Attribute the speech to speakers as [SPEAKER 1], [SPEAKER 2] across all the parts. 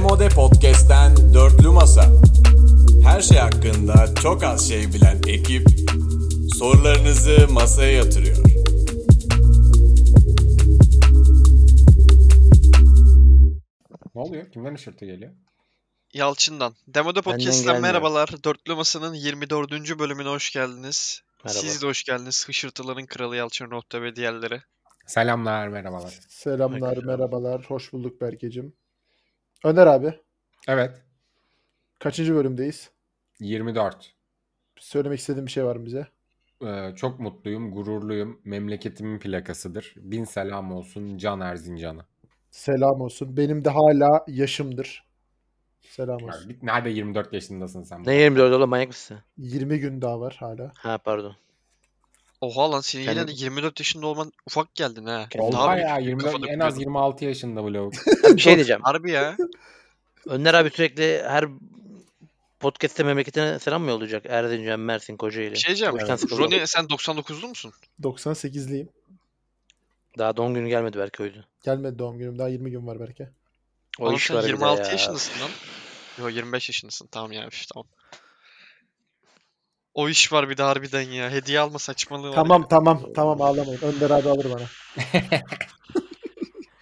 [SPEAKER 1] Komode Podcast'ten Dörtlü Masa. Her şey hakkında çok az şey bilen ekip sorularınızı masaya yatırıyor.
[SPEAKER 2] Ne oluyor? Kimden ışırtı geliyor?
[SPEAKER 3] Yalçın'dan. Demoda
[SPEAKER 4] Benden
[SPEAKER 3] Podcast'ten
[SPEAKER 4] gelmiyor.
[SPEAKER 3] merhabalar. Dörtlü Masa'nın 24. bölümüne hoş geldiniz.
[SPEAKER 4] Merhaba.
[SPEAKER 3] Siz de hoş geldiniz. Hışırtıların Kralı Yalçın Rohta ve diğerleri.
[SPEAKER 2] Selamlar, merhabalar.
[SPEAKER 5] Selamlar,
[SPEAKER 4] Arkadaşlar.
[SPEAKER 5] merhabalar. Hoş bulduk Berkecim. Öner abi,
[SPEAKER 2] Evet,
[SPEAKER 5] kaçıncı bölümdeyiz?
[SPEAKER 2] 24.
[SPEAKER 5] Söylemek istediğin bir şey var mı bize?
[SPEAKER 2] Ee, çok mutluyum, gururluyum. Memleketimin plakasıdır. Bin selam olsun Can Erzincan'a.
[SPEAKER 5] Selam olsun. Benim de hala yaşımdır. Selam
[SPEAKER 2] Ya
[SPEAKER 5] olsun.
[SPEAKER 2] Git nerede 24 yaşındasın sen?
[SPEAKER 4] Ne 24 oğlum manyak mısın?
[SPEAKER 5] 20 gün daha var hala.
[SPEAKER 4] Ha pardon.
[SPEAKER 3] Oha lan senin yine
[SPEAKER 4] Kendim-
[SPEAKER 3] de 24 yaşında olman ufak geldin ha.
[SPEAKER 4] Kendim-
[SPEAKER 2] Oldu
[SPEAKER 3] Daha büyük
[SPEAKER 2] ya 24,
[SPEAKER 3] kafada
[SPEAKER 2] en az
[SPEAKER 3] biliyordum.
[SPEAKER 2] 26 yaşında bu lavuk.
[SPEAKER 4] Ya bir şey diyeceğim.
[SPEAKER 3] Harbi ya.
[SPEAKER 4] Önder abi sürekli her podcast'te memleketine selam mı yollayacak? Erzincan, Mersin, Kocaeli.
[SPEAKER 3] Bir şey diyeceğim.
[SPEAKER 4] Boştan sıkıldım.
[SPEAKER 3] Roni sen 99'lu musun?
[SPEAKER 5] 98'liyim.
[SPEAKER 4] Daha doğum günü gelmedi belki oydu.
[SPEAKER 5] Gelmedi doğum günüm. Daha 20 gün var belki.
[SPEAKER 4] O
[SPEAKER 3] Oğlum
[SPEAKER 4] iş
[SPEAKER 3] sen
[SPEAKER 4] var bir de
[SPEAKER 3] 26
[SPEAKER 4] ya.
[SPEAKER 3] yaşındasın lan. Yo 25 yaşındasın. Tamam ya. üf, tamam. O iş var bir de harbiden ya. Hediye alma saçmalığı var.
[SPEAKER 5] Tamam tamam tamam ağlamayın. Önder abi alır bana.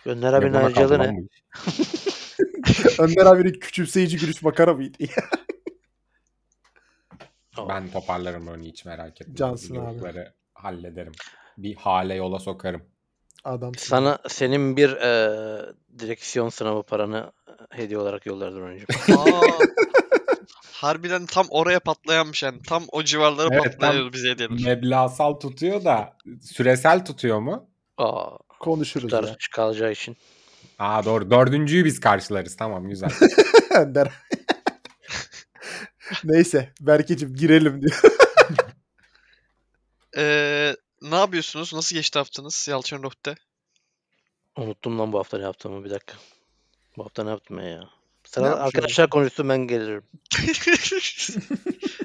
[SPEAKER 4] Önder abinin
[SPEAKER 2] Yapana kaldı
[SPEAKER 4] harcalı
[SPEAKER 2] lan
[SPEAKER 4] ne?
[SPEAKER 2] bu iş.
[SPEAKER 5] Önder abinin küçümseyici gülüş makara mıydı?
[SPEAKER 2] Ben toparlarım onu hiç merak etme.
[SPEAKER 5] Cansın abi.
[SPEAKER 2] Zorlukları hallederim. Bir hale yola sokarım.
[SPEAKER 5] Adam.
[SPEAKER 4] Sana senin bir e, direksiyon sınavı paranı hediye olarak yollardır Roni'cim.
[SPEAKER 3] Aa, harbiden tam oraya patlayanmış yani. Tam o civarlara
[SPEAKER 2] Evet, tam-
[SPEAKER 3] patlayıyordu bize hediyeler.
[SPEAKER 2] Meblasal tutuyor da süresel tutuyor mu?
[SPEAKER 4] Aa,
[SPEAKER 5] Konuşuruz ya.
[SPEAKER 4] tutar kalacağı için.
[SPEAKER 2] Aa doğru. Dördüncüyü biz karşılarız. Tamam güzel.
[SPEAKER 5] Önder. Neyse Berkecim girelim diyor.
[SPEAKER 3] Ee, ne yapıyorsunuz? Nasıl geçti haftanız Yalçın Rohte?
[SPEAKER 4] Unuttum lan bu hafta ne yaptığımı bir dakika. Bu hafta ne yaptım ben ya? Sıra
[SPEAKER 5] yapmış
[SPEAKER 4] arkadaşlar konuşsun ben gelirim.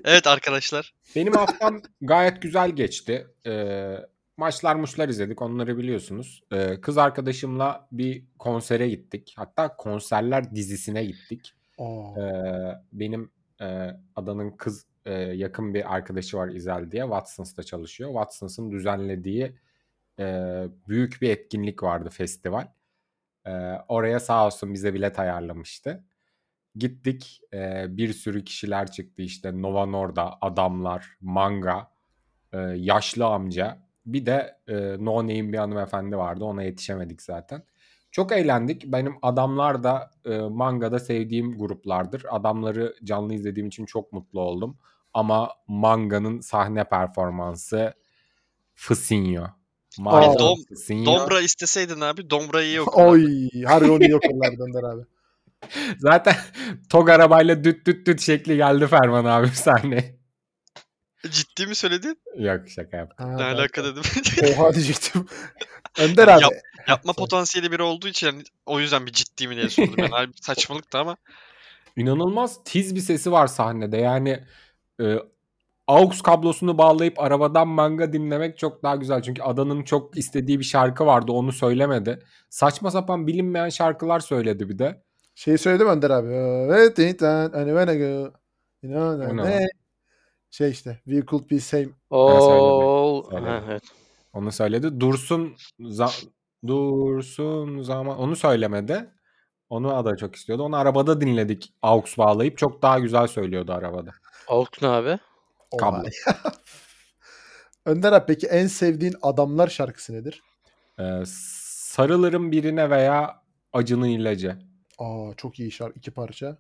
[SPEAKER 3] evet arkadaşlar.
[SPEAKER 2] Benim haftam gayet güzel geçti. Ee, maçlar muşlar izledik onları biliyorsunuz. Ee, kız arkadaşımla bir konsere gittik. Hatta konserler dizisine gittik.
[SPEAKER 5] Oo,
[SPEAKER 2] Ee, benim e, adanın kız e, yakın bir arkadaşı var İzel diye. Watson's'ta çalışıyor. Watson's'ın düzenlediği e, büyük bir etkinlik vardı festival. Ee, oraya sağ olsun bize bilet ayarlamıştı. Gittik ee, bir sürü kişiler çıktı işte Nova Norda, Adamlar, Manga, ee, Yaşlı Amca. Bir de ee, No Name bir hanımefendi vardı ona yetişemedik zaten. Çok eğlendik. Benim Adamlar da ee, Manga da sevdiğim gruplardır. Adamları canlı izlediğim için çok mutlu oldum. Ama Manga'nın sahne performansı Fısinyo. Maalesef
[SPEAKER 3] Dom-
[SPEAKER 2] Fısinyo.
[SPEAKER 3] Dombra isteseydin abi Dombra'yı yok.
[SPEAKER 5] Oy, harbi onu yok yıllardır Önder abi.
[SPEAKER 2] Zaten TOG arabayla düt düt düt şekli geldi Ferman abi sahne.
[SPEAKER 3] Ciddi mi söyledin?
[SPEAKER 2] Yok şaka yap.
[SPEAKER 5] Ha,
[SPEAKER 3] Ne
[SPEAKER 5] ben-
[SPEAKER 3] alaka dedim.
[SPEAKER 5] Oha diyecektim. Önder abi.
[SPEAKER 3] Yap- Yapma potansiyeli biri olduğu için yani o yüzden bir ciddi mi diye sordum. Yani abi saçmalıktı ama.
[SPEAKER 2] İnanılmaz tiz bir sesi var sahnede. Yani e, AUX kablosunu bağlayıp arabadan manga dinlemek çok daha güzel. Çünkü Adan'ın çok istediği bir şarkı vardı onu söylemedi. Saçma sapan bilinmeyen şarkılar söyledi bir de.
[SPEAKER 5] Şeyi söyledim Önder abi. Evet, it- hani when I go, you know,
[SPEAKER 2] O ne
[SPEAKER 5] ne? Şey işte. We could be same.
[SPEAKER 4] Oo.
[SPEAKER 2] söyledi.
[SPEAKER 4] Ha, evet.
[SPEAKER 2] Onu söyledi. Dursun za- Dursun zaman onu söylemedi. Onu Ada çok istiyordu. Onu arabada dinledik AUX bağlayıp. Çok daha güzel söylüyordu arabada.
[SPEAKER 4] Alt ne abi?
[SPEAKER 5] Oha.
[SPEAKER 2] Kablo.
[SPEAKER 5] Önder abi peki en sevdiğin adamlar şarkısı nedir?
[SPEAKER 2] Ee, sarılırım birine veya acının ilacı.
[SPEAKER 5] Aa çok iyi şarkı. iki parça.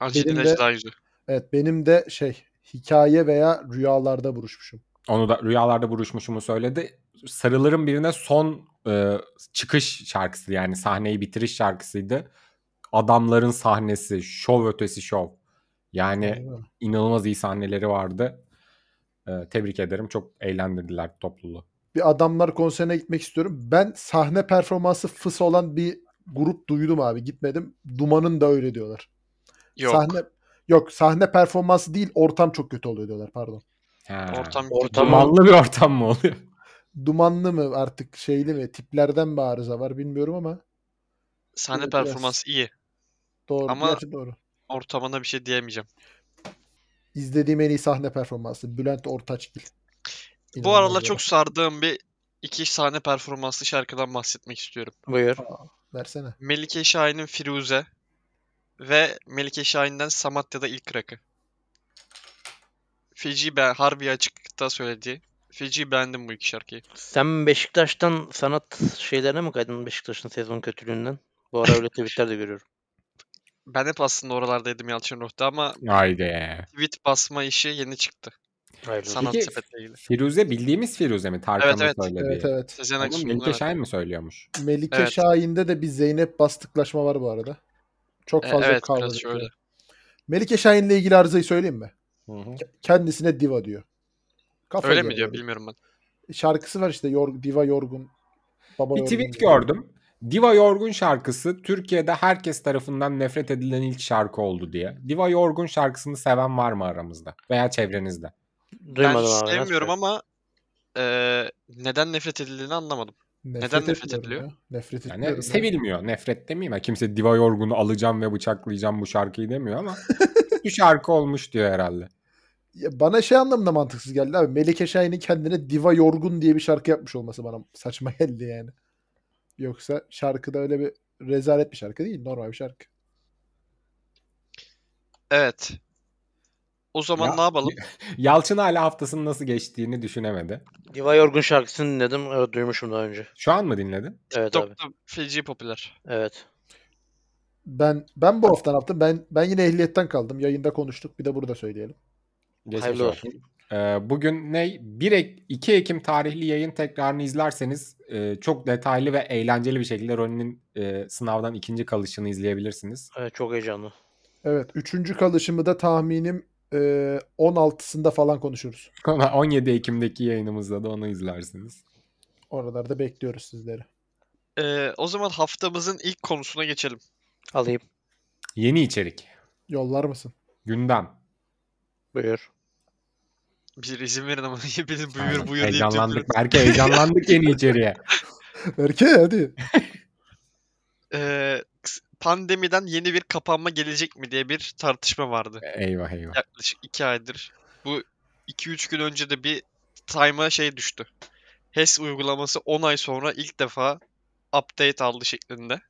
[SPEAKER 3] Angelina
[SPEAKER 5] Benim de-
[SPEAKER 3] daha güzel.
[SPEAKER 5] Evet benim de şey hikaye veya rüyalarda buruşmuşum.
[SPEAKER 2] Onu da rüyalarda buruşmuşumu söyledi. Sarılırım birine son e, çıkış şarkısı yani sahneyi bitiriş şarkısıydı. Adamların sahnesi, şov ötesi şov. Yani
[SPEAKER 5] Anladın mı?
[SPEAKER 2] inanılmaz iyi sahneleri vardı. Ee, tebrik ederim. Çok eğlendirdiler topluluğu.
[SPEAKER 5] Bir adamlar konserine gitmek istiyorum. Ben sahne performansı fıs olan bir grup duydum abi. Gitmedim. Duman'ın da öyle diyorlar.
[SPEAKER 3] Yok.
[SPEAKER 5] Sahne Yok sahne performansı değil ortam çok kötü oluyor diyorlar pardon.
[SPEAKER 2] Ha.
[SPEAKER 3] Ortam
[SPEAKER 4] Ortamın
[SPEAKER 2] Dumanlı bir ortam mı oluyor?
[SPEAKER 5] Dumanlı mı artık şeyli mi tiplerden mi arıza var bilmiyorum ama
[SPEAKER 3] sahne
[SPEAKER 5] Evet, biraz.
[SPEAKER 3] performansı iyi.
[SPEAKER 5] Doğru.
[SPEAKER 3] Ama-
[SPEAKER 5] gerçi doğru.
[SPEAKER 3] Ortamına bir şey diyemeyeceğim.
[SPEAKER 5] İzlediğim en iyi sahne performansı. Bülent Ortaçgil.
[SPEAKER 3] Bu
[SPEAKER 5] İnanılmaz
[SPEAKER 3] aralar
[SPEAKER 5] ya.
[SPEAKER 3] çok sardığım bir iki sahne performanslı şarkıdan bahsetmek istiyorum.
[SPEAKER 4] Buyur.
[SPEAKER 5] Versene.
[SPEAKER 3] Melike Şahin'in Firuze ve Melike Şahin'den Samatya'da ilk rakı. Feci ben harbi açıkta söylediği. Feci beğendim bu iki şarkıyı.
[SPEAKER 4] Sen Beşiktaş'tan sanat şeylerine mi kaydın Beşiktaş'ın sezon kötülüğünden? Bu ara öyle tweetler de görüyorum.
[SPEAKER 3] Ben hep aslında oralardaydım Yalçın Ruh'ta ama
[SPEAKER 2] Haydi.
[SPEAKER 3] tweet basma işi yeni çıktı.
[SPEAKER 4] Hayırlı
[SPEAKER 3] Sanat
[SPEAKER 2] Peki-
[SPEAKER 3] sepetle ilgili.
[SPEAKER 2] Firuze bildiğimiz Firuze mi? Tarkan'ın
[SPEAKER 3] Evet, evet.
[SPEAKER 2] söylediği.
[SPEAKER 5] Evet evet.
[SPEAKER 3] Sezen
[SPEAKER 2] Oğlum,
[SPEAKER 3] Aksu'nun
[SPEAKER 2] Melike
[SPEAKER 3] evet.
[SPEAKER 2] Şahin mi söylüyormuş?
[SPEAKER 5] Melike
[SPEAKER 3] Evet.
[SPEAKER 5] Şahin'de de bir Zeynep bastıklaşma var bu arada. Çok
[SPEAKER 3] E,
[SPEAKER 5] fazla
[SPEAKER 3] evet,
[SPEAKER 5] kavga.
[SPEAKER 3] biraz
[SPEAKER 5] ediliyor.
[SPEAKER 3] şöyle.
[SPEAKER 5] Melike Şahin'le ilgili arızayı söyleyeyim mi?
[SPEAKER 2] Hı-hı.
[SPEAKER 5] Kendisine diva diyor. Kafa
[SPEAKER 3] Öyle
[SPEAKER 5] göre
[SPEAKER 3] mi diyor
[SPEAKER 5] yani.
[SPEAKER 3] bilmiyorum ben.
[SPEAKER 5] Şarkısı var işte yor, diva yorgun. Baba
[SPEAKER 2] Bir
[SPEAKER 5] yorgun
[SPEAKER 2] tweet
[SPEAKER 5] diyor.
[SPEAKER 2] gördüm. Diva Yorgun şarkısı Türkiye'de herkes tarafından nefret edilen ilk şarkı oldu diye. Diva Yorgun şarkısını seven var mı aramızda veya çevrenizde?
[SPEAKER 3] Ben
[SPEAKER 4] Duymadım abi. nasıl
[SPEAKER 3] sevmiyorum
[SPEAKER 4] böyle?
[SPEAKER 3] ama e, neden nefret edildiğini anlamadım. Neden nefret
[SPEAKER 5] etmiyorum
[SPEAKER 3] ediliyor?
[SPEAKER 5] ya. Nefret
[SPEAKER 2] Yani
[SPEAKER 5] etmiyorum. ya.
[SPEAKER 2] sevilmiyor. Nefret demeyeyim. ya. Kimse Diva Yorgun'u alacağım ve bıçaklayacağım bu şarkıyı demiyor ama bu şarkı olmuş diyor herhalde.
[SPEAKER 5] Ya bana şey anlamında mantıksız geldi abi. Melike Şahin'in kendine diva yorgun diye bir şarkı yapmış olması bana saçma geldi yani. Yoksa şarkıda öyle bir rezalet bir şarkı değil. Normal bir şarkı.
[SPEAKER 3] Evet. O zaman
[SPEAKER 2] Ya-
[SPEAKER 3] ne yapalım?
[SPEAKER 2] Yalçın hala haftasının nasıl geçtiğini düşünemedi.
[SPEAKER 4] Diva Yorgun şarkısını dinledim. Evet, duymuşum daha önce.
[SPEAKER 2] Şu an mı dinledin?
[SPEAKER 4] Evet abi.
[SPEAKER 3] TikTok'ta feci popüler.
[SPEAKER 4] Evet.
[SPEAKER 5] Ben ben bu hafta ne yaptım? Ben ben yine ehliyetten kaldım. Yayında konuştuk. Bir de burada söyleyelim.
[SPEAKER 2] Geçmiş
[SPEAKER 4] Hayırlı
[SPEAKER 2] olsun. Ee, bugün ne? 1 Ek- 2 Ekim tarihli yayın tekrarını izlerseniz e, çok detaylı ve eğlenceli bir şekilde Ronin'in e, sınavdan ikinci kalışını izleyebilirsiniz.
[SPEAKER 4] Evet, çok heyecanlı.
[SPEAKER 5] Evet. Üçüncü kalışımı da tahminim e, 16'sında falan konuşuruz.
[SPEAKER 2] Sonra 17 Ekim'deki yayınımızda da onu izlersiniz.
[SPEAKER 5] Oralarda bekliyoruz sizleri.
[SPEAKER 3] Ee, o zaman haftamızın ilk konusuna geçelim.
[SPEAKER 4] Alayım.
[SPEAKER 2] Yeni içerik.
[SPEAKER 5] Yollar mısın?
[SPEAKER 2] Gündem.
[SPEAKER 4] Buyur.
[SPEAKER 3] Bir izin verin ama bilin
[SPEAKER 2] Aynen.
[SPEAKER 3] buyur buyur deyip
[SPEAKER 2] heyecanlandık.
[SPEAKER 3] dökülür.
[SPEAKER 2] Belki heyecanlandık yeni içeriğe.
[SPEAKER 5] Erke hadi.
[SPEAKER 3] Ee, kıs- pandemiden yeni bir kapanma gelecek mi diye bir tartışma vardı.
[SPEAKER 2] Eyvah eyvah.
[SPEAKER 3] Yaklaşık 2 aydır. Bu 2-3 gün önce de bir time'a şey düştü. HES uygulaması 10 ay sonra ilk defa update aldı şeklinde.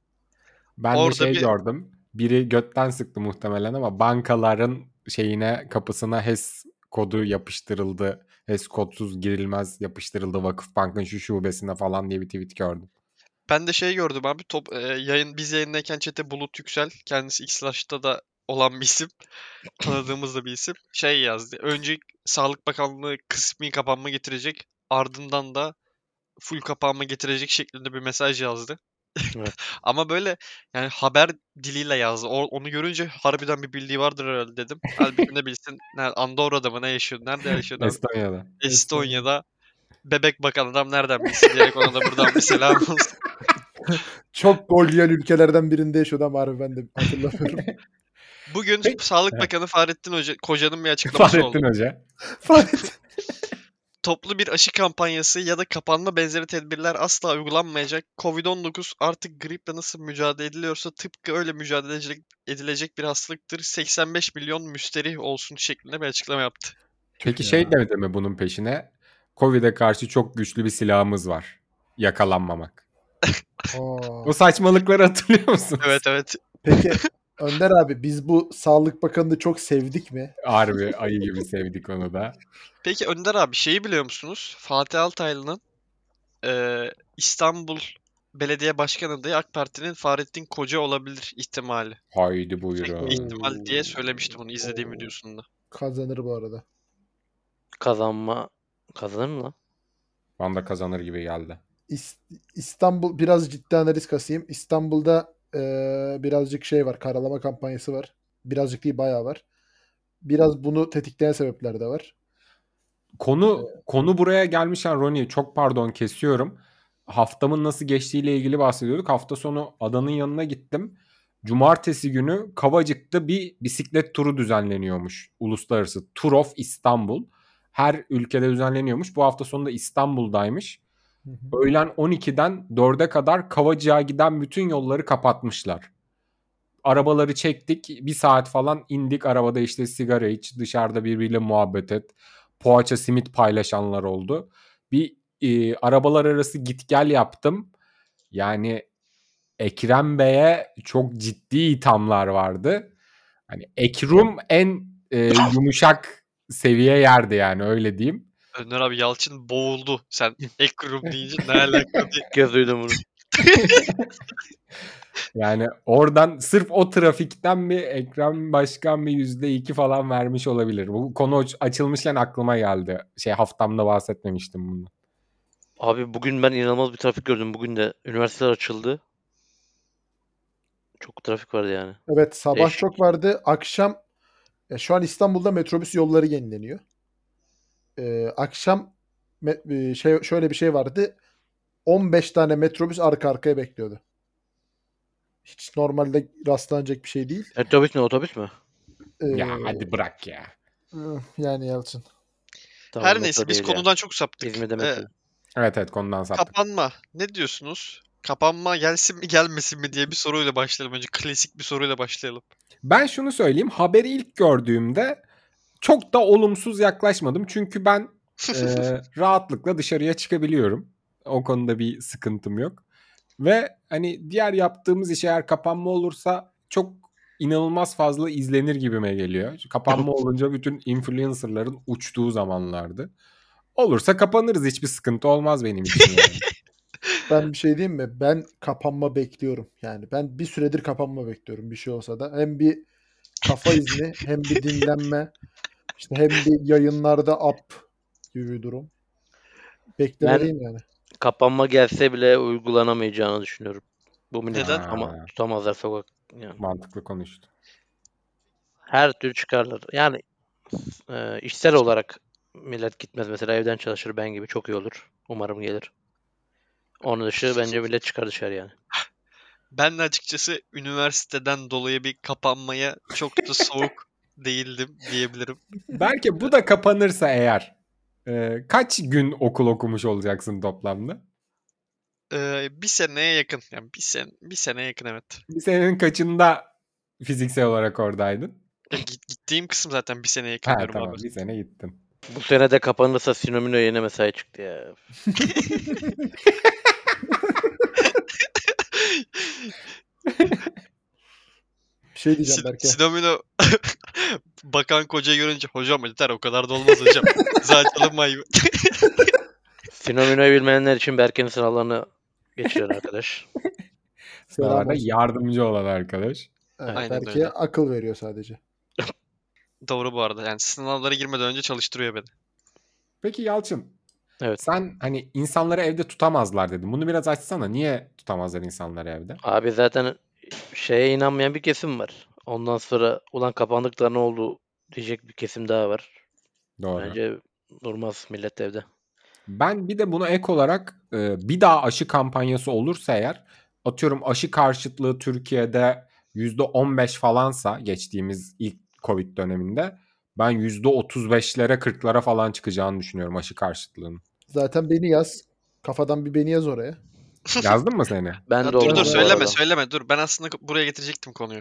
[SPEAKER 2] Ben de
[SPEAKER 3] Orada
[SPEAKER 2] şey
[SPEAKER 3] bir-
[SPEAKER 2] gördüm. Biri götten sıktı muhtemelen ama bankaların şeyine kapısına HES kodu yapıştırıldı. HES kodsuz girilmez yapıştırıldı Vakıfbank'ın şu şubesine falan diye bir tweet gördüm.
[SPEAKER 3] Ben de şey gördüm abi top e, yayın biz yayındayken chat'e Bulut Yüksel kendisi X'ta da olan bir isim. Tanıdığımız da bir isim. Şey yazdı. Önce Sağlık Bakanlığı kısmi kapanma getirecek. Ardından da full kapanma getirecek şeklinde bir mesaj yazdı.
[SPEAKER 4] Evet.
[SPEAKER 3] Ama böyle yani haber diliyle yazdı. O- onu görünce harbiden bir bildiği vardır herhalde dedim. Halbuki ne bilsin. Nerede, Andorra'da mı ne yaşıyor? Nerede yaşıyor? adam?
[SPEAKER 2] Estonya'da.
[SPEAKER 3] Estonya'da. Bebek bakan adam nereden bilsin diyerek ona da buradan bir selam olsun.
[SPEAKER 5] Çok golyen ülkelerden birinde yaşıyordu ama harbi ben de hatırlamıyorum.
[SPEAKER 3] Bugün
[SPEAKER 2] Peki-
[SPEAKER 3] Sağlık
[SPEAKER 2] Evet.
[SPEAKER 3] Bakanı Fahrettin Hoca, Koca'nın bir açıklaması
[SPEAKER 2] Fahrettin
[SPEAKER 3] oldu.
[SPEAKER 2] Hoca.
[SPEAKER 5] Fahret.
[SPEAKER 3] Toplu bir aşı kampanyası ya da kapanma benzeri tedbirler asla uygulanmayacak. Covid-19 artık griple nasıl mücadele ediliyorsa tıpkı öyle mücadele edilecek, edilecek bir hastalıktır. 85 milyon müsterih olsun şeklinde bir açıklama yaptı.
[SPEAKER 2] Peki şey demedi mi bunun peşine? Covid'e karşı çok güçlü bir silahımız var. Yakalanmamak.
[SPEAKER 5] Aa.
[SPEAKER 2] O saçmalıkları hatırlıyor musunuz?
[SPEAKER 3] Evet evet.
[SPEAKER 5] Peki Önder abi biz bu Sağlık Bakanı'nı çok sevdik mi?
[SPEAKER 2] Harbi ayı gibi sevdik onu da.
[SPEAKER 3] Peki Önder abi şeyi biliyor musunuz? Fatih Altaylı'nın eee, İstanbul Belediye Başkan adayı AK Parti'nin Fahrettin Koca olabilir ihtimali.
[SPEAKER 2] Haydi
[SPEAKER 3] Tek
[SPEAKER 2] buyurun.
[SPEAKER 3] bir ihtimal diye söylemişti bunu
[SPEAKER 5] Oo.
[SPEAKER 3] izlediğim videosunda.
[SPEAKER 5] Kazanır bu arada.
[SPEAKER 4] Kazanma kazanır mı lan?
[SPEAKER 2] Vanda kazanır gibi geldi.
[SPEAKER 5] İs- İstanbul biraz ciddi analiz kasayım. İstanbul'da e, birazcık şey var. Karalama kampanyası var. Birazcık değil bayağı var. Biraz bunu tetikleyen sebepler de var.
[SPEAKER 2] Konu konu buraya gelmişken Ronnie çok pardon kesiyorum. Haftamın nasıl geçtiğiyle ilgili bahsediyorduk. Hafta sonu adanın yanına gittim. Cumartesi günü Kavacık'ta bir bisiklet turu düzenleniyormuş. Uluslararası Tour of İstanbul. Her ülkede düzenleniyormuş. Bu hafta sonu da İstanbul'daymış. Öğlen 12'den 4'e kadar Kavacık'a giden bütün yolları kapatmışlar. arabaları çektik. Bir saat falan indik arabada işte sigara iç, dışarıda birbiriyle muhabbet et. Poğaça simit paylaşanlar oldu. Bir e, arabalar arası git gel yaptım. Yani Ekrem Bey'e çok ciddi ithamlar vardı. Hani Ekrum en e, yumuşak seviye yerdi yani öyle diyeyim.
[SPEAKER 3] Önder abi Yalçın boğuldu. Sen ekrum deyince ne alaka diye.
[SPEAKER 4] İlk kez duydum bunu.
[SPEAKER 2] Yani oradan sırf o trafikten bir Ekrem Başkan bir yüzde iki falan vermiş olabilir. Bu konu aç- açılmışken aklıma geldi. Şey haftamda bahsetmemiştim bunu.
[SPEAKER 4] Abi bugün ben inanılmaz bir trafik gördüm. Bugün de üniversiteler açıldı. Çok trafik vardı yani.
[SPEAKER 5] Evet sabah
[SPEAKER 4] Eşek.
[SPEAKER 5] çok vardı. Akşam ya şu an İstanbul'da metrobüs yolları yenileniyor. Ee, akşam me- e, şey şöyle bir şey vardı. 15 tane metrobüs arka arkaya bekliyordu. Hiç normalde rastlanacak bir şey değil.
[SPEAKER 4] Metrobüs ne otobüs mü?
[SPEAKER 5] Ee,
[SPEAKER 2] Ya hadi bırak ya.
[SPEAKER 5] ıh, Yani Yalçın.
[SPEAKER 4] Tamam,
[SPEAKER 3] Her
[SPEAKER 4] metro
[SPEAKER 3] neyse biz
[SPEAKER 4] değil ya.
[SPEAKER 3] konudan çok saptık.
[SPEAKER 4] İzmir'de
[SPEAKER 3] Ee,
[SPEAKER 4] metro.
[SPEAKER 2] Evet evet konudan saptık.
[SPEAKER 3] kapanma. Ne diyorsunuz? Kapanma gelsin mi gelmesin mi diye bir soruyla başlayalım. Önce klasik bir soruyla başlayalım.
[SPEAKER 2] Ben şunu söyleyeyim. Haberi ilk gördüğümde çok da olumsuz yaklaşmadım. Çünkü ben e, rahatlıkla dışarıya çıkabiliyorum. O konuda bir sıkıntım yok. Ve hani diğer yaptığımız iş eğer kapanma olursa çok inanılmaz fazla izlenir gibime geliyor. Kapanma olunca bütün influencerların uçtuğu zamanlardı. Olursa kapanırız. Hiçbir sıkıntı olmaz benim için. yani.
[SPEAKER 5] Ben bir şey diyeyim mi? Ben kapanma bekliyorum. Yani ben bir süredir kapanma bekliyorum bir şey olsa da. Hem bir kafa izni hem bir dinlenme. işte hem bir yayınlarda up gibi bir durum. Beklemeliyim yani.
[SPEAKER 4] Kapanma gelse bile uygulanamayacağını düşünüyorum. Bu millet
[SPEAKER 3] Neden?
[SPEAKER 4] ama tutamazlar sokak. Yani
[SPEAKER 2] Mantıklı konuştu.
[SPEAKER 4] her türlü çıkarlar. Yani e, işsel olarak millet gitmez mesela evden çalışır ben gibi çok iyi olur. Umarım gelir. Onun dışı bence millet çıkar dışarı yani.
[SPEAKER 3] Ben de açıkçası üniversiteden dolayı bir kapanmaya çok da soğuk değildim diyebilirim.
[SPEAKER 2] Belki bu da kapanırsa eğer e, kaç gün okul okumuş olacaksın toplamda?
[SPEAKER 3] Ee, bir seneye yakın. Yani bir, sen, bir seneye yakın evet.
[SPEAKER 2] Bir senenin kaçında fiziksel olarak oradaydın?
[SPEAKER 3] Git- Gittiğim kısım zaten bir seneye yakın
[SPEAKER 2] Ha
[SPEAKER 3] diyorum
[SPEAKER 2] tamam
[SPEAKER 3] abi.
[SPEAKER 2] bir sene gittin.
[SPEAKER 4] Bu sene de kapanırsa Sinomino yeni mesai çıktı ya.
[SPEAKER 5] Bir şey diyeceğim
[SPEAKER 3] Sin-
[SPEAKER 5] belki.
[SPEAKER 3] Sinomino bakan kocayı görünce hocam yeter o kadar da olmaz hocam. Zaten ayıp.
[SPEAKER 4] Sinomino'yu bilmeyenler için Berke'nin sınavlarını geçiren arkadaş.
[SPEAKER 2] Sınavlarda
[SPEAKER 5] olsun.
[SPEAKER 2] yardımcı olan arkadaş.
[SPEAKER 5] Evet,
[SPEAKER 3] Aynen
[SPEAKER 5] belki
[SPEAKER 3] öyle.
[SPEAKER 5] akıl veriyor sadece.
[SPEAKER 3] Doğru bu arada. Yani sınavlara girmeden önce çalıştırıyor beni.
[SPEAKER 2] Peki Yalçın.
[SPEAKER 4] Evet.
[SPEAKER 2] Sen hani insanları evde tutamazlar dedin. Bunu biraz açsana. Niye tutamazlar insanları evde?
[SPEAKER 4] Abi zaten şeye inanmayan bir kesim var. Ondan sonra ulan kapandık da ne oldu diyecek bir kesim daha var.
[SPEAKER 2] Doğru.
[SPEAKER 4] Bence durmaz millet evde.
[SPEAKER 2] Ben bir de buna ek olarak e, bir daha aşı kampanyası olursa eğer atıyorum aşı karşıtlığı Türkiye'de %15 falansa geçtiğimiz ilk Covid döneminde ben %35'lere 40'lara falan çıkacağını düşünüyorum aşı karşıtlığının.
[SPEAKER 5] Zaten beni yaz. Kafadan bir beni yaz oraya.
[SPEAKER 2] Yazdın mı seni?
[SPEAKER 4] Ben
[SPEAKER 3] Ya
[SPEAKER 4] de
[SPEAKER 3] dur
[SPEAKER 4] oldum bu
[SPEAKER 3] dur söyleme
[SPEAKER 4] arada.
[SPEAKER 3] söyleme dur. Ben aslında buraya getirecektim konuyu.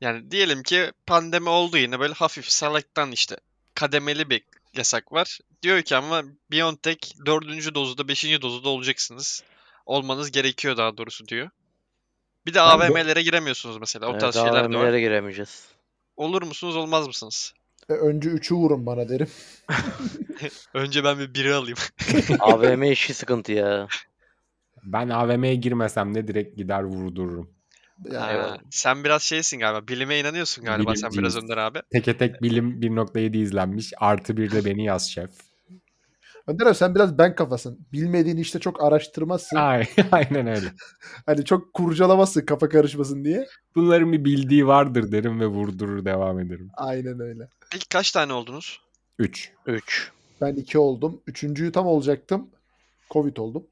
[SPEAKER 3] Yani diyelim ki pandemi oldu yine böyle hafif salaktan işte kademeli bir yasak var. Diyor ki ama BioNTech 4. dozda 5. dozda olacaksınız. Olmanız gerekiyor daha doğrusu diyor. Bir de
[SPEAKER 2] Ben de-
[SPEAKER 3] AVM'lere giremiyorsunuz mesela. O
[SPEAKER 4] Evet,
[SPEAKER 3] tarz
[SPEAKER 4] daha
[SPEAKER 3] şeyler de var.
[SPEAKER 4] AVM'lere giremeyeceğiz.
[SPEAKER 3] Olur musunuz olmaz mısınız?
[SPEAKER 5] E, önce üçü vurun bana derim.
[SPEAKER 3] Önce ben bir biri alayım.
[SPEAKER 4] AVM işi sıkıntı ya.
[SPEAKER 2] Ben AVM'ye girmesem de direkt gider vurdururum.
[SPEAKER 5] Yani
[SPEAKER 3] Ha, sen biraz şeysin galiba. Bilime inanıyorsun galiba sen biraz
[SPEAKER 2] Bilimciyiz.
[SPEAKER 3] Önder abi.
[SPEAKER 2] Teke tek bilim 1.7 izlenmiş. Artı bir de beni yaz şef.
[SPEAKER 5] Önder abi sen biraz ben kafasın. Bilmediğin işte çok araştırmazsın.
[SPEAKER 2] Ay, aynen öyle.
[SPEAKER 5] Hani çok kurcalamazsın kafa karışmasın diye.
[SPEAKER 2] Bunların bir bildiği vardır derim ve vurdurur devam ederim.
[SPEAKER 5] Aynen öyle.
[SPEAKER 3] İlk kaç tane oldunuz?
[SPEAKER 2] 3.
[SPEAKER 4] 3.
[SPEAKER 5] Ben iki oldum. Üçüncüyü tam olacaktım. Covid oldum.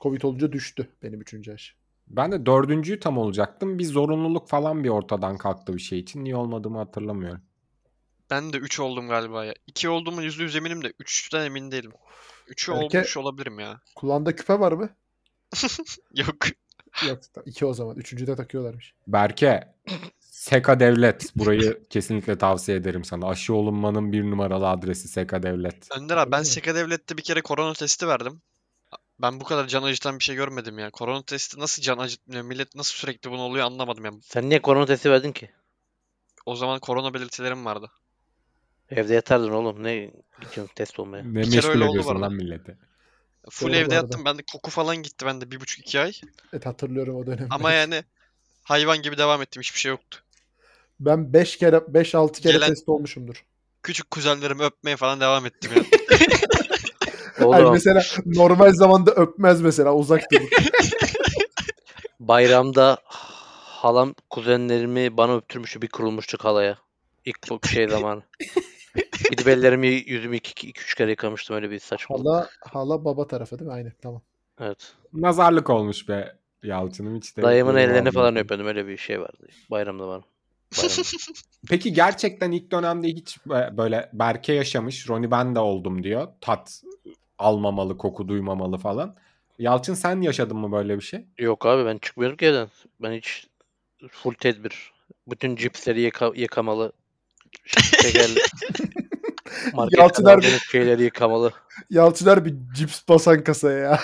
[SPEAKER 5] Covid olunca düştü benim üçüncü aşı.
[SPEAKER 2] Ben de dördüncüyü tam olacaktım. Bir zorunluluk falan bir ortadan kalktı bir şey için. Niye olmadığımı hatırlamıyorum.
[SPEAKER 3] Ben de 3 oldum galiba ya. 2 olduğumu %100 eminim de 3'ten emin değilim. 3'ü
[SPEAKER 5] Berke-
[SPEAKER 3] olmuş olabilirim ya.
[SPEAKER 5] Kulağında küpe var mı?
[SPEAKER 3] Yok.
[SPEAKER 5] Yok iki o zaman. Üçüncüde takıyorlarmış.
[SPEAKER 2] Berke, Seka Devlet. Burayı kesinlikle tavsiye ederim sana. Aşı olunmanın bir numaralı adresi Seka Devlet.
[SPEAKER 3] Önder abi ben
[SPEAKER 5] Öyle mi?
[SPEAKER 3] Seka Devlet'te bir kere korona testi verdim. Ben bu kadar can acıtan bir şey görmedim ya. Korona testi nasıl can acıtmıyor? Millet nasıl sürekli bunu oluyor anlamadım ya.
[SPEAKER 4] Sen niye korona testi verdin ki?
[SPEAKER 3] O zaman korona belirtilerim vardı.
[SPEAKER 4] Evde yatardın oğlum. Ne gideceksin test olmaya?
[SPEAKER 2] Ne
[SPEAKER 3] Bir kere
[SPEAKER 2] meşgul
[SPEAKER 3] öyle oldu
[SPEAKER 2] ediyorsun
[SPEAKER 3] bu
[SPEAKER 2] lan
[SPEAKER 3] arada.
[SPEAKER 2] milleti.
[SPEAKER 3] Full
[SPEAKER 5] Doğru bu
[SPEAKER 3] evde
[SPEAKER 5] arada.
[SPEAKER 3] yattım. Bende koku falan gitti bende bir buçuk iki ay.
[SPEAKER 5] Evet hatırlıyorum o dönemi.
[SPEAKER 3] Ama yani hayvan gibi devam ettim. Hiçbir şey yoktu.
[SPEAKER 5] Ben 5 kere 5-6 kere
[SPEAKER 3] Gelen-
[SPEAKER 5] test olmuşumdur.
[SPEAKER 3] Küçük kuzenlerimi öpmeye falan devam ettim ya.
[SPEAKER 5] Hani
[SPEAKER 4] Oğlum
[SPEAKER 5] mesela normal zamanda öpmez mesela uzak durur.
[SPEAKER 4] bayramda halam kuzenlerimi bana öptürmüştü. Bir kurulmuştuk halaya. İlk bu şey zamanı. Gidip ellerimi yüzümü 2-3 kere yıkamıştım öyle bir saçmalık.
[SPEAKER 5] hala hala baba tarafı değil mi? Aynen tamam.
[SPEAKER 4] Evet.
[SPEAKER 2] Nazarlık olmuş be Yalçın'ım hiç de
[SPEAKER 4] Dayımın
[SPEAKER 2] böyle
[SPEAKER 4] ellerini falan
[SPEAKER 2] olmadı.
[SPEAKER 4] öpüyordum. Öyle bir şey vardı. Bayramda bana. Bayramda.
[SPEAKER 2] Peki gerçekten ilk dönemde hiç bö- böyle Berke yaşamış, Roni ben de oldum diyor. Tat almamalı, koku duymamalı falan. Yalçın sen yaşadın mı böyle bir şey?
[SPEAKER 4] Yok abi ben çıkmıyorum ki evden. Ben hiç full tedbir. Bütün cipsleri yıka- yıkamalı. Şekerli. Marketten
[SPEAKER 5] Yalçın Erbil.
[SPEAKER 4] aldığımız şeyleri yıkamalı.
[SPEAKER 5] Yalçılar bir cips basan kasaya ya.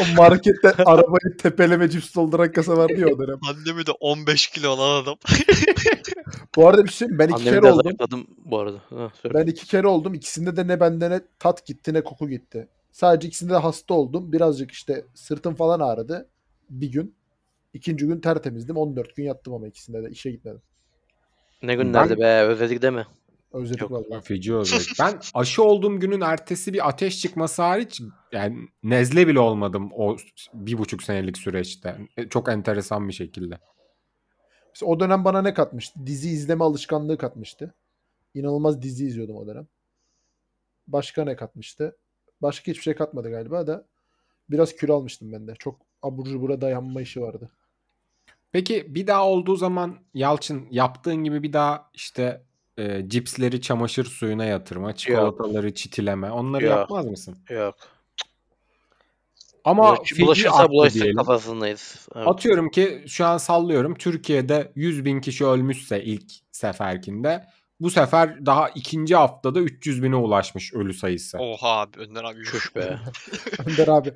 [SPEAKER 5] o marketten arabayı tepeleme cips dolduran kasa vardı ya o dönem.
[SPEAKER 3] Annemi de 15 kilo olan adam.
[SPEAKER 5] Bu arada bir şey söyleyeyim, ben iki
[SPEAKER 4] Annemi
[SPEAKER 5] kere
[SPEAKER 4] de
[SPEAKER 5] oldum.
[SPEAKER 4] zayıfladım bu arada. Ha, söyle.
[SPEAKER 5] Ben iki kere oldum. İkisinde de ne bende ne tat gitti ne koku gitti. Sadece ikisinde de hasta oldum. Birazcık işte sırtım falan ağrıdı. Bir gün. İkinci gün tertemizdim. 14 gün yattım ama ikisinde de. işe gitmedim.
[SPEAKER 4] Ne günlerdi be özledik deme.
[SPEAKER 5] Özledik
[SPEAKER 4] Yok.
[SPEAKER 5] vallahi.
[SPEAKER 2] Feci özledik. Ben aşı olduğum günün ertesi bir ateş çıkması hariç yani nezle bile olmadım o bir buçuk senelik süreçte. E, Çok enteresan bir şekilde.
[SPEAKER 5] Mesela o dönem bana ne katmıştı? Dizi izleme alışkanlığı katmıştı. İnanılmaz dizi izliyordum o dönem. Başka ne katmıştı? Başka hiçbir şey katmadı galiba da biraz kilo almıştım ben de. Çok abur cubura dayanma işi vardı.
[SPEAKER 2] Peki bir daha olduğu zaman Yalçın yaptığın gibi bir daha işte e, cipsleri çamaşır suyuna yatırma, çikolataları çitileme onları
[SPEAKER 4] Yok.
[SPEAKER 2] yapmaz mısın?
[SPEAKER 4] Yok.
[SPEAKER 2] Ama
[SPEAKER 4] Bulaş,
[SPEAKER 2] feci
[SPEAKER 4] bulaşırsa
[SPEAKER 2] arttı
[SPEAKER 4] bulaştık
[SPEAKER 2] diyelim.
[SPEAKER 4] kafasındayız. Evet.
[SPEAKER 2] Atıyorum ki şu an sallıyorum Türkiye'de 100 bin kişi ölmüşse ilk seferkinde bu sefer daha ikinci haftada 300 bine ulaşmış ölü sayısı.
[SPEAKER 3] Oha abi Önder abi. yuh.
[SPEAKER 4] Çüş be.
[SPEAKER 5] Önder abi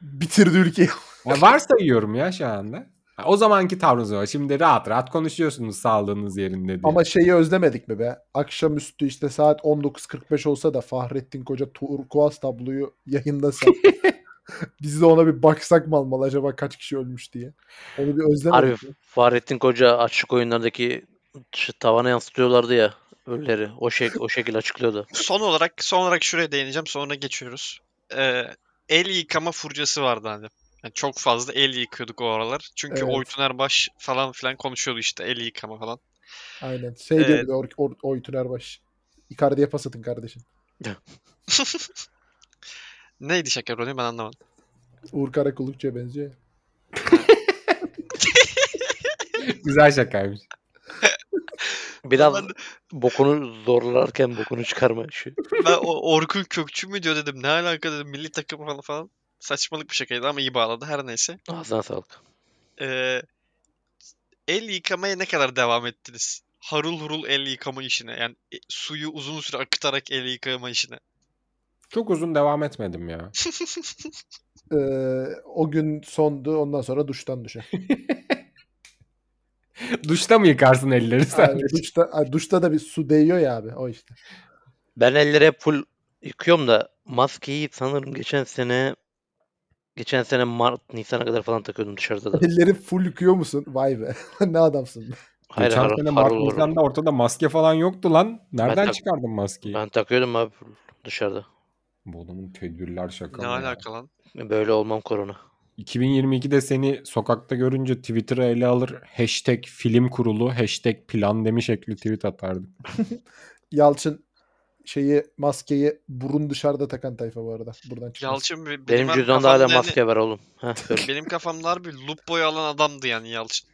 [SPEAKER 5] bitirdi ülkeyi.
[SPEAKER 2] Ya varsayıyorum ya şu anda. Ha, O zamanki tavrınız var. Şimdi rahat rahat konuşuyorsunuz sağlığınız yerinde diye.
[SPEAKER 5] Ama şeyi özlemedik mi be? Akşamüstü işte saat 19.45 olsa da Fahrettin Koca turkuaz tabloyu yayındasa. Biz de ona bir baksak mı almalı acaba kaç kişi ölmüş diye. Onu bir özlemedik.
[SPEAKER 4] Harbi Fahrettin Koca açlık oyunlardaki şu tavana yansıtıyorlardı ya ölüleri. O, şek o şekil açıklıyordu.
[SPEAKER 3] Son olarak son olarak şuraya değineceğim sonra geçiyoruz. Ee, el yıkama furcası vardı hani. Yani çok fazla el yıkıyorduk o aralar. Çünkü
[SPEAKER 5] Evet.
[SPEAKER 3] Oytun Erbaş falan filan konuşuyordu işte el yıkama falan.
[SPEAKER 5] Aynen. Şey
[SPEAKER 3] Evet.
[SPEAKER 5] diyor bir de Or- Or- Oytun Erbaş. Icardi'ye pas atın kardeşim.
[SPEAKER 3] Neydi şaka rolü ben anlamadım.
[SPEAKER 5] Uğur Karakullukçu'ya benziyor. ya.
[SPEAKER 2] Güzel şakaymış.
[SPEAKER 4] Biraz
[SPEAKER 3] Ben,
[SPEAKER 4] bokunu zorlarken bokunu çıkarma. Şu.
[SPEAKER 3] ben o Orkun Kökçü mü diyor dedim. Ne alaka dedim milli takım falan falan. Saçmalık bir şakaydı ama iyi bağladı her neyse.
[SPEAKER 4] Ağzına sağlık.
[SPEAKER 3] Ee, el yıkamaya ne kadar devam ettiniz? Harul hurul el yıkama işine. Yani e, suyu uzun süre akıtarak el yıkama işine.
[SPEAKER 2] Çok uzun devam etmedim ya.
[SPEAKER 5] Ee, o gün sondu. Ondan sonra duştan düşe.
[SPEAKER 2] Duşta mı yıkarsın elleri sen?
[SPEAKER 5] Aynen, duşta, ay, duşta da bir su değiyor ya abi. O işte.
[SPEAKER 4] Ben elleri hep full yıkıyorum da maskeyi sanırım geçen sene geçen sene Mart Nisan'a kadar falan takıyordum dışarıda da.
[SPEAKER 5] Elleri full yıkıyor musun? Vay be. ne adamsın.
[SPEAKER 4] Hayır
[SPEAKER 2] Geçen
[SPEAKER 4] har-
[SPEAKER 2] sene
[SPEAKER 4] harıl
[SPEAKER 2] Mart
[SPEAKER 4] harıl.
[SPEAKER 2] Nisan'da ortada maske falan yoktu lan. Nereden
[SPEAKER 4] tak-
[SPEAKER 2] çıkardın maskeyi?
[SPEAKER 4] Ben takıyordum abi full dışarıda.
[SPEAKER 2] Bu adamın tedbirler şaka.
[SPEAKER 3] ne
[SPEAKER 2] mı ya?
[SPEAKER 3] alaka lan?
[SPEAKER 4] Böyle olmam korona.
[SPEAKER 2] 2022'de seni sokakta görünce Twitter'a ele alır. Hashtag film kurulu, hashtag plan demi şekli tweet atardık.
[SPEAKER 5] Yalçın şeyi maskeyi burun dışarıda takan tayfa bu arada. Buradan çıkmaz.
[SPEAKER 3] Yalçın bir-
[SPEAKER 4] Benim
[SPEAKER 3] ben
[SPEAKER 4] cüzdanımda hala
[SPEAKER 3] kafamda yani-
[SPEAKER 4] maske var oğlum. Heh, söyle.
[SPEAKER 3] benim kafamda harbi loop boy alan adamdı yani Yalçın.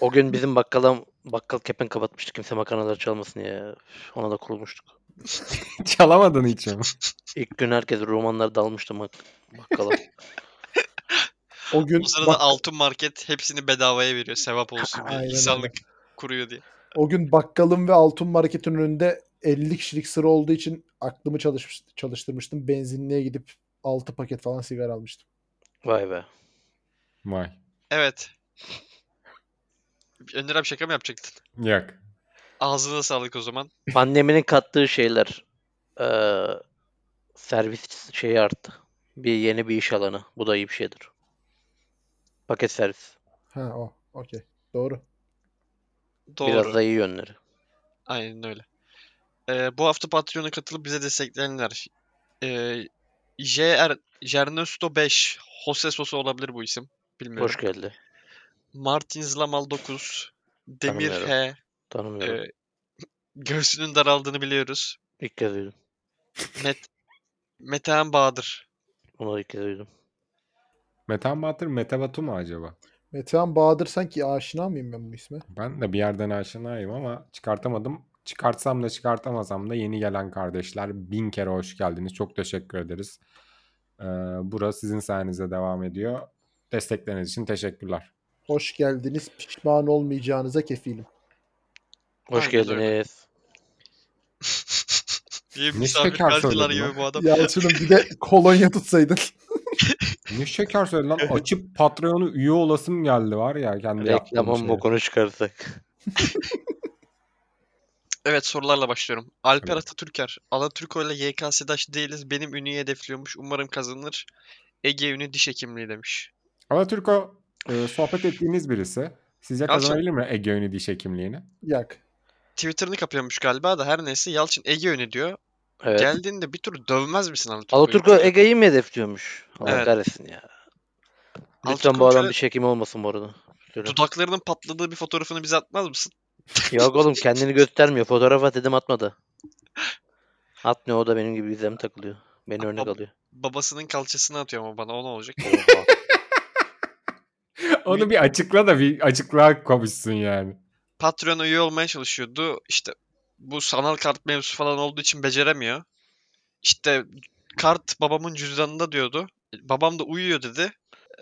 [SPEAKER 4] o gün bizim bakkala bakkal kepen kapatmıştı kimse makarnaları çalmasın diye. Üf, Ona da kurulmuştuk.
[SPEAKER 2] Çalamadın hiç ama.
[SPEAKER 4] İlk gün herkes romanlar dalmıştı mak- bakkala.
[SPEAKER 5] O gün
[SPEAKER 3] O sırada
[SPEAKER 5] bak-
[SPEAKER 3] altın market hepsini bedavaya veriyor. Sevap olsun diye.
[SPEAKER 5] Aynen
[SPEAKER 3] İnsanlık kuruyor diye.
[SPEAKER 5] O gün bakkalın ve altın marketin önünde 50 kişilik sıra olduğu için aklımı çalış, çalıştırmıştım. Benzinliğe gidip 6 paket falan sigara almıştım.
[SPEAKER 4] Vay be.
[SPEAKER 2] Vay.
[SPEAKER 3] Evet. Önder abi şaka mı yapacaktın?
[SPEAKER 2] Yok.
[SPEAKER 3] Ağzına sağlık o zaman.
[SPEAKER 4] Pandeminin kattığı şeyler. Ee, servis şeyi arttı. Bir yeni bir iş alanı. Bu da iyi bir şeydir. Paket servis.
[SPEAKER 5] Ha o. Okey. Doğru.
[SPEAKER 3] Doğru.
[SPEAKER 4] Biraz da iyi yönleri.
[SPEAKER 3] Aynen öyle. Ee, bu hafta Patreon'a katılıp bize destekleyenler. Ee, JR, Jernesto 5. Jose Sosa olabilir bu isim. Bilmiyorum.
[SPEAKER 4] Hoş geldi.
[SPEAKER 3] Martins Lamal 9. Demir
[SPEAKER 4] Tanımıyorum.
[SPEAKER 3] H.
[SPEAKER 4] Tanımıyorum.
[SPEAKER 3] Ee, göğsünün daraldığını biliyoruz.
[SPEAKER 4] İlk kez duydum.
[SPEAKER 3] Met Metehan Bahadır.
[SPEAKER 4] Bunu ilk kez duydum.
[SPEAKER 2] Metan Bahtır Mete Batu mu acaba?
[SPEAKER 5] Metehan Bahadır sanki aşina mıyım ben bu isme?
[SPEAKER 2] Ben de bir yerden aşinayım ama çıkartamadım. Çıkartsam da çıkartamasam da yeni gelen kardeşler bin kere hoş geldiniz. Çok teşekkür ederiz. Ee, bura sizin sayenizde devam ediyor. Destekleriniz için teşekkürler.
[SPEAKER 5] Hoş geldiniz. Pişman olmayacağınıza kefilim.
[SPEAKER 4] Hoş
[SPEAKER 3] Aynen öyle.
[SPEAKER 4] geldiniz.
[SPEAKER 3] Diye
[SPEAKER 2] Ne
[SPEAKER 3] misafirperverler
[SPEAKER 2] şeker
[SPEAKER 3] gibi
[SPEAKER 2] söyledin
[SPEAKER 3] bu adam.
[SPEAKER 5] Yalçın'ım bir de kolonya tutsaydın.
[SPEAKER 2] Ne şeker söyledi lan. Açıp Patreon'u üye olasım geldi var ya. Kendi yaptığım
[SPEAKER 4] Reklamın
[SPEAKER 2] şeye.
[SPEAKER 4] bokunu çıkarsak.
[SPEAKER 3] Evet sorularla başlıyorum. Alper
[SPEAKER 2] Tabii.
[SPEAKER 3] Atatürker. Alaturko ile YKS'daş değiliz. Benim ünüyü hedefliyormuş. Umarım kazanır. Ege ünü diş hekimliği demiş.
[SPEAKER 2] Alaturko e, sohbet ettiğiniz birisi. Sizce
[SPEAKER 3] Yalçın.
[SPEAKER 2] kazanabilir mi Ege Önü diş hekimliğini?
[SPEAKER 5] Yak.
[SPEAKER 3] Twitter'ını kapıyormuş galiba da her neyse Yalçın Ege ünü diyor.
[SPEAKER 4] Evet.
[SPEAKER 3] Geldiğinde bir tur dövmez misin Alaturko'yu?
[SPEAKER 4] Alaturko Ege'yi mi hedefliyormuş? Allah
[SPEAKER 3] Evet.
[SPEAKER 4] kahretsin ya. Lütfen
[SPEAKER 3] Alaturko'nun
[SPEAKER 4] bu adam
[SPEAKER 3] şöyle
[SPEAKER 4] bir şey. çekim olmasın bu arada. Şöyle.
[SPEAKER 3] Dudaklarının patladığı bir fotoğrafını bize atmaz mısın?
[SPEAKER 4] Yok oğlum kendini göstermiyor. Fotoğraf at dedim atmadı. Atmıyor o da benim gibi izlem takılıyor. Beni örnek
[SPEAKER 3] Bab-
[SPEAKER 4] alıyor.
[SPEAKER 3] Babasının kalçasını atıyor ama bana o ne olacak?
[SPEAKER 2] Onu bir açıkla da bir açıklığa kavuşsun yani.
[SPEAKER 3] Patreon üye olmaya çalışıyordu. İşte bu sanal kart mevzusu falan olduğu için beceremiyor. İşte kart babamın cüzdanında diyordu. Babam da uyuyor dedi.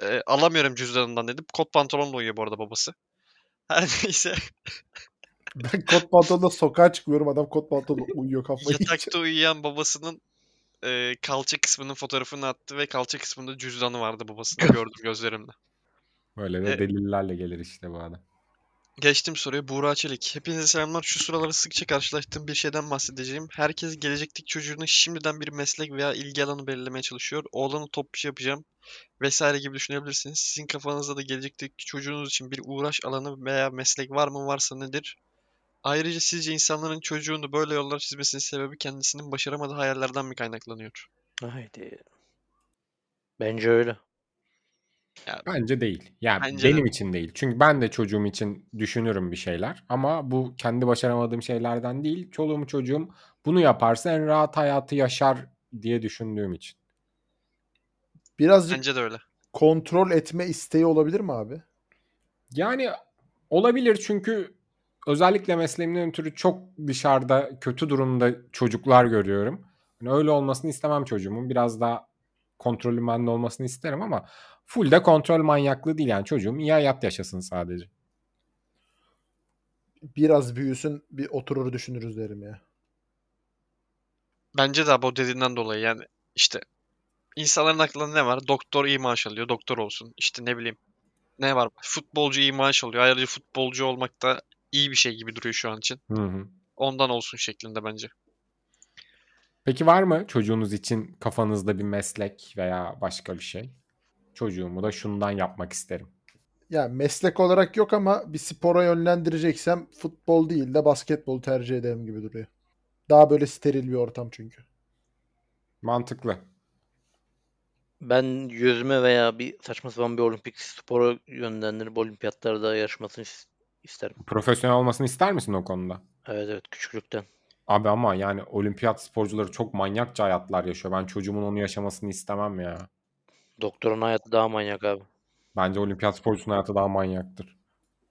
[SPEAKER 3] E, alamıyorum cüzdanından dedi. Kot pantolonla uyuyor bu arada babası. Her neyse
[SPEAKER 5] Ben kot pantolonla sokağa çıkıyorum. Adam kot pantolonla uyuyor kafayı.
[SPEAKER 3] yatakta uyuyan babasının e, kalça kısmının fotoğrafını attı ve kalça kısmında cüzdanı vardı babasının gördüm gözlerimle.
[SPEAKER 2] Böyle de
[SPEAKER 3] E-
[SPEAKER 2] delillerle gelir işte bu adam.
[SPEAKER 3] Geçtim soruya. Buğra Çelik. Hepinize selamlar. Şu sıraları sıkça karşılaştığım bir şeyden bahsedeceğim. Herkes gelecekteki çocuğunu şimdiden bir meslek veya ilgi alanı belirlemeye çalışıyor. Oğlanı topçu yapacağım vesaire gibi düşünebilirsiniz. Sizin kafanızda da gelecekteki çocuğunuz için bir uğraş alanı veya meslek var mı varsa nedir? Ayrıca sizce insanların çocuğunu böyle yollar çizmesinin sebebi kendisinin başaramadığı hayallerden mi kaynaklanıyor?
[SPEAKER 4] Haydi. Bence öyle.
[SPEAKER 2] Bence değil. Yani
[SPEAKER 3] Bence de
[SPEAKER 2] benim için değil. Çünkü ben de çocuğum için düşünürüm bir şeyler. Ama bu kendi başaramadığım şeylerden değil. Çoluğum çocuğum bunu yaparsa en rahat hayatı yaşar diye düşündüğüm için.
[SPEAKER 5] Birazcık
[SPEAKER 3] Bence de öyle.
[SPEAKER 5] kontrol etme isteği olabilir mi abi?
[SPEAKER 2] Yani olabilir çünkü özellikle mesleğimden ötürü çok dışarıda kötü durumda çocuklar görüyorum. Hani öyle olmasını istemem çocuğumun. Biraz daha kontrolüm bende olmasını isterim ama full de kontrol manyaklığı değil yani çocuğum iyi hayat yaşasın sadece.
[SPEAKER 5] Biraz büyüsün bir oturur düşünürüz derim ya.
[SPEAKER 3] Bence de abi o dediğinden dolayı yani işte insanların aklında ne var? Doktor iyi maaş alıyor, doktor olsun. İşte ne bileyim ne var? Futbolcu iyi maaş alıyor. Ayrıca futbolcu olmak da iyi bir şey gibi duruyor şu an için.
[SPEAKER 2] Hı hı.
[SPEAKER 3] Ondan olsun şeklinde bence.
[SPEAKER 2] Peki var mı çocuğunuz için kafanızda bir meslek veya başka bir şey? Çocuğumu da şundan yapmak isterim.
[SPEAKER 5] Ya meslek olarak yok ama bir spora yönlendireceksem futbol değil de basketbolu tercih ederim gibi duruyor. Daha böyle steril bir ortam çünkü.
[SPEAKER 2] Mantıklı.
[SPEAKER 4] Ben yüzme veya bir saçma sapan bir olimpik spora yönlendirip olimpiyatlarda yarışmasını is- isterim.
[SPEAKER 2] Profesyonel olmasını ister misin o konuda?
[SPEAKER 4] Evet evet küçüklükten.
[SPEAKER 2] Abi ama yani olimpiyat sporcuları çok manyakça hayatlar yaşıyor. Ben çocuğumun onu yaşamasını istemem ya.
[SPEAKER 4] Doktorun hayatı daha manyak abi.
[SPEAKER 2] Bence olimpiyat sporcusunun hayatı daha manyaktır.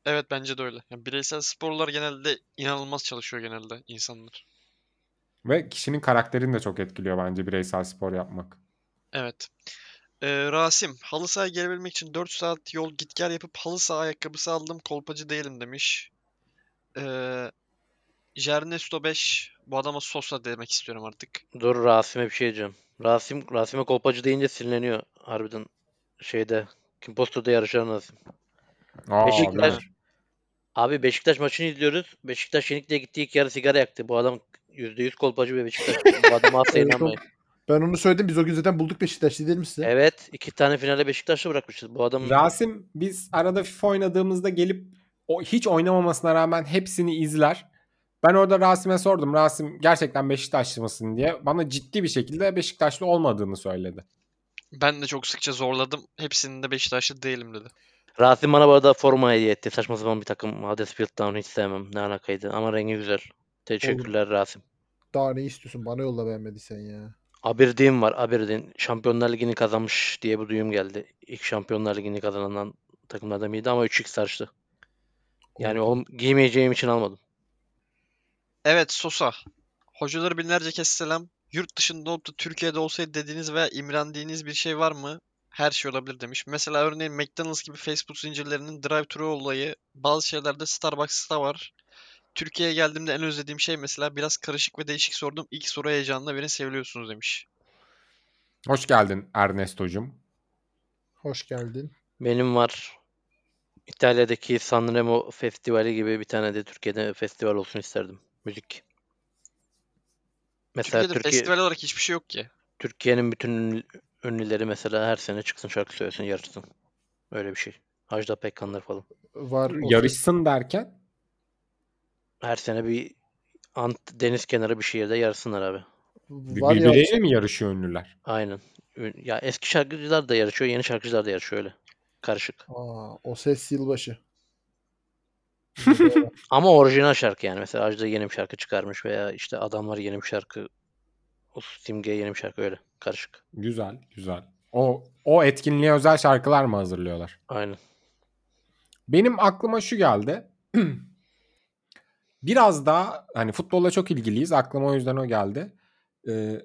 [SPEAKER 3] Evet bence de öyle. Yani bireysel sporlar genelde inanılmaz çalışıyor genelde insanlar.
[SPEAKER 2] Ve kişinin karakterini de çok etkiliyor bence bireysel spor yapmak.
[SPEAKER 3] Evet. Ee, Rasim, halı sahaya gelebilmek için 4 saat yol git gel yapıp halı saha ayakkabısı aldım kolpacı değilim demiş. Ee, Jernesto 5, bu adama sosla demek istiyorum artık.
[SPEAKER 4] Dur Rasim'e bir şey diyeceğim. Rasim, Rasim'e kolpacı deyince sinirleniyor. Harbiden şeyde Kimposto'da yarışan Rasim.
[SPEAKER 2] Aa,
[SPEAKER 4] Beşiktaş-
[SPEAKER 2] değil mi?
[SPEAKER 4] Abi Beşiktaş maçını izliyoruz. Beşiktaş Şenik'le gittiği iki yarı sigara yaktı. Bu adam %100 kolpacı ve Beşiktaş. Bu adama asla
[SPEAKER 5] Evet,
[SPEAKER 4] inanmayın.
[SPEAKER 5] Ben onu söyledim. Biz o gün zaten bulduk Beşiktaş'ta değil mi size?
[SPEAKER 4] Evet. iki tane finale Beşiktaş'ta bırakmışız. Bu adamın
[SPEAKER 2] Rasim biz arada FIFA oynadığımızda gelip o hiç oynamamasına rağmen hepsini izler. Ben orada Rasim'e sordum. Rasim gerçekten Beşiktaşlı mısın diye. Bana ciddi bir şekilde Beşiktaşlı olmadığını söyledi.
[SPEAKER 3] Ben de çok sıkça zorladım. Hepsinin de Beşiktaşlı değilim dedi.
[SPEAKER 4] Rasim bana bu arada forma hediye etti. Saçma sapan bir takım. Huddersfield Town'u hiç sevmem. Ne alakaydı. Ama rengi güzel. Teşekkürler Rasim.
[SPEAKER 5] Daha ne istiyorsun? Bana yolla beğenmediysen ya.
[SPEAKER 4] Aberdeen var. Aberdeen Şampiyonlar Ligi'ni kazanmış diye bir duyum geldi. İlk Şampiyonlar Ligi'ni kazanan takımlardan biriydi ama 3x saçtı. Yani onu giymeyeceğim için almadım.
[SPEAKER 3] Evet Sosa. Hocaları binlerce kez selam. Yurt dışında olup da Türkiye'de olsaydı dediğiniz veya imrendiğiniz bir şey var mı? Her şey olabilir demiş. Mesela örneğin McDonald's gibi Facebook zincirlerinin drive-thru olayı bazı şeylerde Starbucks'ta var. Türkiye'ye geldiğimde en özlediğim şey mesela biraz karışık ve değişik sordum. İlk soru heyecanla beni seviyorsunuz demiş.
[SPEAKER 2] Hoş geldin Ernesto'cum.
[SPEAKER 5] Hoş geldin.
[SPEAKER 4] Benim var. İtalya'daki Sanremo Festivali gibi bir tane de Türkiye'de festival olsun isterdim. Müzik. Mesela
[SPEAKER 3] Türkiye'de
[SPEAKER 4] Türkiye,
[SPEAKER 3] festival olarak hiçbir şey yok ki.
[SPEAKER 4] Türkiye'nin bütün ünlü- ünlüleri mesela her sene çıksın şarkı söylesin yarışsın. Öyle bir şey. Ajda Pekkanlar falan.
[SPEAKER 5] Var. o-
[SPEAKER 2] Yarışsın derken
[SPEAKER 4] Her sene bir Ant deniz kenarı bir şehirde yarışsınlar abi.
[SPEAKER 5] Var ya.
[SPEAKER 2] birbirleriyle mi yarışıyor ünlüler?
[SPEAKER 4] Aynen. Ün- Ya eski şarkıcılar da yarışıyor, yeni şarkıcılar da yarışıyor öyle. Karışık.
[SPEAKER 5] Aa, o ses yılbaşı.
[SPEAKER 4] Ama orijinal şarkı yani. Mesela Ajda yeni bir şarkı çıkarmış veya işte adamlar yeni bir şarkı. Usus Simge yeni bir şarkı öyle. Karışık.
[SPEAKER 2] Güzel, güzel. O o etkinliğe özel şarkılar mı hazırlıyorlar?
[SPEAKER 4] Aynen.
[SPEAKER 2] Benim aklıma şu geldi. Biraz daha hani futbolla çok ilgiliyiz. Aklıma o yüzden o geldi. Ee,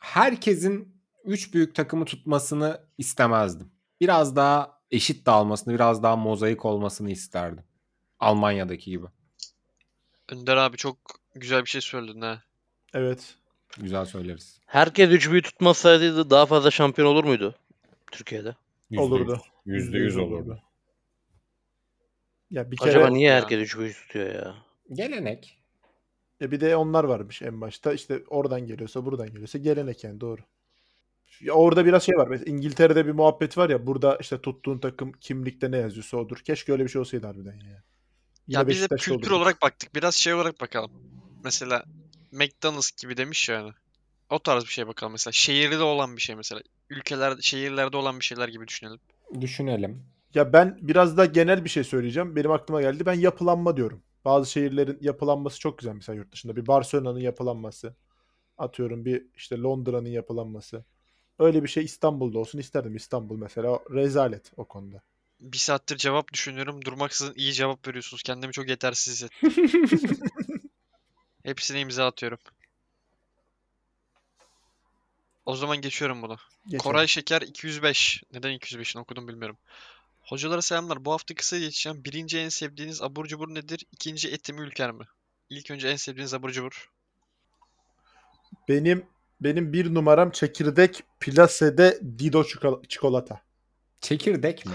[SPEAKER 2] herkesin üç büyük takımı tutmasını istemezdim. Biraz daha eşit dağılmasını, biraz daha mozaik olmasını isterdim. Almanya'daki gibi.
[SPEAKER 3] Önder abi çok güzel bir şey söyledin ha.
[SPEAKER 5] evet.
[SPEAKER 2] Güzel söyleriz.
[SPEAKER 4] Herkes üç büyü tutmasaydı daha fazla şampiyon olur muydu Türkiye'de?
[SPEAKER 2] Yüzde yüz.
[SPEAKER 5] Olurdu.
[SPEAKER 2] Yüzde yüz olurdu.
[SPEAKER 5] Ya bir kere
[SPEAKER 4] Acaba niye
[SPEAKER 3] Ya.
[SPEAKER 4] herkes üç büyü tutuyor ya?
[SPEAKER 2] Gelenek.
[SPEAKER 5] E bir de onlar varmış en başta. İşte oradan geliyorsa buradan geliyorsa gelenek yani doğru. Ya orada biraz şey var. Mesela İngiltere'de bir muhabbet var ya burada işte tuttuğun takım kimlikte ne yazıyorsa odur. Keşke öyle bir şey olsaydı harbiden ya. Yine
[SPEAKER 3] Ya biz hep
[SPEAKER 5] Beşiktaşlı
[SPEAKER 3] kültür
[SPEAKER 5] olurduk.
[SPEAKER 3] olarak baktık. Biraz şey olarak bakalım. Mesela McDonald's gibi demiş yani. O tarz bir şey bakalım mesela. Şehirde olan bir şey mesela. Ülkeler, şehirlerde olan bir şeyler gibi düşünelim.
[SPEAKER 2] Düşünelim.
[SPEAKER 5] Ya ben biraz da genel bir şey söyleyeceğim. Benim aklıma geldi. Ben yapılanma diyorum. Bazı şehirlerin yapılanması çok güzel mesela yurt dışında. Bir Barcelona'nın yapılanması. Atıyorum bir işte Londra'nın yapılanması. Öyle bir şey İstanbul'da olsun isterdim. İstanbul mesela rezalet o konuda.
[SPEAKER 3] Bir saattir cevap düşünüyorum. Durmaksızın iyi cevap veriyorsunuz. Kendimi çok yetersiz hissettim. Hepsine imza atıyorum. O zaman geçiyorum buna.
[SPEAKER 5] Geçelim.
[SPEAKER 3] Koray Şeker 205. Neden 205'ini okudum bilmiyorum. Hocalara selamlar. Bu hafta kısa geçeceğim. Birinci en sevdiğiniz abur cubur nedir? İkinci eti mi ülker mi? İlk önce en sevdiğiniz abur cubur.
[SPEAKER 5] Benim benim bir numaram çekirdek plasede Dido çikola- çikolata.
[SPEAKER 2] Çekirdek mi?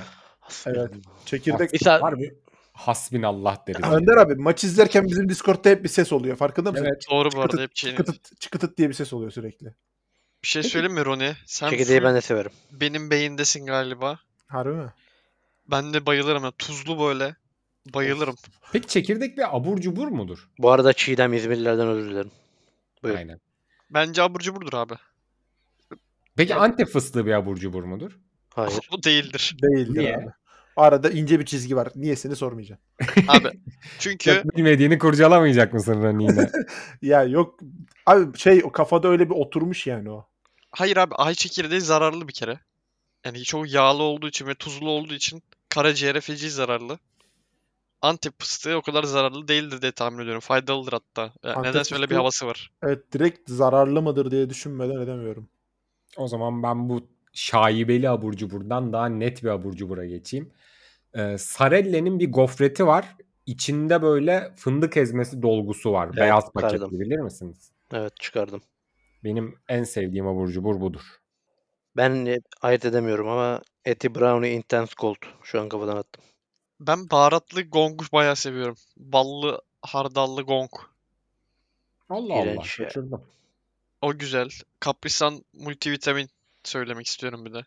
[SPEAKER 5] Evet. Çekirdek.
[SPEAKER 4] Bir saat
[SPEAKER 2] Harbi hasbinallah deriz.
[SPEAKER 5] Önder abi maç izlerken bizim Discord'da hep bir ses oluyor. Farkında mısın?
[SPEAKER 2] Evet.
[SPEAKER 3] Doğru bu arada
[SPEAKER 5] Çıkıtıt,
[SPEAKER 3] hep şey.
[SPEAKER 5] çıkıtıt, çıkıtıt diye bir ses oluyor sürekli.
[SPEAKER 3] Bir şey söyleyeyim mi Roni? Sen
[SPEAKER 4] çekirdeği
[SPEAKER 3] full
[SPEAKER 4] ben de severim.
[SPEAKER 3] benim beyindesin galiba.
[SPEAKER 5] Harbi mi?
[SPEAKER 3] Ben de bayılırım. ya. tuzlu böyle. Bayılırım.
[SPEAKER 2] Peki çekirdek bir abur cubur mudur?
[SPEAKER 4] Bu arada Çiğdem İzmirlilerden özür dilerim. Buyurun.
[SPEAKER 2] Aynen.
[SPEAKER 3] Bence abur cuburdur abi.
[SPEAKER 2] Peki Antep fıstığı bir abur cubur mudur?
[SPEAKER 4] Hayır.
[SPEAKER 3] O değildir.
[SPEAKER 5] Değildir
[SPEAKER 2] Niye?
[SPEAKER 5] abi. Arada ince bir çizgi var. Niyesini sormayacağım.
[SPEAKER 3] Abi çünkü
[SPEAKER 2] Çok bilmediğini kurcalamayacak mısın Rani yine?
[SPEAKER 5] Ya yok abi şey o kafada öyle bir oturmuş yani o.
[SPEAKER 3] hayır abi ay çekirdeği zararlı bir kere. Yani çok yağlı olduğu için ve tuzlu olduğu için karaciğere feci zararlı. Antep fıstığı o kadar zararlı değildir diye tahmin ediyorum. Faydalıdır hatta. Yani
[SPEAKER 5] Antep
[SPEAKER 3] nedense öyle bir
[SPEAKER 5] fıstığı-
[SPEAKER 3] havası var.
[SPEAKER 5] Evet direkt zararlı mıdır diye düşünmeden edemiyorum.
[SPEAKER 2] o zaman ben bu şaibeli abur cuburdan daha net bir abur cubura geçeyim. Ee, Sarelle'nin bir gofreti var. İçinde böyle fındık ezmesi dolgusu var.
[SPEAKER 4] Evet,
[SPEAKER 2] Beyaz paket
[SPEAKER 4] çıkardım.
[SPEAKER 2] bilir misiniz?
[SPEAKER 4] Evet çıkardım.
[SPEAKER 2] Benim en sevdiğim abur cubur budur.
[SPEAKER 4] Ben e, ayırt edemiyorum ama Eti Brownie Intense Gold. Şu an kafadan attım.
[SPEAKER 3] Ben baharatlı gongu bayağı seviyorum. Ballı, hardallı gong.
[SPEAKER 2] Allah Allah
[SPEAKER 4] İğrenç ya.
[SPEAKER 2] kaçırdım.
[SPEAKER 3] O güzel. Kaprisan multivitamin söylemek istiyorum bir de.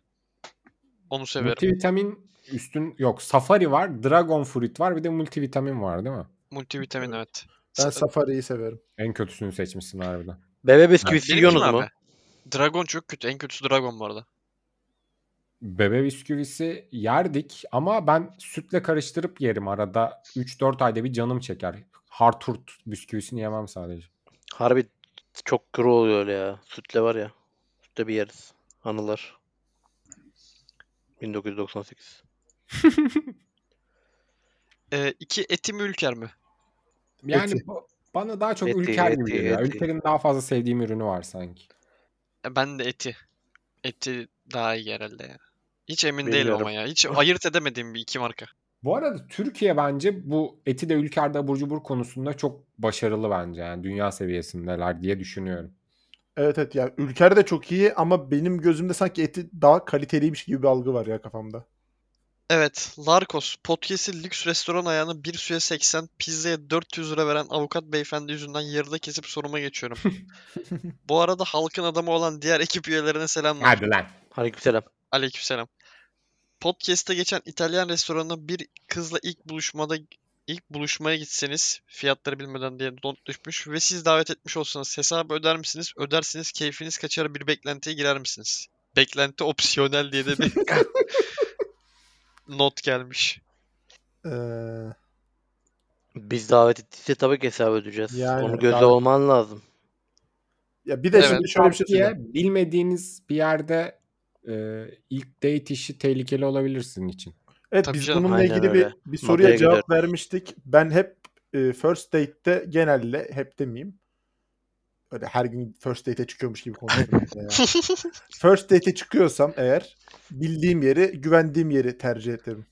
[SPEAKER 3] Onu severim.
[SPEAKER 2] Multivitamin üstün yok. Safari var, Dragon Fruit var bir de multivitamin var değil mi?
[SPEAKER 3] multivitamin evet.
[SPEAKER 5] Ben
[SPEAKER 3] Sa-
[SPEAKER 5] Safari'yi severim.
[SPEAKER 2] En kötüsünü seçmişsin harbiden.
[SPEAKER 4] Bebe bisküvisi
[SPEAKER 3] Benim
[SPEAKER 4] yiyorsunuz
[SPEAKER 3] kim
[SPEAKER 4] mu?
[SPEAKER 3] abi? Dragon çok kötü. En kötüsü Dragon bu arada.
[SPEAKER 2] Bebe bisküvisi yerdik ama ben sütle karıştırıp yerim arada. 3-4 ayda bir canım çeker. Harturt bisküvisini yemem sadece.
[SPEAKER 4] Harbi çok kuru oluyor öyle ya. Sütle var ya. Sütle bir yeriz. Anılar. 1998.
[SPEAKER 3] Ee, iki etim ülker mi?
[SPEAKER 2] Yani
[SPEAKER 5] Eti.
[SPEAKER 2] bu- bana daha çok
[SPEAKER 4] Eti,
[SPEAKER 2] ülker gibi
[SPEAKER 4] eti,
[SPEAKER 2] geliyor.
[SPEAKER 4] eti.
[SPEAKER 2] Ülker'in daha fazla sevdiğim ürünü var sanki.
[SPEAKER 3] E, ben de eti. Eti daha iyi herhalde ya. Hiç emin değilim
[SPEAKER 4] Bilmiyorum.
[SPEAKER 3] ama ya. Hiç ayırt edemediğim bir iki marka.
[SPEAKER 2] Bu arada Türkiye bence bu eti de ülkerde abur cubur konusunda çok başarılı bence. Yani dünya seviyesindeler diye düşünüyorum.
[SPEAKER 5] Evet evet ya Ülker de çok iyi ama benim gözümde sanki eti daha kaliteliymiş gibi bir algı var ya kafamda.
[SPEAKER 3] Evet. Larkos. Podcast'i lüks restoran ayağına 1 suya 80, pizzaya 400 lira veren avukat beyefendi yüzünden yarıda kesip soruma geçiyorum. Bu arada halkın adamı olan diğer ekip üyelerine selamlar.
[SPEAKER 2] Hadi lan.
[SPEAKER 4] Aleykümselam.
[SPEAKER 3] Aleykümselam. Podcast'te geçen İtalyan restoranına bir kızla ilk buluşmada ilk buluşmaya gitseniz fiyatları bilmeden diye not düşmüş ve siz davet etmiş olsanız hesabı öder misiniz? Ödersiniz keyfiniz kaçar bir beklentiye girer misiniz? Beklenti opsiyonel diye de bir not gelmiş.
[SPEAKER 5] Ee,
[SPEAKER 4] Biz davet ettiyse tabii ki hesabı ödeyeceğiz.
[SPEAKER 5] Yani
[SPEAKER 4] Onu gözle
[SPEAKER 5] davet-
[SPEAKER 4] olman lazım.
[SPEAKER 5] ya bir de
[SPEAKER 3] Evet,
[SPEAKER 5] şimdi şöyle bir şey söyleyeyim.
[SPEAKER 2] Tavsiye, bilmediğiniz bir yerde e, ilk date işi tehlikeli olabilir sizin için.
[SPEAKER 5] Evet
[SPEAKER 3] Tabii
[SPEAKER 5] biz
[SPEAKER 3] canım,
[SPEAKER 5] bununla
[SPEAKER 4] aynen
[SPEAKER 5] ilgili
[SPEAKER 4] öyle.
[SPEAKER 5] bir, bir soruya
[SPEAKER 4] Maddeye
[SPEAKER 5] cevap
[SPEAKER 4] gider.
[SPEAKER 5] vermiştik. Ben hep e, first date'te genelde hep demeyeyim. Öyle her gün first date'e çıkıyormuş gibi konuşuyorum. ya. First date'e çıkıyorsam eğer bildiğim yeri, güvendiğim yeri tercih ederim.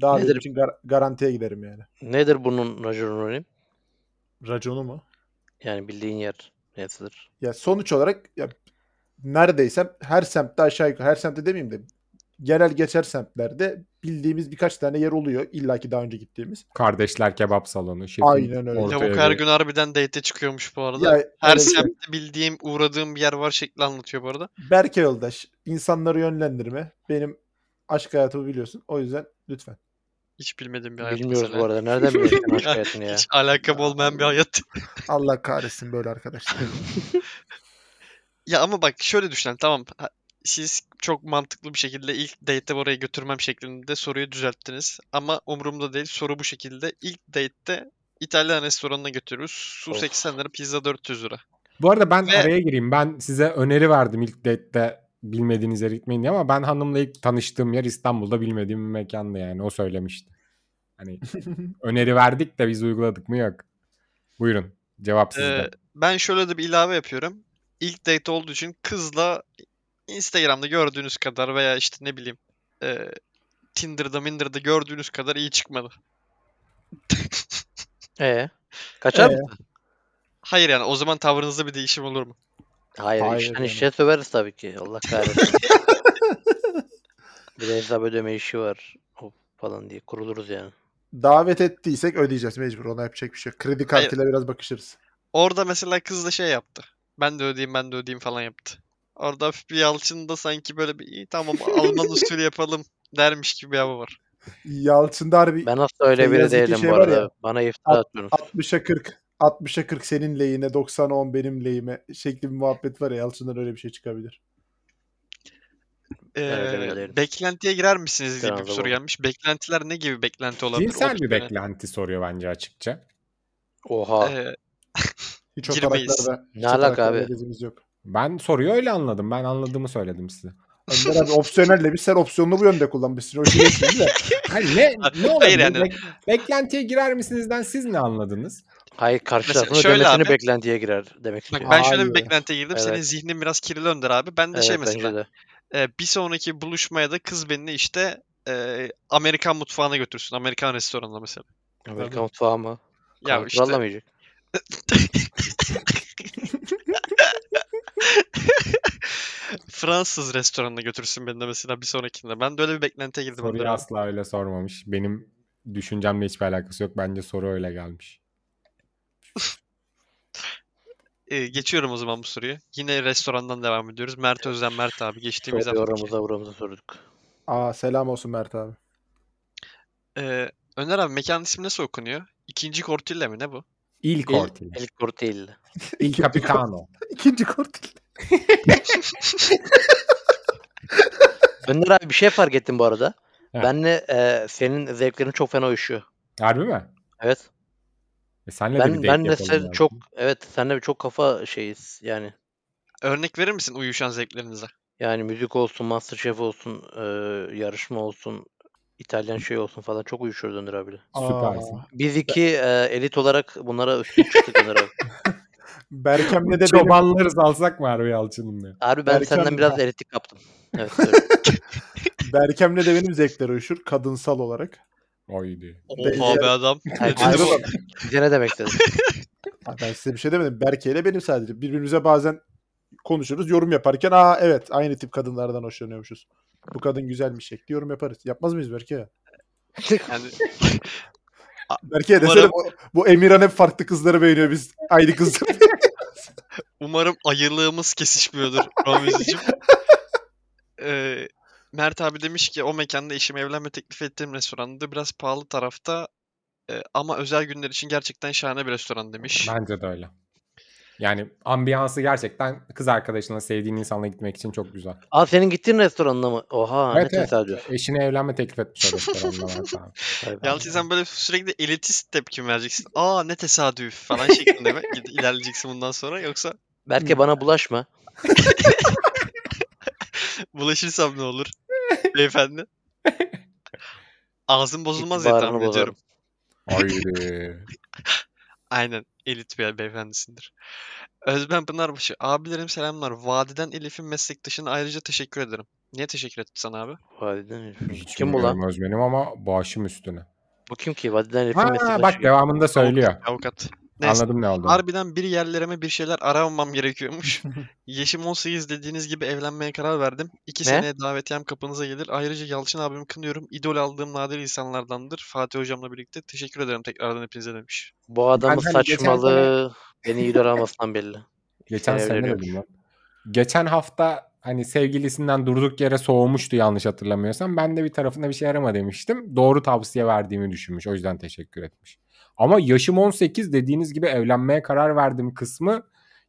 [SPEAKER 5] Daha
[SPEAKER 4] Nedir?
[SPEAKER 5] benim için gar- garantiye giderim yani.
[SPEAKER 4] Nedir bunun raconunun?
[SPEAKER 5] Raconu mu?
[SPEAKER 4] Yani bildiğin yer neresidir?
[SPEAKER 5] Ya sonuç olarak ya neredeysem her semtte aşağı yukarı her semtte demeyeyim de genel geçer semtlerde bildiğimiz birkaç tane yer oluyor illaki daha önce gittiğimiz.
[SPEAKER 2] Kardeşler kebap salonu. Şefin
[SPEAKER 5] Aynen öyle.
[SPEAKER 2] orta
[SPEAKER 3] Lavuk
[SPEAKER 2] evi.
[SPEAKER 3] her gün harbiden date'e çıkıyormuş bu arada.
[SPEAKER 5] Ya,
[SPEAKER 3] Her
[SPEAKER 5] öyle bir şey.
[SPEAKER 3] semtte bildiğim, uğradığım bir yer var şekli anlatıyor bu arada.
[SPEAKER 5] Berke yoldaş insanları yönlendirme. Benim aşk hayatımı biliyorsun. O yüzden lütfen.
[SPEAKER 3] Hiç bilmediğim bir hayat
[SPEAKER 4] Bilmiyoruz bu
[SPEAKER 3] mesela.
[SPEAKER 4] arada. Nereden biliyorsun sen aşk hayatını ya?
[SPEAKER 3] Hiç alakam olmayan bir hayat.
[SPEAKER 5] Allah kahretsin böyle arkadaşlar.
[SPEAKER 3] Ya ama bak şöyle düşünelim tamam. ha- Siz çok mantıklı bir şekilde ilk date'e oraya götürmem şeklinde soruyu düzelttiniz. Ama umurumda değil. Soru bu şekilde. İlk date'te İtalyan restoranına götürürüz. Su
[SPEAKER 4] Of.
[SPEAKER 3] 80 lira, pizza 400 lira.
[SPEAKER 2] Bu arada ben
[SPEAKER 3] Ve-
[SPEAKER 2] araya gireyim. Ben size öneri verdim ilk date'te bilmediğiniz yere gitmeyin diye ama ben hanımla ilk tanıştığım yer İstanbul'da bilmediğim bir mekandı yani. O söylemişti. Hani öneri verdik de biz uyguladık mı yok. Buyurun. Cevap sizde.
[SPEAKER 3] Ee, ben şöyle de bir ilave yapıyorum. İlk date olduğu için kızla Instagram'da gördüğünüz kadar veya işte ne bileyim e, Tinder'da Minder'da gördüğünüz kadar iyi çıkmadı.
[SPEAKER 4] Ee, kaçar
[SPEAKER 5] Ee?
[SPEAKER 4] mısın?
[SPEAKER 3] Hayır yani o zaman tavrınızda bir değişim olur mu?
[SPEAKER 4] Hayır,
[SPEAKER 5] Hayır
[SPEAKER 4] işten
[SPEAKER 5] canım.
[SPEAKER 4] işe söveriz tabii ki. Allah kahretsin. bir de hesap ödeme işi var. Hop falan diye kuruluruz yani.
[SPEAKER 5] Davet ettiysek ödeyeceğiz mecbur. Ona yapacak bir şey yok. Kredi kartıyla biraz bakışırız.
[SPEAKER 3] Orada mesela kız da şey yaptı. Ben de ödeyeyim ben de ödeyeyim falan yaptı. Orada hafif bir Yalçın da sanki böyle bir iyi tamam Alman usulü yapalım dermiş gibi bir hava var.
[SPEAKER 5] Yalçında harbi
[SPEAKER 4] Ben aslında öyle biri
[SPEAKER 5] Feyyaz iki
[SPEAKER 4] değilim
[SPEAKER 5] şey
[SPEAKER 4] bu
[SPEAKER 5] var
[SPEAKER 4] arada.
[SPEAKER 5] ya,
[SPEAKER 4] Bana iftira atıyorsunuz.
[SPEAKER 5] 60'a 40 60'a 40 senin lehine 90'a 10 benim lehime şekli bir muhabbet var ya Yalçın'dan öyle bir şey çıkabilir.
[SPEAKER 3] Ee,
[SPEAKER 4] Evet, evet, evet.
[SPEAKER 3] beklentiye girer misiniz diye bir
[SPEAKER 4] Biraz da
[SPEAKER 3] soru
[SPEAKER 4] bu.
[SPEAKER 3] gelmiş. Beklentiler ne gibi beklenti olabilir? hani,
[SPEAKER 2] Cinsel bir
[SPEAKER 3] Opsiyonel.
[SPEAKER 2] beklenti soruyor bence açıkça.
[SPEAKER 4] Oha.
[SPEAKER 3] Ee,
[SPEAKER 5] Hiç o
[SPEAKER 3] Girmeyiz.
[SPEAKER 5] taraklarda, hiç
[SPEAKER 4] Ne
[SPEAKER 5] o
[SPEAKER 4] alaka
[SPEAKER 5] taraklarda
[SPEAKER 4] abi?
[SPEAKER 5] gezimiz yok.
[SPEAKER 2] Ben soruyu öyle anladım. Ben anladığımı söyledim size.
[SPEAKER 5] Önder abi opsiyonel de biz sen opsiyonunu bu yönde kullanmışsın. O işi geçtin de.
[SPEAKER 2] Hayır ne, ne olabilir?
[SPEAKER 3] Hayır yani.
[SPEAKER 2] Bek- beklentiye girer misinizden siz ne anladınız?
[SPEAKER 4] Hayır karşı
[SPEAKER 3] Mesela
[SPEAKER 4] tarafın
[SPEAKER 3] şöyle
[SPEAKER 4] ödemesini
[SPEAKER 3] abi.
[SPEAKER 4] beklentiye girer demek
[SPEAKER 3] Bak
[SPEAKER 4] istiyor.
[SPEAKER 3] ben şöyle bir
[SPEAKER 5] Hayır.
[SPEAKER 3] beklentiye girdim. Senin
[SPEAKER 4] Evet.
[SPEAKER 3] zihnin biraz kirli Önder abi. Ben de şey
[SPEAKER 4] evet
[SPEAKER 3] mesela.
[SPEAKER 4] bence de.
[SPEAKER 3] E, bir sonraki buluşmaya da kız beni işte e, Amerikan mutfağına götürsün. Amerikan restoranına mesela.
[SPEAKER 4] Amerikan mutfağı mı?
[SPEAKER 3] Ya işte
[SPEAKER 4] Kavrallamayacak.
[SPEAKER 3] Fransız restoranına götürsün beni de mesela bir sonrakinde. Ben de öyle bir beklentiye girdim.
[SPEAKER 2] Soruyu
[SPEAKER 3] önden.
[SPEAKER 2] asla öyle sormamış. Benim düşüncemle hiçbir alakası yok. Bence soru öyle gelmiş.
[SPEAKER 3] E, geçiyorum o zaman bu soruyu. Yine restorandan devam ediyoruz. Mert Özden Mert abi geçtiğimiz
[SPEAKER 4] Şöyle
[SPEAKER 3] haftaki.
[SPEAKER 4] oramıza buramıza sorduk.
[SPEAKER 5] Aa selam olsun Mert abi.
[SPEAKER 3] E, Öner abi mekan ismi nasıl okunuyor? İkinci Kortilla mi ne bu?
[SPEAKER 2] İlk
[SPEAKER 4] İl-
[SPEAKER 2] Cortil.
[SPEAKER 4] El Cortel'le.
[SPEAKER 2] Il Capitano.
[SPEAKER 5] İkinci kortil.
[SPEAKER 4] Önder abi bir şey fark ettim bu arada.
[SPEAKER 2] Heh.
[SPEAKER 4] Benle e, senin zevklerin çok fena uyuşuyor.
[SPEAKER 2] Harbi mi?
[SPEAKER 4] Evet.
[SPEAKER 2] E senle de bir
[SPEAKER 4] Ben
[SPEAKER 2] date
[SPEAKER 4] ben de
[SPEAKER 2] yapalım
[SPEAKER 4] sen
[SPEAKER 2] lazım.
[SPEAKER 4] çok evet senle çok kafa şeyiz yani.
[SPEAKER 3] Örnek verir misin uyuşan zevklerinize?
[SPEAKER 4] Yani müzik olsun, MasterChef olsun, e, yarışma olsun, İtalyan şey olsun falan çok uyuşuyoruz Önder abiyle.
[SPEAKER 2] Süpersin.
[SPEAKER 5] Aa,
[SPEAKER 4] Biz iki e, elit olarak bunlara üstün çıktık Önder abi.
[SPEAKER 5] Berkem'le de benim
[SPEAKER 2] Çobanları salsak mı harbi Yalçın'ın ya?
[SPEAKER 4] Abi ben
[SPEAKER 5] Erken
[SPEAKER 4] senden
[SPEAKER 5] mi?
[SPEAKER 4] biraz elitlik kaptım. Evet. öyle.
[SPEAKER 5] Berkem'le de benim zevkler uyuşur kadınsal olarak.
[SPEAKER 2] Oy diye.
[SPEAKER 3] Oha be adam.
[SPEAKER 4] Hayır,
[SPEAKER 3] Ne dedi bu?
[SPEAKER 5] bak.
[SPEAKER 4] Bize ne demek istedim?
[SPEAKER 5] Ha, ben size bir şey demedim. Berke'yle benim sadece. Birbirimize bazen konuşuruz. Yorum yaparken aa evet aynı tip kadınlardan hoşlanıyormuşuz. Bu kadın güzelmiş şekli yorum yaparız. Yapmaz mıyız Berke?
[SPEAKER 3] Yani
[SPEAKER 5] Berke
[SPEAKER 3] Umarım-
[SPEAKER 5] desene bu, bu Emirhan hep farklı kızları beğeniyor biz. Aynı kızları.
[SPEAKER 3] Umarım ayılığımız kesişmiyordur Ramizciğim. Ee, Mert abi demiş ki o mekanda eşime evlenme teklif ettiğim restoranda biraz pahalı tarafta e, ama özel günler için gerçekten şahane bir restoran demiş.
[SPEAKER 2] Bence de öyle. Yani ambiyansı gerçekten kız arkadaşına sevdiğin insanla gitmek için çok güzel.
[SPEAKER 4] Aa senin gittiğin restoranına mı? Oha
[SPEAKER 2] Evet,
[SPEAKER 4] ne
[SPEAKER 2] evet.
[SPEAKER 4] tesadüf.
[SPEAKER 2] Eşine evlenme teklif etmiş o restoranda Mert abi.
[SPEAKER 4] Vay be.
[SPEAKER 3] Yalçın sen böyle sürekli elitist tepki mi vereceksin? Aa ne tesadüf falan şeklinde mi gid- ilerleyeceksin bundan sonra yoksa
[SPEAKER 4] Berke bana bulaşma.
[SPEAKER 3] bulaşırsam ne olur beyefendi? Ağzım bozulmaz diye
[SPEAKER 4] İtibarını
[SPEAKER 3] tahmin ediyorum.
[SPEAKER 4] bozarım.
[SPEAKER 2] Oy.
[SPEAKER 3] Aynen elit bir beyefendisindir. Özben Pınarbaşı. Abilerim selamlar. Vadiden Elif'in meslektaşına ayrıca teşekkür ederim. Niye teşekkür ettim sana abi?
[SPEAKER 4] Vadiden herif.
[SPEAKER 2] Hiç
[SPEAKER 4] Kim bu lan?
[SPEAKER 2] bilmiyorum Özbenim ama başım üstüne.
[SPEAKER 4] Bu kim ki? Vadiden herifin
[SPEAKER 2] Ha,
[SPEAKER 4] meslektaşı.
[SPEAKER 2] bak devamında söylüyor.
[SPEAKER 3] Avukat. Neyse.
[SPEAKER 2] Anladım ne oldu.
[SPEAKER 3] Harbiden bir yerlerime bir şeyler aramam gerekiyormuş. Yaşım 18 dediğiniz gibi evlenmeye karar verdim. İki
[SPEAKER 4] Ne?
[SPEAKER 3] seneye davetiyem kapınıza gelir. Ayrıca Yalçın abimi kınıyorum. İdol aldığım nadir insanlardandır. Fatih hocamla birlikte. Teşekkür ederim tekrardan hepinize demiş.
[SPEAKER 4] Bu adamın
[SPEAKER 2] Ben hani geçen
[SPEAKER 4] saçmalığı beni idol almasından belli.
[SPEAKER 2] Geçen
[SPEAKER 4] Sene
[SPEAKER 2] sene
[SPEAKER 4] evleniyormuş.
[SPEAKER 2] dedim lan. Geçen hafta hani sevgilisinden durduk yere soğumuştu yanlış hatırlamıyorsam. Ben de bir tarafında bir şey arama demiştim. Doğru tavsiye verdiğimi düşünmüş. O yüzden teşekkür etmiş. Ama yaşım 18 dediğiniz gibi evlenmeye karar verdim kısmı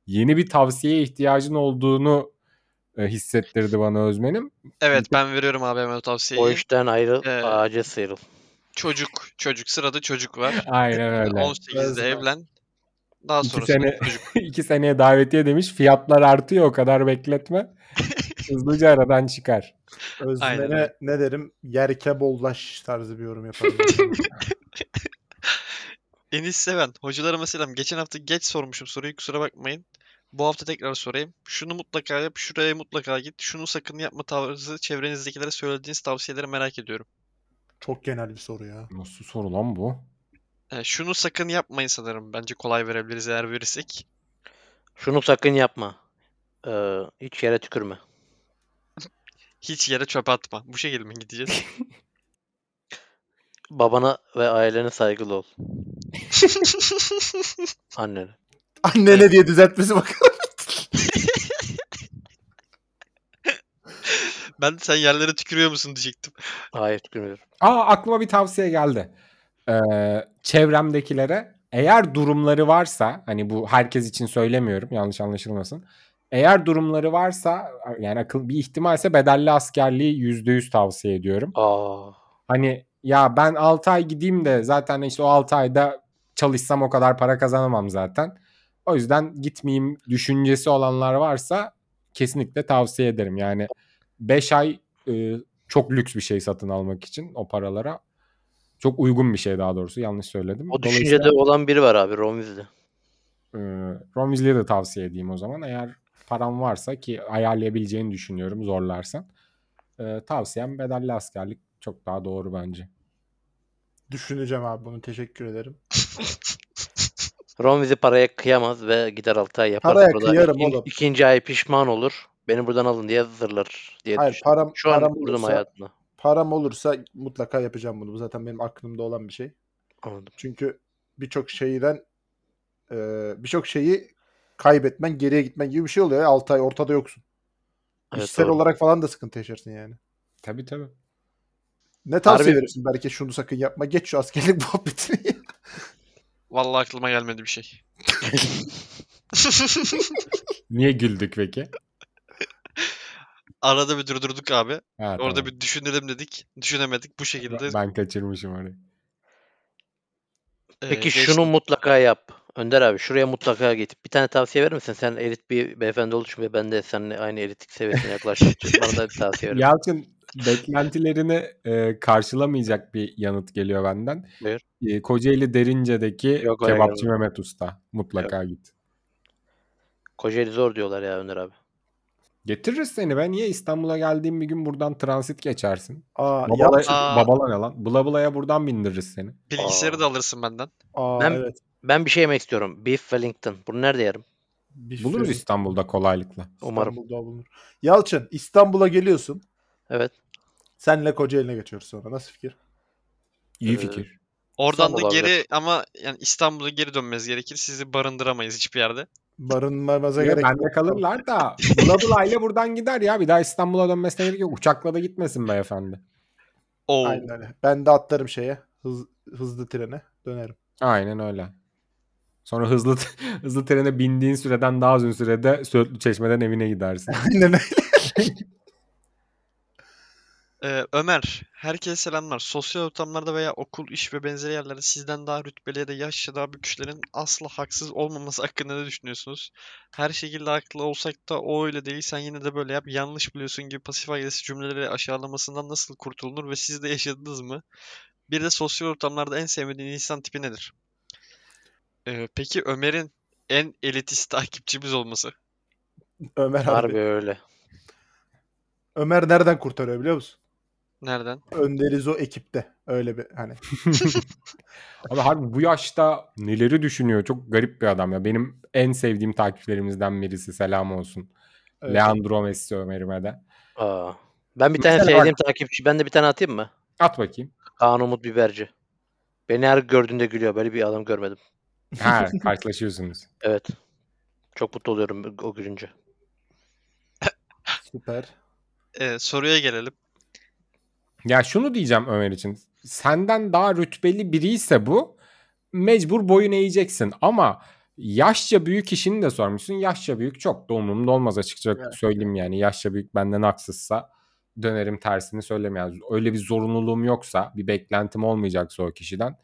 [SPEAKER 2] yeni bir tavsiyeye ihtiyacın olduğunu e, hissettirdi bana Özmen'im.
[SPEAKER 3] Evet ben veriyorum abime o tavsiyeyi.
[SPEAKER 4] O işten ayrıl,
[SPEAKER 3] Ee,
[SPEAKER 4] ağaca sıyrıl.
[SPEAKER 3] Çocuk. Çocuk. Sırada çocuk var.
[SPEAKER 2] Aynen öyle.
[SPEAKER 3] 18'de
[SPEAKER 5] Özlem.
[SPEAKER 3] evlen. Daha
[SPEAKER 2] İki
[SPEAKER 3] sonra
[SPEAKER 2] sene,
[SPEAKER 3] çocuk.
[SPEAKER 2] iki seneye davetiye demiş. Fiyatlar artıyor o kadar bekletme. Hızlıca aradan çıkar.
[SPEAKER 3] Aynen
[SPEAKER 5] Özmen'e
[SPEAKER 3] öyle.
[SPEAKER 5] ne derim? Yerke bollaş tarzı bir yorum yaparım.
[SPEAKER 3] Enis Seven. Hocalarıma selam. Geçen hafta geç sormuşum soruyu. Kusura bakmayın. Bu hafta tekrar sorayım. Şunu mutlaka yap, şuraya mutlaka git. Şunu sakın yapma tarzı çevrenizdekilere söylediğiniz tavsiyeleri merak ediyorum.
[SPEAKER 5] Çok genel bir soru ya.
[SPEAKER 2] Nasıl soru lan bu?
[SPEAKER 3] E, şunu sakın yapmayın sanırım. Bence kolay verebiliriz eğer verirsek.
[SPEAKER 4] Şunu sakın yapma. Ee, hiç yere tükürme.
[SPEAKER 3] Hiç yere çöp atma. Bu şekilde mi gideceğiz?
[SPEAKER 4] Babana ve ailene saygılı ol. Annene.
[SPEAKER 5] Annene diye düzeltmesi bak.
[SPEAKER 3] ben de sen yerlere tükürüyor musun diyecektim.
[SPEAKER 4] Hayır tükürmüyorum.
[SPEAKER 2] Aa aklıma bir tavsiye geldi. Ee, çevremdekilere eğer durumları varsa hani bu herkes için söylemiyorum yanlış anlaşılmasın. Eğer durumları varsa yani akıl bir ihtimalse bedelli askerliği yüzde yüz tavsiye ediyorum.
[SPEAKER 4] Aa.
[SPEAKER 2] Hani ya ben 6 ay gideyim de zaten işte o 6 ayda çalışsam o kadar para kazanamam zaten. O yüzden gitmeyeyim düşüncesi olanlar varsa kesinlikle tavsiye ederim. Yani 5 ay e, çok lüks bir şey satın almak için o paralara çok uygun bir şey daha doğrusu yanlış söyledim.
[SPEAKER 4] O
[SPEAKER 2] Dolayısıyla,
[SPEAKER 4] düşüncede olan biri var abi Romizli.
[SPEAKER 2] e, Ron Weasley'e de tavsiye edeyim o zaman eğer paran varsa ki ayarlayabileceğini düşünüyorum zorlarsan. E, tavsiyem bedelli askerlik çok daha doğru bence.
[SPEAKER 5] Düşüneceğim abi bunu. Teşekkür ederim.
[SPEAKER 4] Ron bizi paraya kıyamaz ve gider 6 ay yapar.
[SPEAKER 5] Paraya
[SPEAKER 4] Burada
[SPEAKER 5] kıyarım
[SPEAKER 4] ikin-
[SPEAKER 5] oğlum.
[SPEAKER 4] ikinci ay pişman olur. Beni buradan alın diye zırlar diye
[SPEAKER 5] Hayır
[SPEAKER 4] düşündüm.
[SPEAKER 5] param,
[SPEAKER 4] Şu an
[SPEAKER 5] param,
[SPEAKER 4] vurdum
[SPEAKER 5] olursa,
[SPEAKER 4] hayatına.
[SPEAKER 5] param olursa mutlaka yapacağım bunu. Bu zaten benim aklımda olan bir şey.
[SPEAKER 4] Anladım.
[SPEAKER 5] Çünkü birçok şeyden e, birçok şeyi kaybetmen, geriye gitmen gibi bir şey oluyor. 6 ay ortada yoksun.
[SPEAKER 4] Evet,
[SPEAKER 5] İşsel
[SPEAKER 4] doğru.
[SPEAKER 5] olarak falan da sıkıntı yaşarsın yani.
[SPEAKER 2] Tabii tabii.
[SPEAKER 5] Ne tavsiye
[SPEAKER 4] Harbi-
[SPEAKER 5] verirsin belki şunu sakın yapma. Geç şu askerlik muhabbetini.
[SPEAKER 3] Vallahi aklıma gelmedi bir şey.
[SPEAKER 2] Niye güldük peki?
[SPEAKER 3] Arada bir durdurduk abi.
[SPEAKER 2] Ha,
[SPEAKER 3] Orada
[SPEAKER 2] tamam.
[SPEAKER 3] bir düşünelim dedik. Düşünemedik bu şekilde.
[SPEAKER 2] ben kaçırmışım orayı.
[SPEAKER 3] e,
[SPEAKER 4] Peki
[SPEAKER 3] geçti.
[SPEAKER 4] şunu mutlaka yap. Önder abi şuraya mutlaka git. Bir tane tavsiye verir misin? Sen elit bir beyefendi olduğun için ve ben de seninle aynı elitlik seviyesine yaklaştığım için bana da bir tavsiye verir. misin?
[SPEAKER 2] Yalçın beklentilerini e, karşılamayacak bir yanıt geliyor benden.
[SPEAKER 4] Buyur.
[SPEAKER 2] E, Kocaeli Derince'deki
[SPEAKER 4] Yok, oraya
[SPEAKER 2] kebapçı Mehmet Usta. Mutlaka git.
[SPEAKER 4] Kocaeli zor diyorlar ya Önder abi.
[SPEAKER 2] Getiririz seni be. Niye İstanbul'a geldiğim bir gün buradan transit geçersin?
[SPEAKER 5] Aa,
[SPEAKER 2] Babala,
[SPEAKER 5] yap-
[SPEAKER 3] Aa.
[SPEAKER 2] babala ne lan? Bula bulaya buradan bindiririz seni.
[SPEAKER 3] Bilgisayarı
[SPEAKER 4] Aa.
[SPEAKER 3] da alırsın benden.
[SPEAKER 5] Aa,
[SPEAKER 4] Ben-
[SPEAKER 5] evet.
[SPEAKER 4] Ben bir şey yemek istiyorum. Beef Wellington. Bunu nerede yerim?
[SPEAKER 5] Bir
[SPEAKER 2] Buluruz
[SPEAKER 5] sürü
[SPEAKER 2] İstanbul'da kolaylıkla.
[SPEAKER 4] Umarım.
[SPEAKER 5] İstanbul'da bulunur. Yalçın İstanbul'a geliyorsun.
[SPEAKER 4] Evet.
[SPEAKER 5] Senle Kocaeli'ne geçiyoruz sonra. Nasıl fikir?
[SPEAKER 2] İyi
[SPEAKER 4] Ee,
[SPEAKER 2] fikir.
[SPEAKER 3] Oradan da
[SPEAKER 4] İstanbul olabilir.
[SPEAKER 3] geri ama yani İstanbul'a geri dönmeniz gerekir. Sizi barındıramayız hiçbir yerde.
[SPEAKER 5] Barınmamıza
[SPEAKER 2] Ya
[SPEAKER 5] gerek
[SPEAKER 2] bende kalırlar da Bula Bula ile buradan gider ya. Bir daha İstanbul'a dönmesine gerek yok. Uçakla da gitmesin beyefendi.
[SPEAKER 3] Oo.
[SPEAKER 5] Aynen öyle. Ben de atlarım şeye. Hız, hızlı trene dönerim.
[SPEAKER 2] Aynen öyle. Sonra hızlı hızlı trene bindiğin süreden daha uzun sürede Söğütlü Çeşme'den evine gidersin.
[SPEAKER 5] Aynen öyle.
[SPEAKER 3] Ee, Ömer, herkese selamlar. Sosyal ortamlarda veya okul, iş ve benzeri yerlerde sizden daha rütbeli ya da yaşça daha büyük kişilerin asla haksız olmaması hakkında ne düşünüyorsunuz? Her şekilde haklı olsak da o öyle değil, sen yine de böyle yap, yanlış biliyorsun gibi pasif agresif cümleleri aşağılamasından nasıl kurtulunur ve siz de yaşadınız mı? Bir de sosyal ortamlarda en sevmediğin insan tipi nedir? Ee, peki Ömer'in en elitist takipçimiz olması.
[SPEAKER 5] Ömer harbi.
[SPEAKER 4] Harbi öyle.
[SPEAKER 5] Ömer nereden kurtarıyor biliyor musun?
[SPEAKER 3] Nereden?
[SPEAKER 5] Önderiz o ekipte. Öyle bir hani.
[SPEAKER 2] Abi harbi bu yaşta neleri düşünüyor? Çok garip bir adam ya. Benim en sevdiğim takipçilerimizden birisi. Selam olsun.
[SPEAKER 5] Evet.
[SPEAKER 2] Leandro Messi Ömer'ime de.
[SPEAKER 4] Aa. Ben bir tane
[SPEAKER 2] Mesela
[SPEAKER 4] sevdiğim takipçi. Ben de bir tane atayım mı?
[SPEAKER 2] At bakayım.
[SPEAKER 4] Kaan Umut Biberci. Beni her gördüğünde gülüyor. Böyle bir adam görmedim.
[SPEAKER 2] Ha karşılaşıyorsunuz.
[SPEAKER 4] Evet. Çok mutlu oluyorum o gülünce.
[SPEAKER 5] Süper.
[SPEAKER 3] Ee, soruya gelelim.
[SPEAKER 2] Ya şunu diyeceğim Ömer için. Senden daha rütbeli biri ise bu mecbur boyun eğeceksin ama yaşça büyük kişinin de sormuşsun. Yaşça büyük çok da umurumda olmaz açıkça söyleyeyim yani. Yaşça büyük benden haksızsa dönerim tersini söylemeyeceğim. Öyle bir zorunluluğum yoksa bir beklentim olmayacaksa o kişiden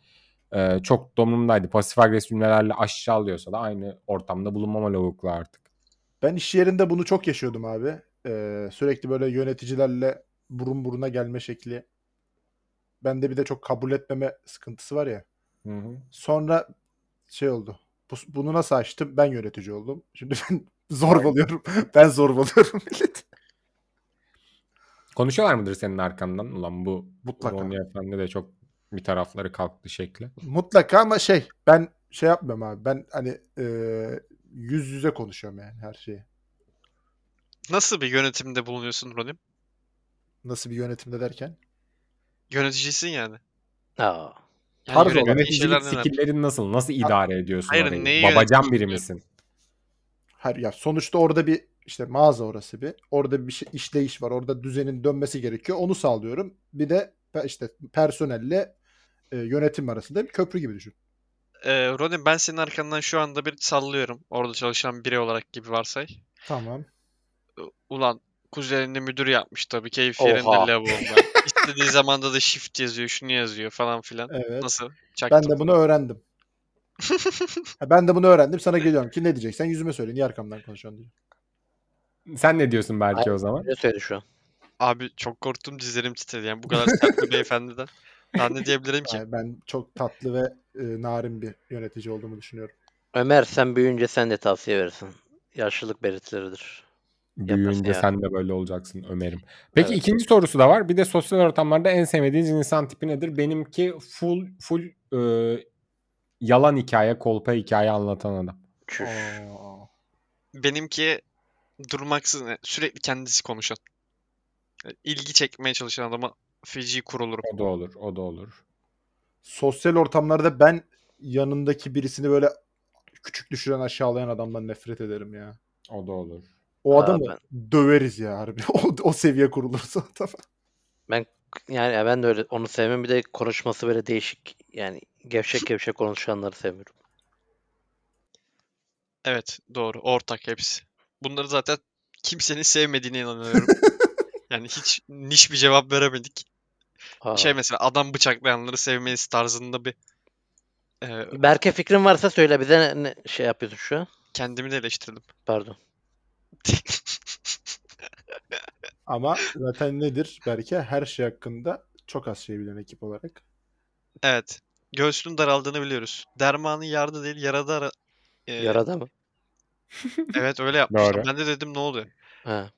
[SPEAKER 2] e, çok da umurumdaydı. Pasif agresif cümlelerle aşağılıyorsa da aynı ortamda bulunmama lavukla artık.
[SPEAKER 5] Ben iş yerinde bunu çok yaşıyordum abi. Ee, sürekli böyle yöneticilerle burun buruna gelme şekli. Bende bir de çok kabul etmeme sıkıntısı var ya.
[SPEAKER 2] Hı hı.
[SPEAKER 5] Sonra şey oldu. Bu- Bunu nasıl açtım? Ben yönetici oldum. Şimdi ben zorbalıyorum. ben zorbalıyorum milleti.
[SPEAKER 2] Konuşuyorlar mıdır senin arkandan? Ulan bu
[SPEAKER 5] Mutlaka.
[SPEAKER 2] Roni Efendi de çok bir tarafları kalktı şekli.
[SPEAKER 5] Mutlaka ama şey ben şey yapmıyorum abi. Ben hani e, yüz yüze konuşuyorum yani her şeyi.
[SPEAKER 3] Nasıl bir yönetimde bulunuyorsun Ronim?
[SPEAKER 5] Nasıl bir yönetimde derken?
[SPEAKER 3] Yöneticisin yani.
[SPEAKER 4] Aa.
[SPEAKER 3] Yani
[SPEAKER 5] Tarz
[SPEAKER 3] yönettiği
[SPEAKER 5] olarak.
[SPEAKER 3] şeyler
[SPEAKER 2] Yöneticilik
[SPEAKER 3] neler?
[SPEAKER 2] skillerin nasıl? Nasıl idare ediyorsun
[SPEAKER 3] Hayır,
[SPEAKER 2] orayı?
[SPEAKER 3] neyi
[SPEAKER 2] Babacan
[SPEAKER 3] yönetiyorsun
[SPEAKER 2] biri
[SPEAKER 3] diyorum.
[SPEAKER 2] misin?
[SPEAKER 5] Her ya sonuçta orada bir işte mağaza orası bir. Orada bir şey, işleyiş var. Orada düzenin dönmesi gerekiyor. Onu sağlıyorum. Bir de pe- işte personelle e, yönetim arasında bir köprü gibi düşün.
[SPEAKER 3] Ee, Ronin ben senin arkandan şu anda bir sallıyorum. Orada çalışan biri olarak gibi varsay.
[SPEAKER 5] Tamam.
[SPEAKER 3] Ulan kuzenini müdür yapmış tabii. Keyif
[SPEAKER 4] Oha.
[SPEAKER 3] yerinde lavuğunda. İstediği zamanda da shift yazıyor, şunu yazıyor falan filan.
[SPEAKER 5] Evet.
[SPEAKER 3] Nasıl? Çaktın.
[SPEAKER 5] Ben de bunu öğrendim. Ha, ben de bunu öğrendim. Sana geliyorum ki ne diyeceksen yüzüme söyle. Niye arkamdan konuşuyorsun diye.
[SPEAKER 2] Sen ne diyorsun belki o zaman?
[SPEAKER 4] Ne söyledi şu an?
[SPEAKER 3] Abi çok korktum dizlerim titredi. Yani bu kadar sert bir beyefendiden. Daha ne diyebilirim ki?
[SPEAKER 5] Yani ben çok tatlı ve e, narin bir yönetici olduğumu düşünüyorum.
[SPEAKER 4] Ömer sen büyüyünce sen de tavsiye verirsin. yaşlılık belirtileridir.
[SPEAKER 2] Büyüyünce
[SPEAKER 4] yani.
[SPEAKER 2] sen de böyle olacaksın Ömer'im. Peki
[SPEAKER 4] Evet.
[SPEAKER 2] ikinci sorusu da var. Bir de sosyal ortamlarda en sevmediğiniz insan tipi nedir? Benimki full full e, yalan hikaye, kolpa hikaye anlatan adam.
[SPEAKER 4] Çüş.
[SPEAKER 3] Benimki durmaksızın yani sürekli kendisi konuşan. E, İlgi çekmeye çalışan adama feci kurulurum.
[SPEAKER 2] O da olur, o da olur.
[SPEAKER 5] Sosyal ortamlarda ben yanındaki birisini böyle küçük düşüren aşağılayan adamdan nefret ederim ya.
[SPEAKER 2] O da olur.
[SPEAKER 5] O
[SPEAKER 4] Aa,
[SPEAKER 5] adamı döveriz ya harbi. O, o seviye kurulursa adam.
[SPEAKER 4] Yani ya ben de öyle onu sevmem. Bir de konuşması böyle değişik. Yani gevşek gevşek konuşanları sevmiyorum.
[SPEAKER 3] Evet doğru ortak hepsi. Bunları zaten kimsenin sevmediğine inanıyorum. Yani hiç niş bir cevap veremedik.
[SPEAKER 4] Aa.
[SPEAKER 3] Şey mesela adam bıçaklayanları sevmeyiz tarzında bir e,
[SPEAKER 4] Berke fikrin varsa söyle bize ne, ne şey yapıyorsun şu an?
[SPEAKER 3] kendimi de eleştirdim.
[SPEAKER 4] Pardon.
[SPEAKER 5] Ama zaten nedir belki her şey hakkında çok az şey bilen ekip olarak.
[SPEAKER 3] Evet. Göğsünün daraldığını biliyoruz. Dermanı yardı değil yarada ara... E,
[SPEAKER 2] Ee,
[SPEAKER 4] Yarada mı?
[SPEAKER 3] Evet öyle yapmışlar.
[SPEAKER 2] Doğru.
[SPEAKER 3] Ben de dedim ne oluyor?
[SPEAKER 4] Ha.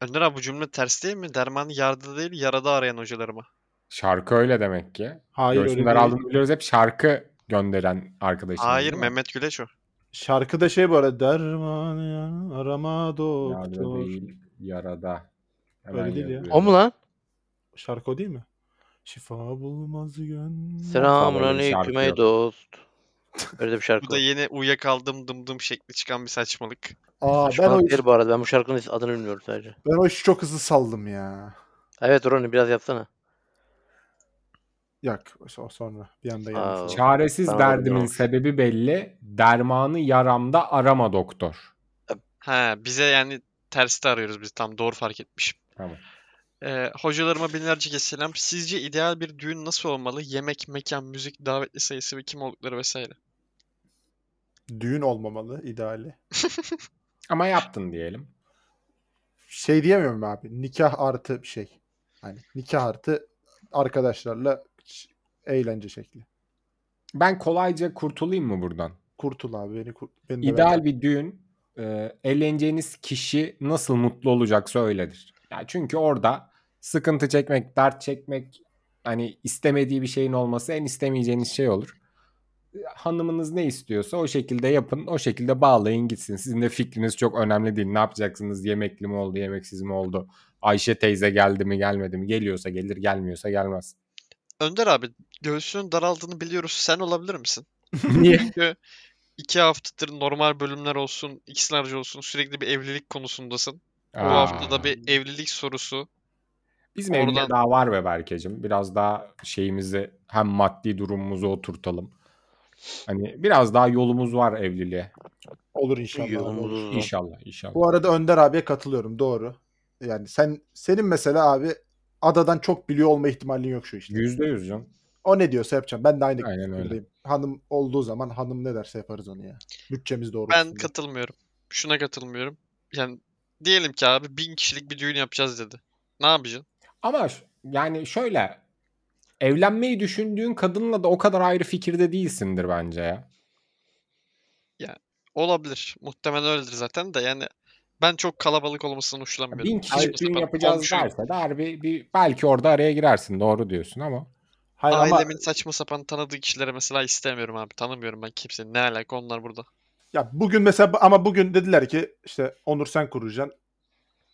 [SPEAKER 3] Önder abi bu cümle ters değil mi? Dermanı yardı değil yarada arayan hocalarıma.
[SPEAKER 2] Şarkı öyle demek ki.
[SPEAKER 5] Hayır
[SPEAKER 2] Göğsünün
[SPEAKER 5] öyle
[SPEAKER 2] daraldığını
[SPEAKER 5] değil.
[SPEAKER 2] biliyoruz hep şarkı gönderen arkadaşımız.
[SPEAKER 3] Hayır
[SPEAKER 2] değil mi?
[SPEAKER 3] Mehmet Güleç o.
[SPEAKER 5] Şarkı da şey bu arada. Derman ya, arama
[SPEAKER 2] Yarada
[SPEAKER 5] doktor.
[SPEAKER 2] değil, yarada. Hemen
[SPEAKER 5] Öyle değil ya.
[SPEAKER 2] yazıyorum.
[SPEAKER 4] O mu lan?
[SPEAKER 5] Şarkı o değil mi? Şifa bulmaz gönlüm.
[SPEAKER 4] Selamun
[SPEAKER 2] öyle bir şarkı
[SPEAKER 4] aleyküm ey
[SPEAKER 2] yok.
[SPEAKER 4] dost. Öyle de bir şarkı
[SPEAKER 3] Bu da
[SPEAKER 4] var.
[SPEAKER 3] yeni uyuyakaldım dım dım şekli çıkan bir saçmalık.
[SPEAKER 5] Aa ben
[SPEAKER 4] Saçmalık
[SPEAKER 5] o,
[SPEAKER 4] değil bu arada. Ben bu şarkının adını bilmiyorum sadece.
[SPEAKER 5] ben o işi çok hızlı saldım ya.
[SPEAKER 4] Evet Roni biraz yapsana.
[SPEAKER 5] Yak o sonra bir anda
[SPEAKER 4] Aa,
[SPEAKER 5] geldi.
[SPEAKER 2] Çaresiz
[SPEAKER 4] Ben
[SPEAKER 2] derdimin
[SPEAKER 4] olabilir.
[SPEAKER 2] sebebi belli. Dermanı yaramda arama doktor.
[SPEAKER 3] Ha bize yani tersi de arıyoruz biz tam doğru fark etmişim.
[SPEAKER 2] Tamam.
[SPEAKER 3] Ee, hocalarıma binlerce kez selam. Sizce ideal bir düğün nasıl olmalı? Yemek, mekan, müzik, davetli sayısı ve kim oldukları vesaire.
[SPEAKER 5] Düğün olmamalı ideali.
[SPEAKER 2] Ama yaptın diyelim.
[SPEAKER 5] Şey diyemiyorum abi. Nikah artı bir şey. Hani nikah artı arkadaşlarla ş- eğlence şekli.
[SPEAKER 2] Ben kolayca kurtulayım mı buradan?
[SPEAKER 5] Kurtul abi beni kurt. Beni de
[SPEAKER 2] İdeal
[SPEAKER 5] ver.
[SPEAKER 2] bir düğün e, eğleneceğiniz kişi nasıl mutlu olacaksa öyledir. Ya çünkü orada sıkıntı çekmek, dert çekmek hani istemediği bir şeyin olması en istemeyeceğiniz şey olur. E, Hanımınız ne istiyorsa o şekilde yapın, o şekilde bağlayın gitsin. Sizin de fikriniz çok önemli değil. Ne yapacaksınız? Yemekli mi oldu, yemeksiz mi oldu? Ayşe teyze geldi mi, gelmedi mi? Geliyorsa gelir, gelmiyorsa gelmez.
[SPEAKER 3] Önder abi göğsünün daraldığını biliyoruz. Sen olabilir misin?
[SPEAKER 2] Niye?
[SPEAKER 3] Çünkü iki haftadır normal bölümler olsun, ikizlerce olsun sürekli bir evlilik konusundasın. Bu
[SPEAKER 2] Aa.
[SPEAKER 3] haftada bir evlilik sorusu.
[SPEAKER 2] Bizim evde
[SPEAKER 3] Oradan-
[SPEAKER 2] daha var be Berke'cim. Biraz daha şeyimizi hem maddi durumumuzu oturtalım. Hani biraz daha yolumuz var evliliğe.
[SPEAKER 5] Olur inşallah. abi, olur.
[SPEAKER 4] Yolumuz uzun.
[SPEAKER 2] İnşallah inşallah.
[SPEAKER 5] Bu arada Önder abiye katılıyorum. Doğru. Yani sen senin mesela abi adadan çok biliyor olma ihtimalin yok şu işte.
[SPEAKER 2] Yüzde yüz canım.
[SPEAKER 5] O ne diyorsa yapacağım. Ben de aynı
[SPEAKER 2] Aynen öyle.
[SPEAKER 5] fikirdeyim. Hanım olduğu zaman hanım ne derse yaparız onu ya. Bütçemiz doğrultusunda.
[SPEAKER 3] Ben katılmıyorum. Şuna katılmıyorum. Yani diyelim ki abi bin kişilik bir düğün yapacağız dedi. Ne yapacaksın?
[SPEAKER 2] Ama ş- yani şöyle evlenmeyi düşündüğün kadınla da o kadar ayrı fikirde değilsindir bence ya.
[SPEAKER 3] Olabilir. Muhtemelen öyledir zaten de yani ben çok kalabalık olmasını hoşlanmıyorum.
[SPEAKER 2] Bin
[SPEAKER 3] Saçma
[SPEAKER 2] kişilik düğün
[SPEAKER 3] sapan
[SPEAKER 2] yapacağız
[SPEAKER 3] komşu-
[SPEAKER 2] derse de harbi bir, belki orada araya girersin doğru diyorsun ama.
[SPEAKER 5] Hayır ama
[SPEAKER 3] Ailemin saçma sapan tanıdığı kişilere mesela istemiyorum abi. Tanımıyorum ben kimseyi. Ne alaka onlar burada.
[SPEAKER 5] ya bugün mesela ama bugün dediler ki işte Onur sen kuracaksın.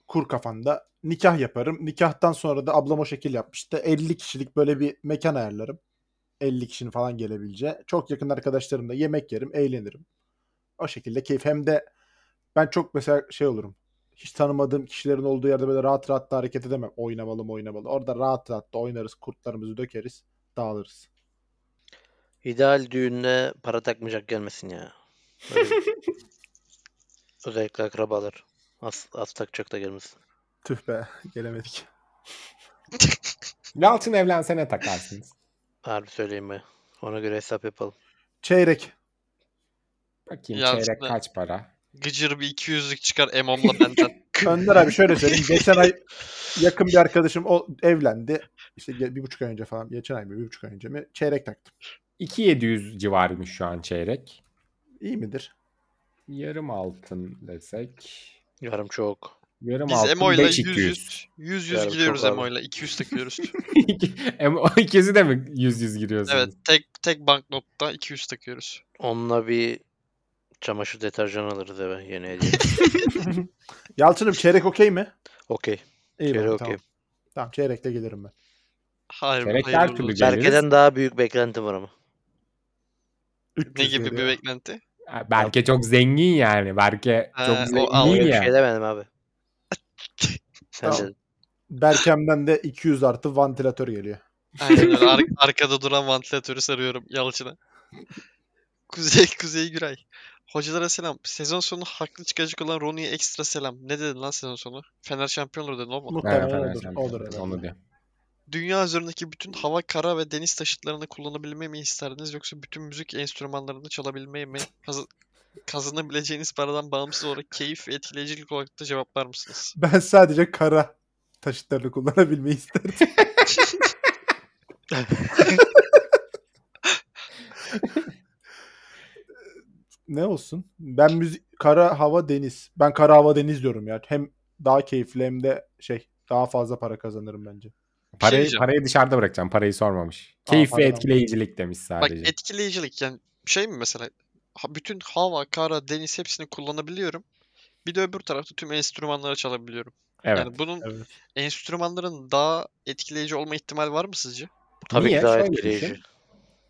[SPEAKER 5] Kur kafanda. Nikah yaparım. Nikahtan sonra da ablam o şekil yapmıştı. 50 kişilik böyle bir mekan ayarlarım. 50 kişinin falan gelebileceği. Çok yakın arkadaşlarımla yemek yerim, eğlenirim. O şekilde keyif. Hem de ben çok mesela şey olurum. Hiç tanımadığım kişilerin olduğu yerde böyle rahat rahat da hareket edemem. Oynamalım oynamalı. Orada rahat rahat da oynarız. Kurtlarımızı dökeriz. Dağılırız.
[SPEAKER 4] İdeal düğününe para takmayacak gelmesin ya. Öyle bir- Özellikle akrabalar. Az, az takacak da gelmesin.
[SPEAKER 5] Tüh be gelemedik.
[SPEAKER 2] Yalçın evlensene takarsınız.
[SPEAKER 4] Harbi söyleyeyim ben. Ona göre hesap yapalım.
[SPEAKER 5] Çeyrek.
[SPEAKER 2] Bakayım
[SPEAKER 3] Yalçın'a-
[SPEAKER 2] çeyrek kaç para?
[SPEAKER 3] Gıcır bir 200'lük çıkar Emom'la benden.
[SPEAKER 5] Önder abi şöyle söyleyeyim. Geçen ay yakın bir arkadaşım o evlendi. İşte ge- bir buçuk ay önce falan. Geçen ay mı bir buçuk ay önce mi? Çeyrek taktım.
[SPEAKER 2] 2700 civarıymış şu an çeyrek.
[SPEAKER 5] İyi midir?
[SPEAKER 2] yarım altın desek.
[SPEAKER 4] Yarım çok.
[SPEAKER 2] Yarım
[SPEAKER 3] Biz
[SPEAKER 2] altın
[SPEAKER 3] Emo'yla 100
[SPEAKER 2] 5200.
[SPEAKER 3] 100 100
[SPEAKER 4] Yarım çok
[SPEAKER 3] gidiyoruz
[SPEAKER 4] abi.
[SPEAKER 3] Emo'yla. 200 takıyoruz.
[SPEAKER 2] Emo ikisi de mi 100 100 giriyorsunuz?
[SPEAKER 3] evet tek tek banknotta 200 takıyoruz.
[SPEAKER 4] Onunla bir çamaşır deterjanı alırız eve yeni hediye.
[SPEAKER 5] Yalçın'ım çeyrek okey mi?
[SPEAKER 4] Okey.
[SPEAKER 5] İyi
[SPEAKER 4] Çeyrek
[SPEAKER 5] bari,
[SPEAKER 4] okey.
[SPEAKER 5] Tamam. tamam çeyrekle gelirim ben.
[SPEAKER 3] Hayır,
[SPEAKER 2] Çeyrek her
[SPEAKER 3] hayırlı
[SPEAKER 2] türlü
[SPEAKER 3] olsun.
[SPEAKER 2] Geliriz.
[SPEAKER 4] Berke'den daha büyük beklentim var ama.
[SPEAKER 5] 300
[SPEAKER 3] Ne gibi bir
[SPEAKER 5] veriyor.
[SPEAKER 3] beklenti?
[SPEAKER 2] Ha, Berke çok zengin yani. Berke
[SPEAKER 3] Ha,
[SPEAKER 2] çok
[SPEAKER 3] o
[SPEAKER 2] zengin
[SPEAKER 3] algı
[SPEAKER 4] Öyle bir
[SPEAKER 2] ya.
[SPEAKER 4] şey demedim abi. Sen
[SPEAKER 5] Tamam.
[SPEAKER 4] dedin.
[SPEAKER 5] Berkem'den de 200 artı vantilatör geliyor.
[SPEAKER 3] Aynen öyle. Ar- arkada duran vantilatörü sarıyorum Yalçın'a. Kuzey Kuzey Güray. Hocalara selam. Sezon sonu haklı çıkacak olan Ronnie'ye ekstra selam. Ne dedin lan sezon sonu? Fener şampiyon olur dedin olmadı. mı?
[SPEAKER 2] Evet,
[SPEAKER 5] Muhtemelen
[SPEAKER 2] Fener
[SPEAKER 5] olur.
[SPEAKER 2] şampiyon.
[SPEAKER 5] Olur. herhalde.
[SPEAKER 2] Onu diyor.
[SPEAKER 3] Dünya üzerindeki bütün hava, kara ve deniz taşıtlarını kullanabilmeyi mi isterdiniz yoksa bütün müzik enstrümanlarını çalabilmeyi mi? Kaz- kazanabileceğiniz paradan bağımsız olarak keyif ve etkileyicilik olarak da cevaplar mısınız?
[SPEAKER 5] Ben sadece kara taşıtlarını kullanabilmeyi isterim. ne olsun? Ben müzik kara hava deniz. Ben kara hava deniz diyorum ya. Hem daha keyifli hem de şey daha fazla para kazanırım bence.
[SPEAKER 2] Parayı,
[SPEAKER 3] şey diyeceğim.
[SPEAKER 2] parayı dışarıda bırakacağım. Parayı sormamış.
[SPEAKER 5] Aa,
[SPEAKER 2] Keyif ve
[SPEAKER 5] pardon.
[SPEAKER 2] etkileyicilik demiş sadece.
[SPEAKER 3] Bak etkileyicilik yani şey mi mesela ha- bütün hava, kara, deniz hepsini kullanabiliyorum. Bir de öbür tarafta tüm enstrümanları çalabiliyorum.
[SPEAKER 2] evet.
[SPEAKER 3] Yani bunun
[SPEAKER 5] evet.
[SPEAKER 3] enstrümanların daha etkileyici olma ihtimali var mı sizce?
[SPEAKER 4] Tabii
[SPEAKER 2] Niye?
[SPEAKER 4] ki daha
[SPEAKER 2] Şöyle şey.
[SPEAKER 4] etkileyici.
[SPEAKER 2] düşün.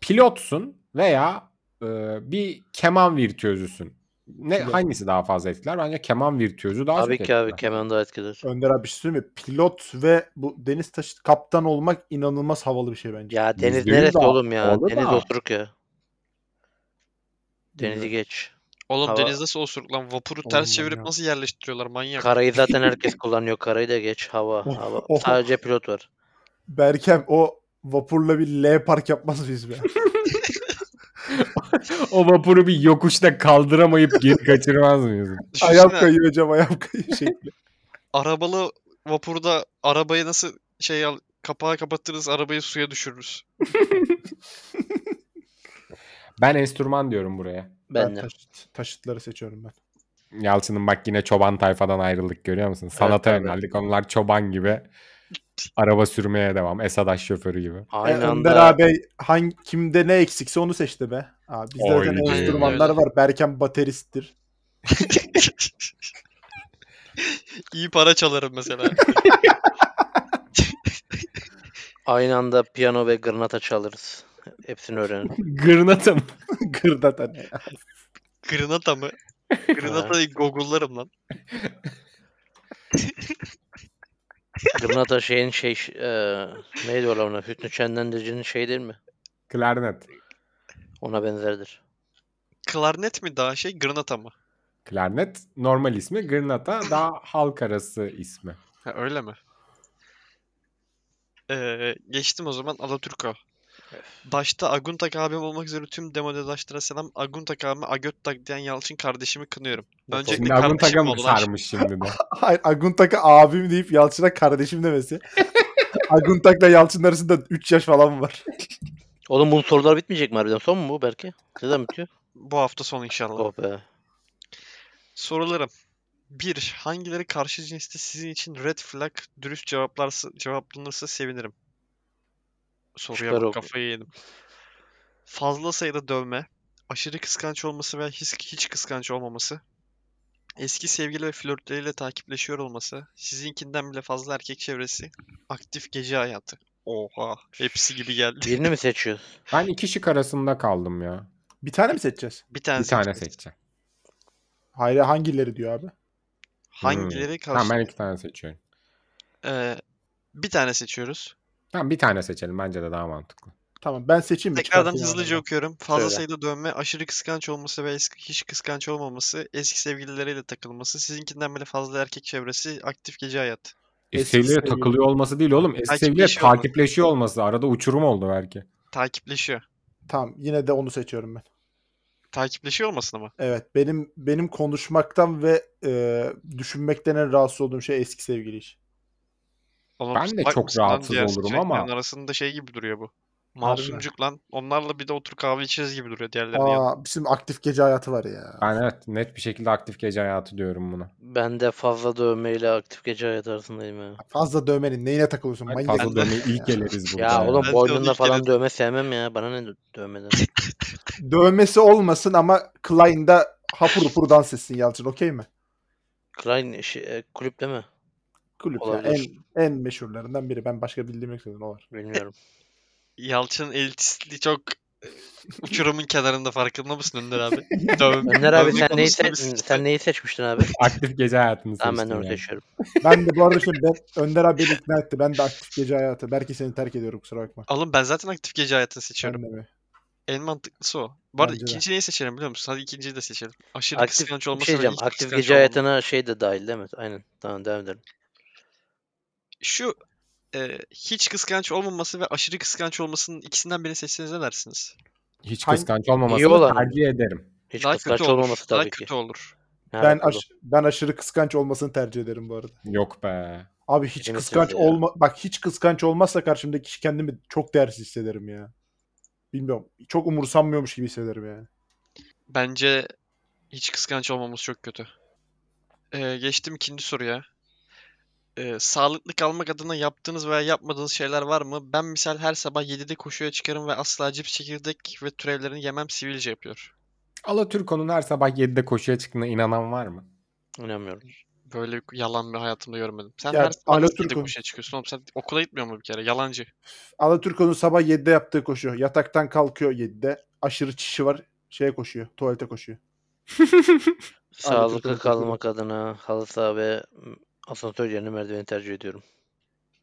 [SPEAKER 2] Pilotsun veya e, bir keman virtüözüsün. Ne
[SPEAKER 5] Pilot.
[SPEAKER 2] hangisi daha fazla etkiler? Bence keman virtüözü daha
[SPEAKER 4] Tabii
[SPEAKER 2] çok
[SPEAKER 4] ki abi
[SPEAKER 2] etkiler.
[SPEAKER 4] keman daha etkiler.
[SPEAKER 5] Önder abi bir şey söyleyeyim mi? Pilot ve bu deniz taşı kaptan olmak inanılmaz havalı bir şey bence.
[SPEAKER 4] Ya deniz
[SPEAKER 2] Yüzde yüz
[SPEAKER 4] neresi
[SPEAKER 2] o-
[SPEAKER 4] oğlum ya?
[SPEAKER 2] olur
[SPEAKER 4] Deniz
[SPEAKER 2] da.
[SPEAKER 4] osuruk ya. Denizi
[SPEAKER 5] Bilmiyorum.
[SPEAKER 4] geç.
[SPEAKER 3] Oğlum
[SPEAKER 4] Hava-
[SPEAKER 3] deniz nasıl osuruk lan? Vapuru ters
[SPEAKER 5] Oğlum
[SPEAKER 3] çevirip
[SPEAKER 5] manyak.
[SPEAKER 3] nasıl yerleştiriyorlar manyak?
[SPEAKER 4] Karayı zaten herkes kullanıyor. Karayı da geç. Hava.
[SPEAKER 5] Of,
[SPEAKER 4] hava.
[SPEAKER 5] of.
[SPEAKER 4] Sadece pilot var.
[SPEAKER 5] Berkem o vapurla bir L park yapmaz biz be.
[SPEAKER 2] o vapuru bir yokuşta kaldıramayıp geri kaçırmaz mıyız?
[SPEAKER 3] Düşünsene,
[SPEAKER 5] ayağım kayıyor hocam ayağım kayıyor şey. şekli.
[SPEAKER 3] arabalı vapurda arabayı nasıl şey al kapağı kapatırız arabayı suya düşürürüz.
[SPEAKER 2] Ben enstrüman diyorum buraya.
[SPEAKER 4] Ben de.
[SPEAKER 5] taşıt- taşıtları seçiyorum ben.
[SPEAKER 2] Yalçın'ın bak yine çoban tayfadan ayrıldık görüyor musun? Sanata
[SPEAKER 4] abi.
[SPEAKER 2] yöneldik. Onlar çoban gibi araba sürmeye devam. Esadaş şoförü gibi.
[SPEAKER 4] Aynı
[SPEAKER 5] e, Önder
[SPEAKER 4] anda
[SPEAKER 5] abi hangi, kimde ne eksikse onu seçti be. Abi, bizde
[SPEAKER 2] Oy
[SPEAKER 5] zaten
[SPEAKER 2] be.
[SPEAKER 5] enstrümanlar
[SPEAKER 3] Öyle.
[SPEAKER 5] var. Berkem bateristtir.
[SPEAKER 3] İyi para çalarım mesela.
[SPEAKER 4] aynı anda piyano ve granata çalırız. Hepsini öğrenin.
[SPEAKER 2] Gırnata mı?
[SPEAKER 5] Gırdata ne ya.
[SPEAKER 3] Granata mı? Granatayı google'larım lan.
[SPEAKER 4] Granata şeyin şey e, neydi o lan? Hüsnü Çendendici'nin şey değil mi?
[SPEAKER 2] Klarnet.
[SPEAKER 4] Ona benzerdir.
[SPEAKER 3] Klarnet mi daha şey granata mı?
[SPEAKER 2] Klarnet normal ismi. Gırnata daha halk arası ismi.
[SPEAKER 3] Ha, öyle mi? Ee, geçtim o zaman Alaturko. Başta Aguntak abim olmak üzere tüm demodedaşlara selam. Aguntak abime Agöttak diyen Yalçın kardeşimi kınıyorum. Öncelikle
[SPEAKER 2] Şimdi Agun
[SPEAKER 3] kardeşim
[SPEAKER 2] Taga
[SPEAKER 3] mi
[SPEAKER 2] mı
[SPEAKER 3] oldu lan?
[SPEAKER 2] sarmış şimdi de?
[SPEAKER 5] Hayır Aguntak'a abim deyip Yalçın'a kardeşim demesi. Aguntak'la Yalçın arasında 3 yaş falan var.
[SPEAKER 4] Oğlum bunun sorular bitmeyecek mi harbiden? Son mu bu belki? Neden bitiyor?
[SPEAKER 3] Bu hafta sonu inşallah.
[SPEAKER 4] Oh be.
[SPEAKER 3] Sorularım. 1. Hangileri karşı cinste sizin için red flag dürüst cevaplarsa, cevaplanırsa sevinirim. Soruya
[SPEAKER 4] Çıkar
[SPEAKER 3] bak
[SPEAKER 4] o-
[SPEAKER 3] kafayı yedim. Fazla sayıda dövme, aşırı kıskanç olması veya hiç, hiç kıskanç olmaması, eski sevgili ve flörtleriyle takipleşiyor olması, sizinkinden bile fazla erkek çevresi, aktif gece hayatı. Oha, hepsi gibi geldi.
[SPEAKER 4] Birini mi seçiyoruz?
[SPEAKER 2] Ben iki şık arasında kaldım ya.
[SPEAKER 5] Bir tane mi seçeceğiz?
[SPEAKER 3] Bir tane
[SPEAKER 2] Bir tane
[SPEAKER 3] seçeceğiz.
[SPEAKER 2] seçeceğim.
[SPEAKER 5] Hayır hangileri diyor abi?
[SPEAKER 3] Hangileri
[SPEAKER 2] Hmm. Tamam
[SPEAKER 3] karşı?
[SPEAKER 2] ben iki tane seçiyorum.
[SPEAKER 3] Ee, bir tane seçiyoruz.
[SPEAKER 2] Tamam bir tane seçelim bence de daha mantıklı.
[SPEAKER 5] Tamam ben seçeyim mi?
[SPEAKER 3] Tekrardan
[SPEAKER 5] Çıkartayım
[SPEAKER 3] hızlıca
[SPEAKER 5] aradan.
[SPEAKER 3] okuyorum. Fazla
[SPEAKER 4] Söyle.
[SPEAKER 3] sayıda dönme, aşırı kıskanç olması ve eski, hiç kıskanç olmaması, eski sevgilileriyle takılması, sizinkinden bile fazla erkek çevresi, aktif gece hayat.
[SPEAKER 2] Eski
[SPEAKER 5] Eski
[SPEAKER 2] sevgiliyle
[SPEAKER 5] sevgili.
[SPEAKER 2] takılıyor olması değil oğlum. Eski sevgiliyle
[SPEAKER 3] Takipleşiyor olması.
[SPEAKER 2] takipleşiyor olması. Arada uçurum oldu belki.
[SPEAKER 3] Takipleşiyor.
[SPEAKER 5] Tamam yine de onu seçiyorum ben.
[SPEAKER 3] Takipleşiyor olmasın ama.
[SPEAKER 5] Evet benim benim konuşmaktan ve e, düşünmekten en rahatsız olduğum şey eski sevgili iş.
[SPEAKER 3] Oğlum
[SPEAKER 2] Ben de
[SPEAKER 3] salak
[SPEAKER 2] çok
[SPEAKER 3] mısın lan?
[SPEAKER 2] rahatsız
[SPEAKER 3] Diğer
[SPEAKER 2] olurum
[SPEAKER 3] seçeneklerin
[SPEAKER 2] ama-
[SPEAKER 3] arasında şey gibi duruyor bu. Masumcuk lan. Onlarla bir de otur kahve içeriz gibi duruyor diğerlerinin yanında.
[SPEAKER 5] Aa, bizim aktif gece hayatı var ya.
[SPEAKER 2] Yani evet net bir şekilde aktif gece hayatı diyorum buna.
[SPEAKER 4] Ben de fazla dövmeyle aktif gece hayatı arasındayım ya.
[SPEAKER 5] Fazla dövmenin neyine takılıyorsun?
[SPEAKER 2] Hayır,
[SPEAKER 5] manyak?
[SPEAKER 2] fazla dövmeyi ilk eleriz burada.
[SPEAKER 4] Ya
[SPEAKER 2] yani.
[SPEAKER 4] oğlum
[SPEAKER 3] Ben de onu
[SPEAKER 4] boynunda
[SPEAKER 3] ilk
[SPEAKER 4] falan
[SPEAKER 3] kere-
[SPEAKER 4] dövme sevmem ya. Bana ne dö- dövmeden?
[SPEAKER 5] Dövmesi olmasın ama Klein'da hapur hapur dans etsin Yalçın okey mi?
[SPEAKER 4] Klein işi, e, kulüpte mi?
[SPEAKER 5] Kulüp ya, en,
[SPEAKER 4] Olabilir.
[SPEAKER 5] en meşhurlarından biri. Ben başka bildiğim yok zaten, o var.
[SPEAKER 4] Bilmiyorum.
[SPEAKER 3] Yalçın elitistliği çok e, uçurumun kenarında farkında mısın Önder abi? Dövme,
[SPEAKER 4] Önder abi
[SPEAKER 3] dövme
[SPEAKER 4] sen neyi,
[SPEAKER 3] konusunda
[SPEAKER 4] se-
[SPEAKER 3] bir sıkıntı.
[SPEAKER 4] sen neyi seçmiştin abi?
[SPEAKER 2] Aktif gece hayatını
[SPEAKER 4] Tamam ben de
[SPEAKER 2] seçtim
[SPEAKER 4] onu
[SPEAKER 2] yani.
[SPEAKER 4] seçiyorum.
[SPEAKER 5] Ben de bu arada şimdi ben, Önder abi beni ikna etti. Ben de aktif gece hayatı. Belki seni terk ediyorum kusura bakma.
[SPEAKER 3] Oğlum ben zaten aktif gece hayatını
[SPEAKER 5] Ben de
[SPEAKER 3] seçiyorum.
[SPEAKER 5] mi?
[SPEAKER 3] En mantıklısı o. Bu arada
[SPEAKER 5] Bence de.
[SPEAKER 3] ikinciyi neyi seçelim biliyor musun? Hadi ikinciyi de seçelim. Aşırı
[SPEAKER 4] Aktif-
[SPEAKER 3] kıskanç
[SPEAKER 4] Bir
[SPEAKER 3] olmasına
[SPEAKER 4] şey
[SPEAKER 3] ve
[SPEAKER 4] diyeceğim.
[SPEAKER 3] hiç
[SPEAKER 4] Aktif
[SPEAKER 3] kıskanç
[SPEAKER 4] gece
[SPEAKER 3] olmam.
[SPEAKER 4] hayatına şey de dahil değil mi? Aynen. Tamam devam edelim.
[SPEAKER 3] Şu e, hiç kıskanç olmaması ve aşırı kıskanç olmasının ikisinden birini seçseniz ne dersiniz?
[SPEAKER 2] Hiç
[SPEAKER 5] Hangi-
[SPEAKER 2] kıskanç
[SPEAKER 4] İyi olan
[SPEAKER 2] olmamasını
[SPEAKER 4] mı?
[SPEAKER 2] tercih ederim.
[SPEAKER 4] Hiç
[SPEAKER 3] daha
[SPEAKER 4] kıskanç
[SPEAKER 3] kötü olur.
[SPEAKER 4] olmaması
[SPEAKER 3] daha
[SPEAKER 4] tabii ki.
[SPEAKER 3] kötü olur.
[SPEAKER 4] Ne
[SPEAKER 5] Ben,
[SPEAKER 4] alaka bu?
[SPEAKER 5] aş- ben aşırı kıskanç olmasını tercih ederim bu arada.
[SPEAKER 2] Yok be.
[SPEAKER 5] Abi hiç
[SPEAKER 4] Hepimiz
[SPEAKER 5] kıskanç
[SPEAKER 4] öyle ya.
[SPEAKER 5] olma bak hiç kıskanç olmazsa karşımdaki kişi kendimi çok değersiz hissederim ya. Bilmiyorum. Çok umursanmıyormuş gibi hissederim yani.
[SPEAKER 3] Bence hiç kıskanç olmamız çok kötü. E, geçtim ikinci soruya. E, sağlıklı kalmak adına yaptığınız veya yapmadığınız şeyler var mı? Ben misal her sabah 7'de koşuya çıkarım ve asla cips, çekirdek ve türevlerini yemem sivilce yapıyor.
[SPEAKER 2] Alaturko'nun her sabah 7'de koşuya çıktığına inanan var mı?
[SPEAKER 4] İnanmıyorum.
[SPEAKER 3] Böyle bir yalan bir hayatımda görmedim. Sen
[SPEAKER 5] Ya,
[SPEAKER 3] her sabah nasıl
[SPEAKER 5] Alaturk'un-
[SPEAKER 3] 7'de koşuya çıkıyorsun oğlum? Sen okula gitmiyor mu bir kere? Yalancı.
[SPEAKER 5] Alaturko'nun sabah 7'de yaptığı koşuyor. Yataktan kalkıyor 7'de. Aşırı çişi var. Şeye koşuyor. Tuvalete koşuyor.
[SPEAKER 4] Sağlıklı
[SPEAKER 5] katılıyorum.
[SPEAKER 4] kalmak adına halı saha ve m, asansör yerine merdiveni tercih ediyorum.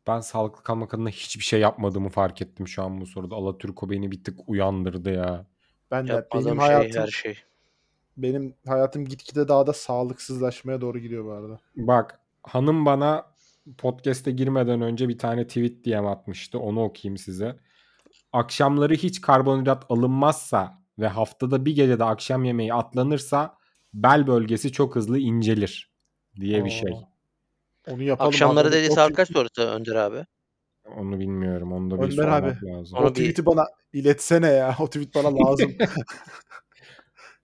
[SPEAKER 2] Ben sağlıklı kalmak adına hiçbir şey yapmadığımı fark ettim şu an bu soruda. Alaturko beni bir tık uyandırdı ya.
[SPEAKER 5] Ben de
[SPEAKER 4] Yapmadığım
[SPEAKER 5] benim
[SPEAKER 4] şey
[SPEAKER 5] hayatım
[SPEAKER 4] her şey.
[SPEAKER 5] benim hayatım gitgide daha da sağlıksızlaşmaya doğru gidiyor bu arada.
[SPEAKER 2] Bak hanım bana podcast'e girmeden önce bir tane tweet DM atmıştı. Onu okuyayım size. Akşamları hiç karbonhidrat alınmazsa ve haftada bir gecede akşam yemeği atlanırsa bel bölgesi çok hızlı incelir diye bir şey.
[SPEAKER 5] Onu yapalım.
[SPEAKER 4] Akşamları
[SPEAKER 5] abi.
[SPEAKER 4] dedi
[SPEAKER 5] O
[SPEAKER 4] saat
[SPEAKER 5] tweet-
[SPEAKER 4] kaç sonrası Önder abi?
[SPEAKER 2] Onu bilmiyorum. Onu da bir
[SPEAKER 5] Önder
[SPEAKER 2] sormak
[SPEAKER 5] abi,
[SPEAKER 2] lazım.
[SPEAKER 4] Onu
[SPEAKER 5] O
[SPEAKER 4] bir-
[SPEAKER 5] tweet'i bana iletsene ya. O tweet bana lazım.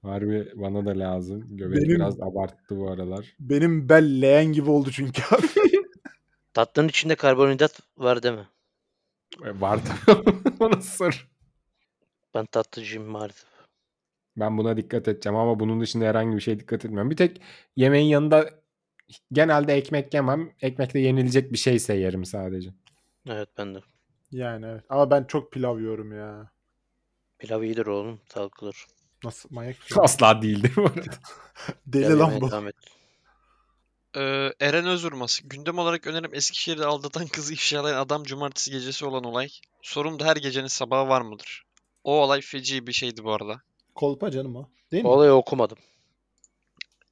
[SPEAKER 2] Harbi bana da lazım. Göbek
[SPEAKER 5] Benim-
[SPEAKER 2] biraz abarttı bu aralar.
[SPEAKER 5] benim bel leğen gibi oldu çünkü abi.
[SPEAKER 4] Tatlının içinde karbonhidrat var değil mi?
[SPEAKER 2] E, Var tabii. Ona sor.
[SPEAKER 4] Ben tatlıcıyım maalesef.
[SPEAKER 2] Ben buna dikkat edeceğim ama bunun dışında herhangi bir şeye dikkat etmiyorum. Bir tek yemeğin yanında genelde ekmek yemem. Ekmekle yenilecek bir şeyse yerim sadece.
[SPEAKER 4] Evet ben de.
[SPEAKER 5] yani evet. Ama ben çok pilav yiyorum ya.
[SPEAKER 4] Pilav iyidir oğlum. Sağlıklıdır.
[SPEAKER 5] Nasıl manyak bir şey.
[SPEAKER 2] Asla değildi bu arada.
[SPEAKER 5] Deli
[SPEAKER 4] Pilav
[SPEAKER 5] lan
[SPEAKER 4] yemeye
[SPEAKER 5] bu.
[SPEAKER 4] devam et.
[SPEAKER 3] Ee, Eren Özurmaz. Gündem olarak önerim Eskişehir'de aldatan kızı ifşalayan adam cumartesi gecesi olan olay. Sorum da her gecenin sabahı var mıdır? O olay feci bir şeydi bu arada.
[SPEAKER 5] Kolpa canım o. Değil mi?
[SPEAKER 4] Olayı okumadım.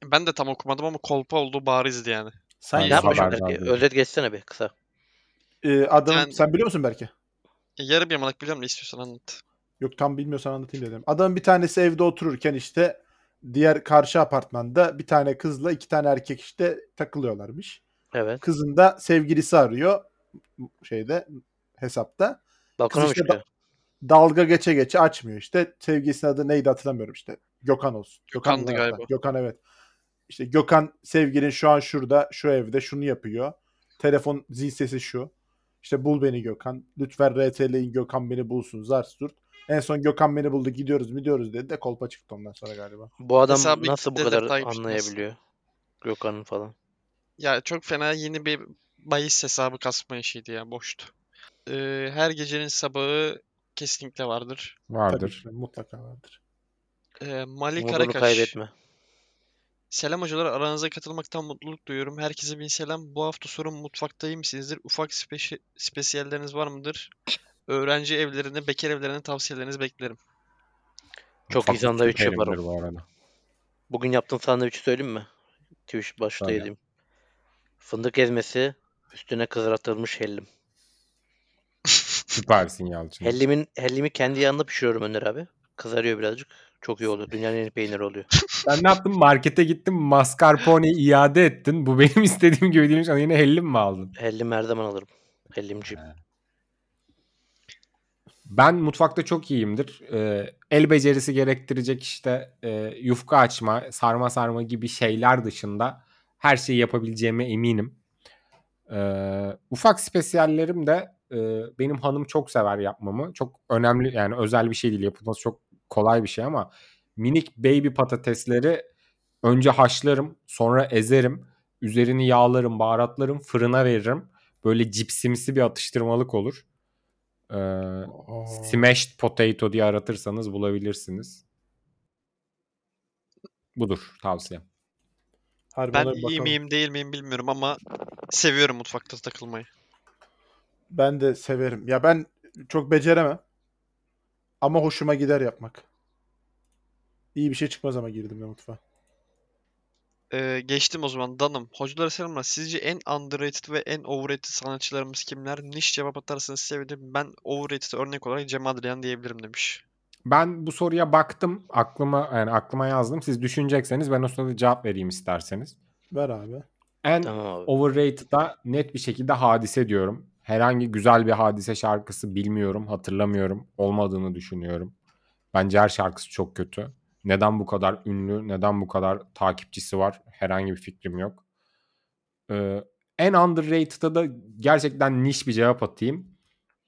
[SPEAKER 3] Ben de tam okumadım ama kolpa olduğu barizdi yani.
[SPEAKER 5] sen
[SPEAKER 2] Ben
[SPEAKER 4] Ne yapmış
[SPEAKER 2] haber
[SPEAKER 4] Berke?
[SPEAKER 2] verdim.
[SPEAKER 4] Özet geçsene bir kısa.
[SPEAKER 5] e, adamın
[SPEAKER 3] Sen-
[SPEAKER 5] sen biliyor musun belki?
[SPEAKER 3] E, yarım yamalak biliyorum ne istiyorsan anlat.
[SPEAKER 5] Yok tam bilmiyorsan anlatayım dedim. Adamın bir tanesi evde otururken işte diğer karşı apartmanda bir tane kızla iki tane erkek işte takılıyorlarmış.
[SPEAKER 4] Evet.
[SPEAKER 5] Kızın da sevgilisi arıyor şeyde hesapta.
[SPEAKER 4] Bakına
[SPEAKER 5] Kız
[SPEAKER 4] mı
[SPEAKER 5] işte
[SPEAKER 4] çıkıyor?
[SPEAKER 5] Dalga geçe geçe açmıyor işte. Sevgilisinin adı neydi hatırlamıyorum işte. Gökhan olsun.
[SPEAKER 3] Gökhan'dı
[SPEAKER 5] mı hatta?
[SPEAKER 3] galiba.
[SPEAKER 5] Gökhan evet. İşte Gökhan sevgilin şu an şurada, şu evde şunu yapıyor. Telefon zil sesi şu. İşte bul beni Gökhan. Lütfen RT'leyin Gökhan beni bulsun. Zar zurt. En son Gökhan beni buldu gidiyoruz gidiyoruz dedi de kolpa çıktı ondan sonra galiba.
[SPEAKER 4] Bu adam
[SPEAKER 3] Mesela bir
[SPEAKER 4] nasıl bu
[SPEAKER 3] detay
[SPEAKER 4] kadar
[SPEAKER 3] takipçi nasıl?
[SPEAKER 4] anlayabiliyor? Gökhan'ın falan.
[SPEAKER 3] Ya çok fena yeni bir bahis hesabı kasma işiydi ya boştu. Ee, her gecenin sabahı kesinlikle vardır.
[SPEAKER 5] Tabii
[SPEAKER 2] Vardır.
[SPEAKER 5] ki, mutlaka vardır.
[SPEAKER 3] Ee, Mali
[SPEAKER 4] Umudunu
[SPEAKER 3] Karakaş.
[SPEAKER 4] kaybetme.
[SPEAKER 3] Selam hocalar, aranıza katılmaktan mutluluk duyuyorum. Herkese bin selam. Bu hafta sorum mutfaktayım misinizdir? Ufak speşi- spesiyelleriniz var mıdır? Öğrenci evlerine, bekar evlerine tavsiyelerinizi beklerim.
[SPEAKER 4] Çok iyi
[SPEAKER 2] Ufaklık
[SPEAKER 4] sandviç
[SPEAKER 2] süperimdir
[SPEAKER 4] yaparım.
[SPEAKER 2] Bu arada.
[SPEAKER 4] Bugün yaptığım sandviçi söyleyeyim mi? Twitch başta
[SPEAKER 2] Söyle.
[SPEAKER 4] yediğim. Fındık ezmesi, üstüne kızartılmış hellim.
[SPEAKER 2] Süpersin Yalçın.
[SPEAKER 4] Hellimin, hellimi kendi yanında pişiriyorum Önder abi. Kızarıyor birazcık. Çok iyi oluyor. Dünyanın en iyi peyniri oluyor.
[SPEAKER 2] Sen ne yaptın? Markete gittin mascarpone iade ettin. Bu benim istediğim gibi değilmiş. Ama yine hellim mi aldın?
[SPEAKER 4] Hellim her zaman alırım. Hellimciyim.
[SPEAKER 2] Ben mutfakta çok iyiyimdir. Ee, el becerisi gerektirecek işte e, yufka açma, sarma sarma gibi şeyler dışında her şeyi yapabileceğime eminim. Ee, ufak spesiyallerim de e, benim hanım çok sever yapmamı. Çok önemli yani özel bir şey değil yapılması çok kolay bir şey ama minik baby patatesleri önce haşlarım sonra ezerim. Üzerini yağlarım, baharatlarım, fırına veririm. Böyle cipsimsi bir atıştırmalık olur. Ee, Smashed potato diye aratırsanız bulabilirsiniz. Budur tavsiyem.
[SPEAKER 5] Harbi
[SPEAKER 3] Ben
[SPEAKER 5] ona bir
[SPEAKER 3] iyi
[SPEAKER 5] bakalım.
[SPEAKER 3] miyim değil miyim bilmiyorum ama seviyorum mutfakta takılmayı.
[SPEAKER 5] Ben de severim. Ya ben çok beceremem. Ama hoşuma gider yapmak. İyi bir şey çıkmaz ama girdim ya mutfağa.
[SPEAKER 3] Ee, geçtim o zaman. Danım. Hocalara selamlar. Sizce en underrated ve en overrated sanatçılarımız kimler? Niş cevap atarsanız sevinirim. Ben overrated örnek olarak Cem Adrian diyebilirim demiş.
[SPEAKER 2] Ben bu soruya baktım. Aklıma yani aklıma yazdım. Siz düşünecekseniz ben o sırada cevap vereyim isterseniz.
[SPEAKER 5] Ver abi.
[SPEAKER 2] En
[SPEAKER 4] Tamam abi.
[SPEAKER 2] overrated'a net bir şekilde hadise diyorum. Herhangi güzel bir hadise şarkısı bilmiyorum, hatırlamıyorum. Olmadığını düşünüyorum. Bence her şarkısı çok kötü. Neden bu kadar ünlü, neden bu kadar takipçisi var herhangi bir fikrim yok. Ee, en underrated'a da gerçekten niş bir cevap atayım.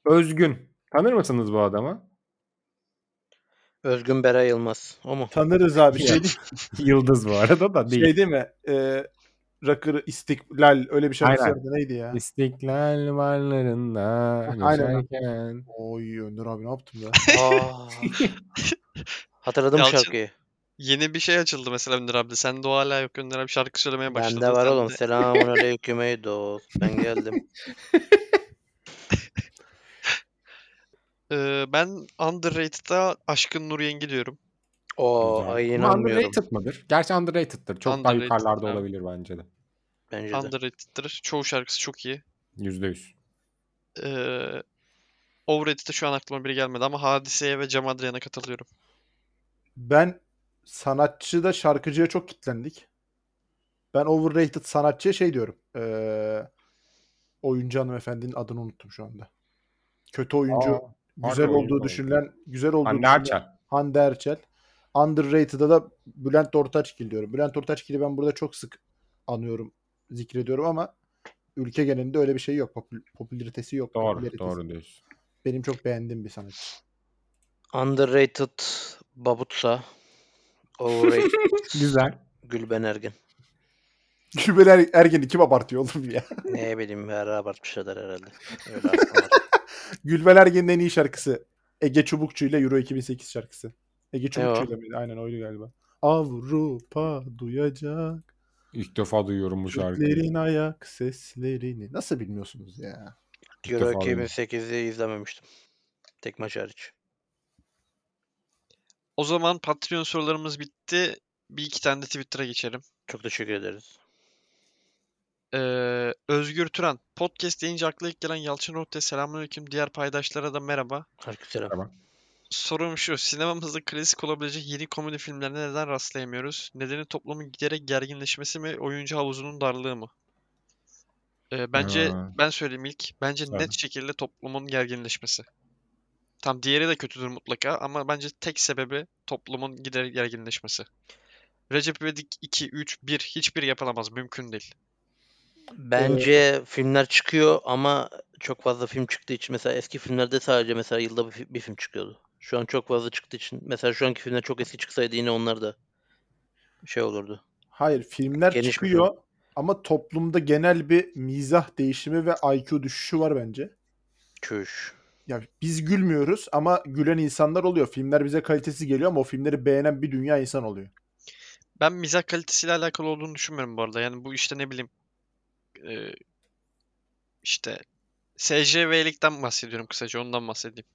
[SPEAKER 2] Özgün. Tanır mısınız bu adamı?
[SPEAKER 4] Özgün Bera Yılmaz. O mu?
[SPEAKER 5] Tanırız abi. Şey değil,
[SPEAKER 2] Yıldız bu arada da değil.
[SPEAKER 5] şey değil mi? Ee, rocker istiklal öyle bir şarkı
[SPEAKER 2] Aynen.
[SPEAKER 5] vardı. Neydi ya?
[SPEAKER 2] İstiklal varlarında
[SPEAKER 5] Aynen.
[SPEAKER 2] geçerken.
[SPEAKER 5] Oy Önder abi ne yaptın ya?
[SPEAKER 4] Aa. Hatırladım
[SPEAKER 3] Yalçın,
[SPEAKER 4] şarkıyı.
[SPEAKER 3] Yeni bir şey açıldı mesela Önder abi. Sen de o hala yok Önder abi şarkı söylemeye başladı.
[SPEAKER 4] Bende var
[SPEAKER 3] Sen
[SPEAKER 4] oğlum.
[SPEAKER 3] de-
[SPEAKER 4] Selamun aleyküm ey dost. Ben geldim.
[SPEAKER 3] Ee, ben underrated'a Aşkın Nur Yengi diyorum.
[SPEAKER 4] Oo
[SPEAKER 2] Güzel.
[SPEAKER 4] ay
[SPEAKER 2] Ama
[SPEAKER 4] inanmıyorum.
[SPEAKER 2] underrated mıdır? Gerçi underrated'tır. Çok daha
[SPEAKER 3] Underrated,
[SPEAKER 2] yukarılarda
[SPEAKER 3] evet.
[SPEAKER 2] olabilir bence de.
[SPEAKER 4] Bence de.
[SPEAKER 3] Underrated'tır. Çoğu şarkısı çok iyi.
[SPEAKER 2] Yüzde yüz.
[SPEAKER 3] Ee, overrated'e şu an aklıma biri gelmedi ama Hadise'ye ve Cem Adrian'a katılıyorum.
[SPEAKER 5] Ben sanatçı da şarkıcıya çok kitlendik. Ben overrated sanatçıya şey diyorum. Ee, oyuncu hanımefendinin adını unuttum şu anda. Kötü oyuncu, güzel
[SPEAKER 2] harbi oyuncu Hani
[SPEAKER 5] olduğu
[SPEAKER 2] oyuncu.
[SPEAKER 5] düşünülen, güzel olduğu
[SPEAKER 2] Hande
[SPEAKER 5] düşünülen-
[SPEAKER 2] Erçel.
[SPEAKER 5] Hande Erçel. Underrated'a da Bülent Ortaçgil diyorum. Bülent Ortaçgil'i ben burada çok sık anıyorum, zikrediyorum ama ülke genelinde öyle bir şey yok. Popül- popülaritesi yok.
[SPEAKER 2] Doğru,
[SPEAKER 5] popülaritesi.
[SPEAKER 2] doğru diyorsun.
[SPEAKER 5] Benim çok beğendiğim bir sanatçı.
[SPEAKER 4] Underrated Babutsa. Overrated
[SPEAKER 2] Güzel.
[SPEAKER 4] Gülben Ergen.
[SPEAKER 5] Kübel Er- Ergen'i kim abartıyor oğlum ya?
[SPEAKER 4] Ne bileyim her abartmışlar herhalde. Öyle aklım var.
[SPEAKER 5] Gülben Ergen'in en iyi şarkısı. Ege Çubukçu ile Euro 2008 şarkısı. Ege Çubukçu
[SPEAKER 4] o?
[SPEAKER 5] ile miydi? Aynen oydu galiba. Avrupa duyacak
[SPEAKER 2] İlk defa duyuyorum bu şarkıyı.
[SPEAKER 5] Türklerin ayak seslerini. Nasıl bilmiyorsunuz ya?
[SPEAKER 4] Euro
[SPEAKER 2] defa duydum.
[SPEAKER 4] 2008'i izlememiştim. Tek maç hariç.
[SPEAKER 3] O zaman Patreon sorularımız bitti. Bir iki tane de Twitter'a geçelim.
[SPEAKER 4] Çok teşekkür ederiz.
[SPEAKER 3] Ee, Özgür Turan. Podcast deyince akla ilk gelen Yalçın Orta'ya selamünaleyküm. Diğer paydaşlara da merhaba.
[SPEAKER 4] Herkese selam.
[SPEAKER 2] Tamam.
[SPEAKER 3] Sorum şu. Sinemamızda klasik olabilecek yeni komedi filmlerine neden rastlayamıyoruz? Nedeni toplumun giderek gerginleşmesi mi? Oyuncu havuzunun darlığı mı? Ee, bence
[SPEAKER 2] Ha.
[SPEAKER 3] ben söyleyeyim ilk. Bence
[SPEAKER 2] Söyle.
[SPEAKER 3] net şekilde toplumun gerginleşmesi. Tam diğeri de kötüdür mutlaka ama bence tek sebebi toplumun giderek gerginleşmesi. Recep İvedik 2, 3, 1 hiçbir yapılamaz. Mümkün değil.
[SPEAKER 4] Bence
[SPEAKER 2] Ee,
[SPEAKER 4] filmler çıkıyor ama çok fazla film çıktığı için mesela eski filmlerde sadece mesela yılda bir, fi- bir film çıkıyordu. Şu an çok fazla çıktığı için mesela şu anki filmler çok eski çıksaydı yine onlar da şey olurdu.
[SPEAKER 5] Hayır filmler
[SPEAKER 4] Geniş bir
[SPEAKER 5] çıkıyor ama toplumda genel bir mizah değişimi ve IQ düşüşü var bence.
[SPEAKER 4] Çüş.
[SPEAKER 5] Ya biz gülmüyoruz ama gülen insanlar oluyor. Filmler bize kalitesiz geliyor ama o filmleri beğenen bir dünya insan oluyor.
[SPEAKER 3] Ben mizah kalitesiyle alakalı olduğunu düşünmüyorum bu arada. Yani bu işte ne bileyim eee, işte SJV'likten bahsediyorum kısaca ondan bahsedeyim.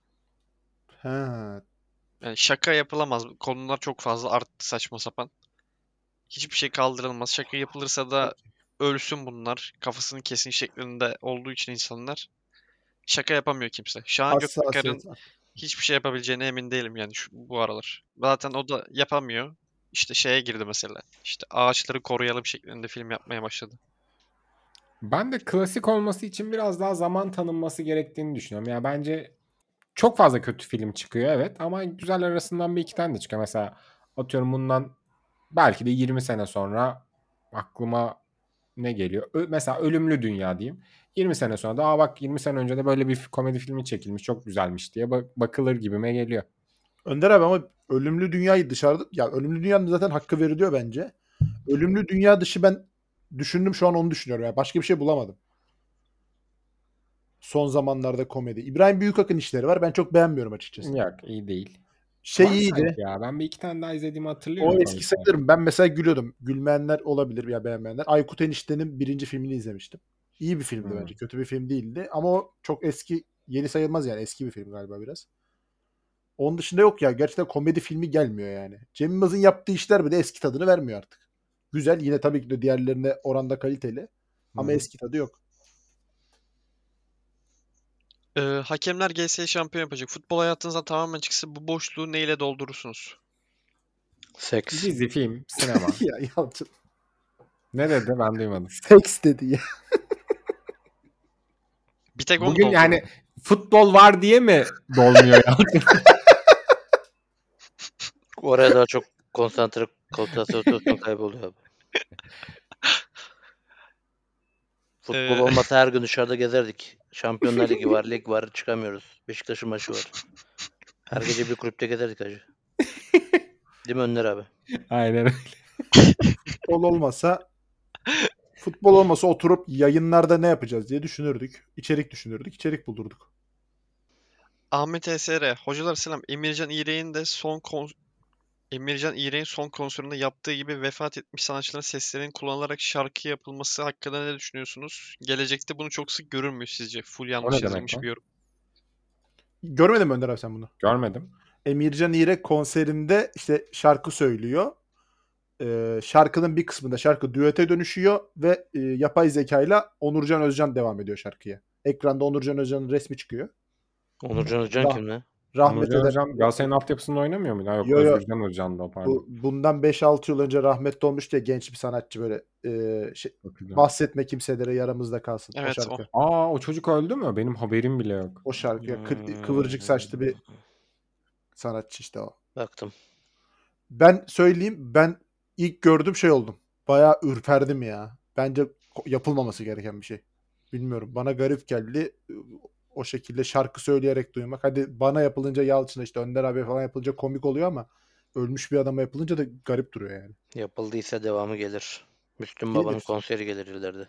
[SPEAKER 5] Ha,
[SPEAKER 3] Yani şaka yapılamaz. Konular çok fazla arttı saçma sapan. Hiçbir şey kaldırılmaz. Şaka yapılırsa da ölsün bunlar. Kafasını kesin şeklinde olduğu için insanlar. Şaka yapamıyor kimse. Şahan Gökbakar'ın
[SPEAKER 5] hassasiyet.
[SPEAKER 3] hiçbir şey yapabileceğine emin değilim yani şu, bu aralar. Zaten o da yapamıyor. İşte şeye girdi mesela. İşte ağaçları koruyalım şeklinde film yapmaya başladı.
[SPEAKER 2] Ben de klasik olması için biraz daha zaman tanınması gerektiğini düşünüyorum. Ya bence çok fazla kötü film çıkıyor evet ama güzel arasından bir iki tane de çıkıyor. Mesela atıyorum bundan belki de 20 sene sonra aklıma ne geliyor? Ö- mesela Ölümlü Dünya diyeyim. 20 sene sonra da Aa bak 20 sene önce de böyle bir komedi filmi çekilmiş çok güzelmiş diye bak- bakılır gibime geliyor.
[SPEAKER 5] Önder abi ama ölümlü dünyayı dışarıda ya ölümlü dünyanın zaten hakkı veriliyor bence. Ölümlü dünya dışı ben düşündüm şu an onu düşünüyorum. Yani başka bir şey bulamadım. Son zamanlarda komedi. İbrahim Büyükak'ın işleri var. Ben çok beğenmiyorum açıkçası.
[SPEAKER 2] Yok iyi değil.
[SPEAKER 5] Şey
[SPEAKER 2] Var
[SPEAKER 5] iyiydi.
[SPEAKER 2] sanki Ya ben bir iki tane daha izlediğimi hatırlıyorum.
[SPEAKER 5] O
[SPEAKER 2] ama
[SPEAKER 5] eski
[SPEAKER 2] işte.
[SPEAKER 5] sayılırım. Ben mesela gülüyordum. Gülmeyenler olabilir ya beğenmeyenler. Aykut Enişte'nin birinci filmini izlemiştim. İyi bir filmdi
[SPEAKER 2] Hı.
[SPEAKER 5] bence. Kötü bir film değildi. Ama o çok eski, yeni sayılmaz yani. Eski bir film galiba biraz. Onun dışında yok ya. Gerçekten komedi filmi gelmiyor yani. Cem Yılmaz'ın yaptığı işler bile eski tadını vermiyor artık. Güzel. Yine tabii ki de diğerlerine oranda kaliteli. Ama
[SPEAKER 2] Hı.
[SPEAKER 5] eski tadı yok.
[SPEAKER 3] Ee, hakemler GS şampiyon yapacak. Futbol hayatınızdan tamamen çıksa bu boşluğu neyle doldurursunuz?
[SPEAKER 4] Seks.
[SPEAKER 2] Dizi, film, sinema.
[SPEAKER 5] ya Yalçın.
[SPEAKER 2] ne dedi ben duymadım.
[SPEAKER 5] Seks dedi ya.
[SPEAKER 3] Bir tek onu
[SPEAKER 2] Bugün
[SPEAKER 3] dolduruyor.
[SPEAKER 2] yani futbol var diye mi dolmuyor ya?
[SPEAKER 4] Oraya daha çok konsantre konsantrasyon kayboluyor abi. Futbol
[SPEAKER 3] Ee,
[SPEAKER 4] olmasa her gün dışarıda gezerdik. Şampiyonlar Ligi var, lig var, çıkamıyoruz. Beşiktaş'ın maçı var. Her gece bir kulüpte gezerdik hacı. Değil mi Önder abi?
[SPEAKER 2] Aynen. öyle.
[SPEAKER 5] Futbol olmasa futbol olmasa oturup yayınlarda ne yapacağız diye düşünürdük. İçerik düşünürdük. içerik bulurduk.
[SPEAKER 3] Ahmet ESR. Hocalar selam. Emircan İğrek'in de son kon- Emircan İğrek'in son konserinde yaptığı gibi vefat etmiş sanatçıların seslerinin kullanılarak şarkı yapılması hakkında ne düşünüyorsunuz? Gelecekte bunu çok sık görür müyüz sizce? Full yanlış
[SPEAKER 2] demek
[SPEAKER 3] yazılmış
[SPEAKER 2] lan?
[SPEAKER 3] bir yorum.
[SPEAKER 5] Görmedin mi Önder abi sen bunu?
[SPEAKER 2] Görmedim.
[SPEAKER 5] Emircan İrek konserinde işte şarkı söylüyor. Ee, şarkının bir kısmında şarkı düete dönüşüyor ve e, yapay zekayla Onurcan Özcan devam ediyor şarkıya. Ekranda Onurcan Özcan'ın resmi çıkıyor.
[SPEAKER 4] Onurcan Özcan
[SPEAKER 5] Daha-
[SPEAKER 4] kim lan?
[SPEAKER 5] Rahmet
[SPEAKER 2] Onurcan
[SPEAKER 5] eder-
[SPEAKER 2] Hocam Galatasaray'ın altyapısında oynamıyor muydu? Ha, Yok,
[SPEAKER 5] Yo, yo.
[SPEAKER 2] Özgürcan Hocam'dı o pardon.
[SPEAKER 5] bu, bundan 5-6 yıl önce rahmetli olmuştu ya genç bir sanatçı böyle e, şey,
[SPEAKER 2] Bakacağım.
[SPEAKER 5] bahsetme kimselere yaramızda kalsın
[SPEAKER 3] Evet,
[SPEAKER 5] o
[SPEAKER 3] o.
[SPEAKER 5] şarkı. O,
[SPEAKER 2] Aa o çocuk öldü mü? Benim haberim bile yok.
[SPEAKER 5] şarkı
[SPEAKER 4] Hmm.
[SPEAKER 5] kı- kıvırcık saçlı bir sanatçı işte o.
[SPEAKER 4] Baktım.
[SPEAKER 5] Ben söyleyeyim ben ilk gördüm şey oldum. Bayağı ürperdim ya. Bence ko- yapılmaması gereken bir şey. Bilmiyorum bana garip geldi. O şekilde şarkı söyleyerek duymak. Hadi bana yapılınca Yalçın işte Önder abi falan yapılınca komik oluyor ama ölmüş bir adama yapılınca da garip duruyor yani.
[SPEAKER 4] Yapıldıysa devamı gelir. Müslüm
[SPEAKER 5] Gelir.
[SPEAKER 4] Baba'nın konseri gelir ileride.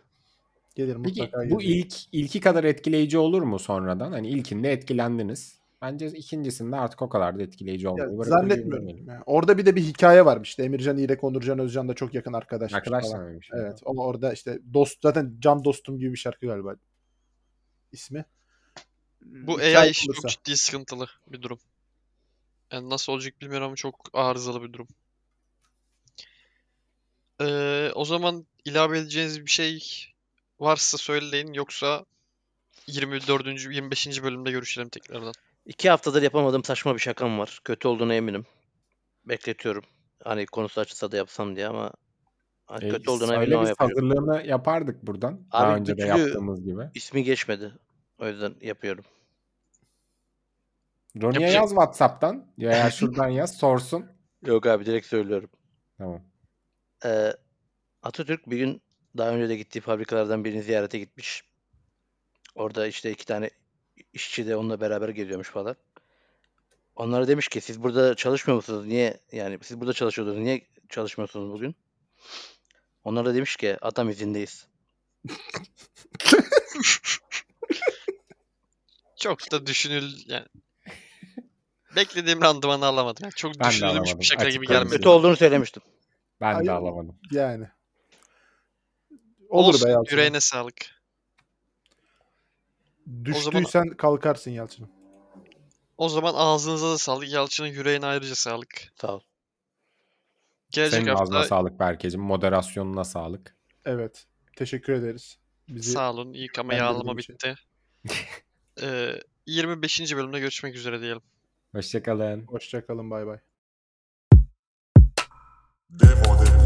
[SPEAKER 5] Gelir
[SPEAKER 2] Peki
[SPEAKER 5] mutlaka
[SPEAKER 2] bu
[SPEAKER 5] gelir.
[SPEAKER 2] ilk ilki kadar etkileyici olur mu sonradan? Hani ilkinde etkilendiniz. Bence ikincisinde artık o kadar da etkileyici
[SPEAKER 5] Ya,
[SPEAKER 2] olmuyor.
[SPEAKER 5] zannetmiyorum. ya. Orada bir de bir hikaye varmış. İşte Emircan İrek, Onurcan Özcan da çok yakın arkadaşlar.
[SPEAKER 2] Arkadaşlar şey.
[SPEAKER 5] falan.
[SPEAKER 2] mıymış?
[SPEAKER 5] Evet. O orada işte dost zaten can dostum gibi bir şarkı galiba ismi.
[SPEAKER 3] Bu
[SPEAKER 5] Hikaye
[SPEAKER 3] AI işi
[SPEAKER 5] olursa.
[SPEAKER 3] çok ciddi sıkıntılı bir durum. Yani nasıl olacak bilmiyorum ama çok arızalı bir durum. Ee, o zaman ilave edeceğiniz bir şey varsa söyleyin yoksa 24. 25. bölümde görüşelim tekrardan.
[SPEAKER 4] İki haftadır yapamadığım saçma bir şakam var. Kötü olduğuna eminim. Bekletiyorum. Hani konusu açılsa da yapsam diye ama hani
[SPEAKER 2] E,
[SPEAKER 4] kötü olduğuna eminim
[SPEAKER 2] söyle
[SPEAKER 4] ama
[SPEAKER 2] biz
[SPEAKER 4] yapacağım.
[SPEAKER 2] hazırlığını yapardık buradan. Daha
[SPEAKER 4] Abi,
[SPEAKER 2] önce de
[SPEAKER 4] güçlü-
[SPEAKER 2] yaptığımız gibi.
[SPEAKER 4] İsmi geçmedi. O yüzden yapıyorum.
[SPEAKER 2] Roni'ye
[SPEAKER 3] Yapacak-
[SPEAKER 2] yaz Whatsapp'tan veya şuradan yaz sorsun.
[SPEAKER 4] Yok abi direkt söylüyorum.
[SPEAKER 2] Tamam.
[SPEAKER 4] Ee, Atatürk bir gün daha önce de gittiği fabrikalardan birini ziyarete gitmiş. Orada işte iki tane işçi de onunla beraber geliyormuş falan. Onlara demiş ki siz burada çalışmıyor musunuz? Niye yani siz burada çalışıyordunuz. Niye çalışmıyorsunuz bugün? Onlar da demiş ki atam izindeyiz.
[SPEAKER 3] Çok da düşünül yani. Beklediğim randımanı alamadım. Yani çok
[SPEAKER 2] Ben de
[SPEAKER 3] düşünülmüş
[SPEAKER 2] alamadım.
[SPEAKER 3] bir şaka
[SPEAKER 2] Açık
[SPEAKER 3] gibi
[SPEAKER 2] konuşayım.
[SPEAKER 3] gelmedi.
[SPEAKER 4] Kötü olduğunu söylemiştim.
[SPEAKER 2] Ben
[SPEAKER 5] Hayır.
[SPEAKER 2] de alamadım.
[SPEAKER 5] Yani. Olur
[SPEAKER 3] Olsun,
[SPEAKER 5] be Yalçın.
[SPEAKER 3] Yüreğine sağlık.
[SPEAKER 5] Düştüysen kalkarsın Yalçın.
[SPEAKER 3] O zaman ağzınıza da sağlık. Yalçın'ın yüreğine ayrıca sağlık.
[SPEAKER 4] Sağ ol.
[SPEAKER 3] Gelecek
[SPEAKER 2] Senin ağzına
[SPEAKER 3] hafta
[SPEAKER 2] sağlık Berkeciğim. Moderasyonuna sağlık.
[SPEAKER 5] Evet. Teşekkür ederiz. Bizi
[SPEAKER 3] sağ olun. İyi ama
[SPEAKER 5] Benden
[SPEAKER 3] yağlama
[SPEAKER 5] dediğin için.
[SPEAKER 3] bitti. Ee, 25. bölümde görüşmek üzere diyelim.
[SPEAKER 2] Hoşçakalın.
[SPEAKER 5] hoşça kalın bay bay.
[SPEAKER 6] Devo, devo.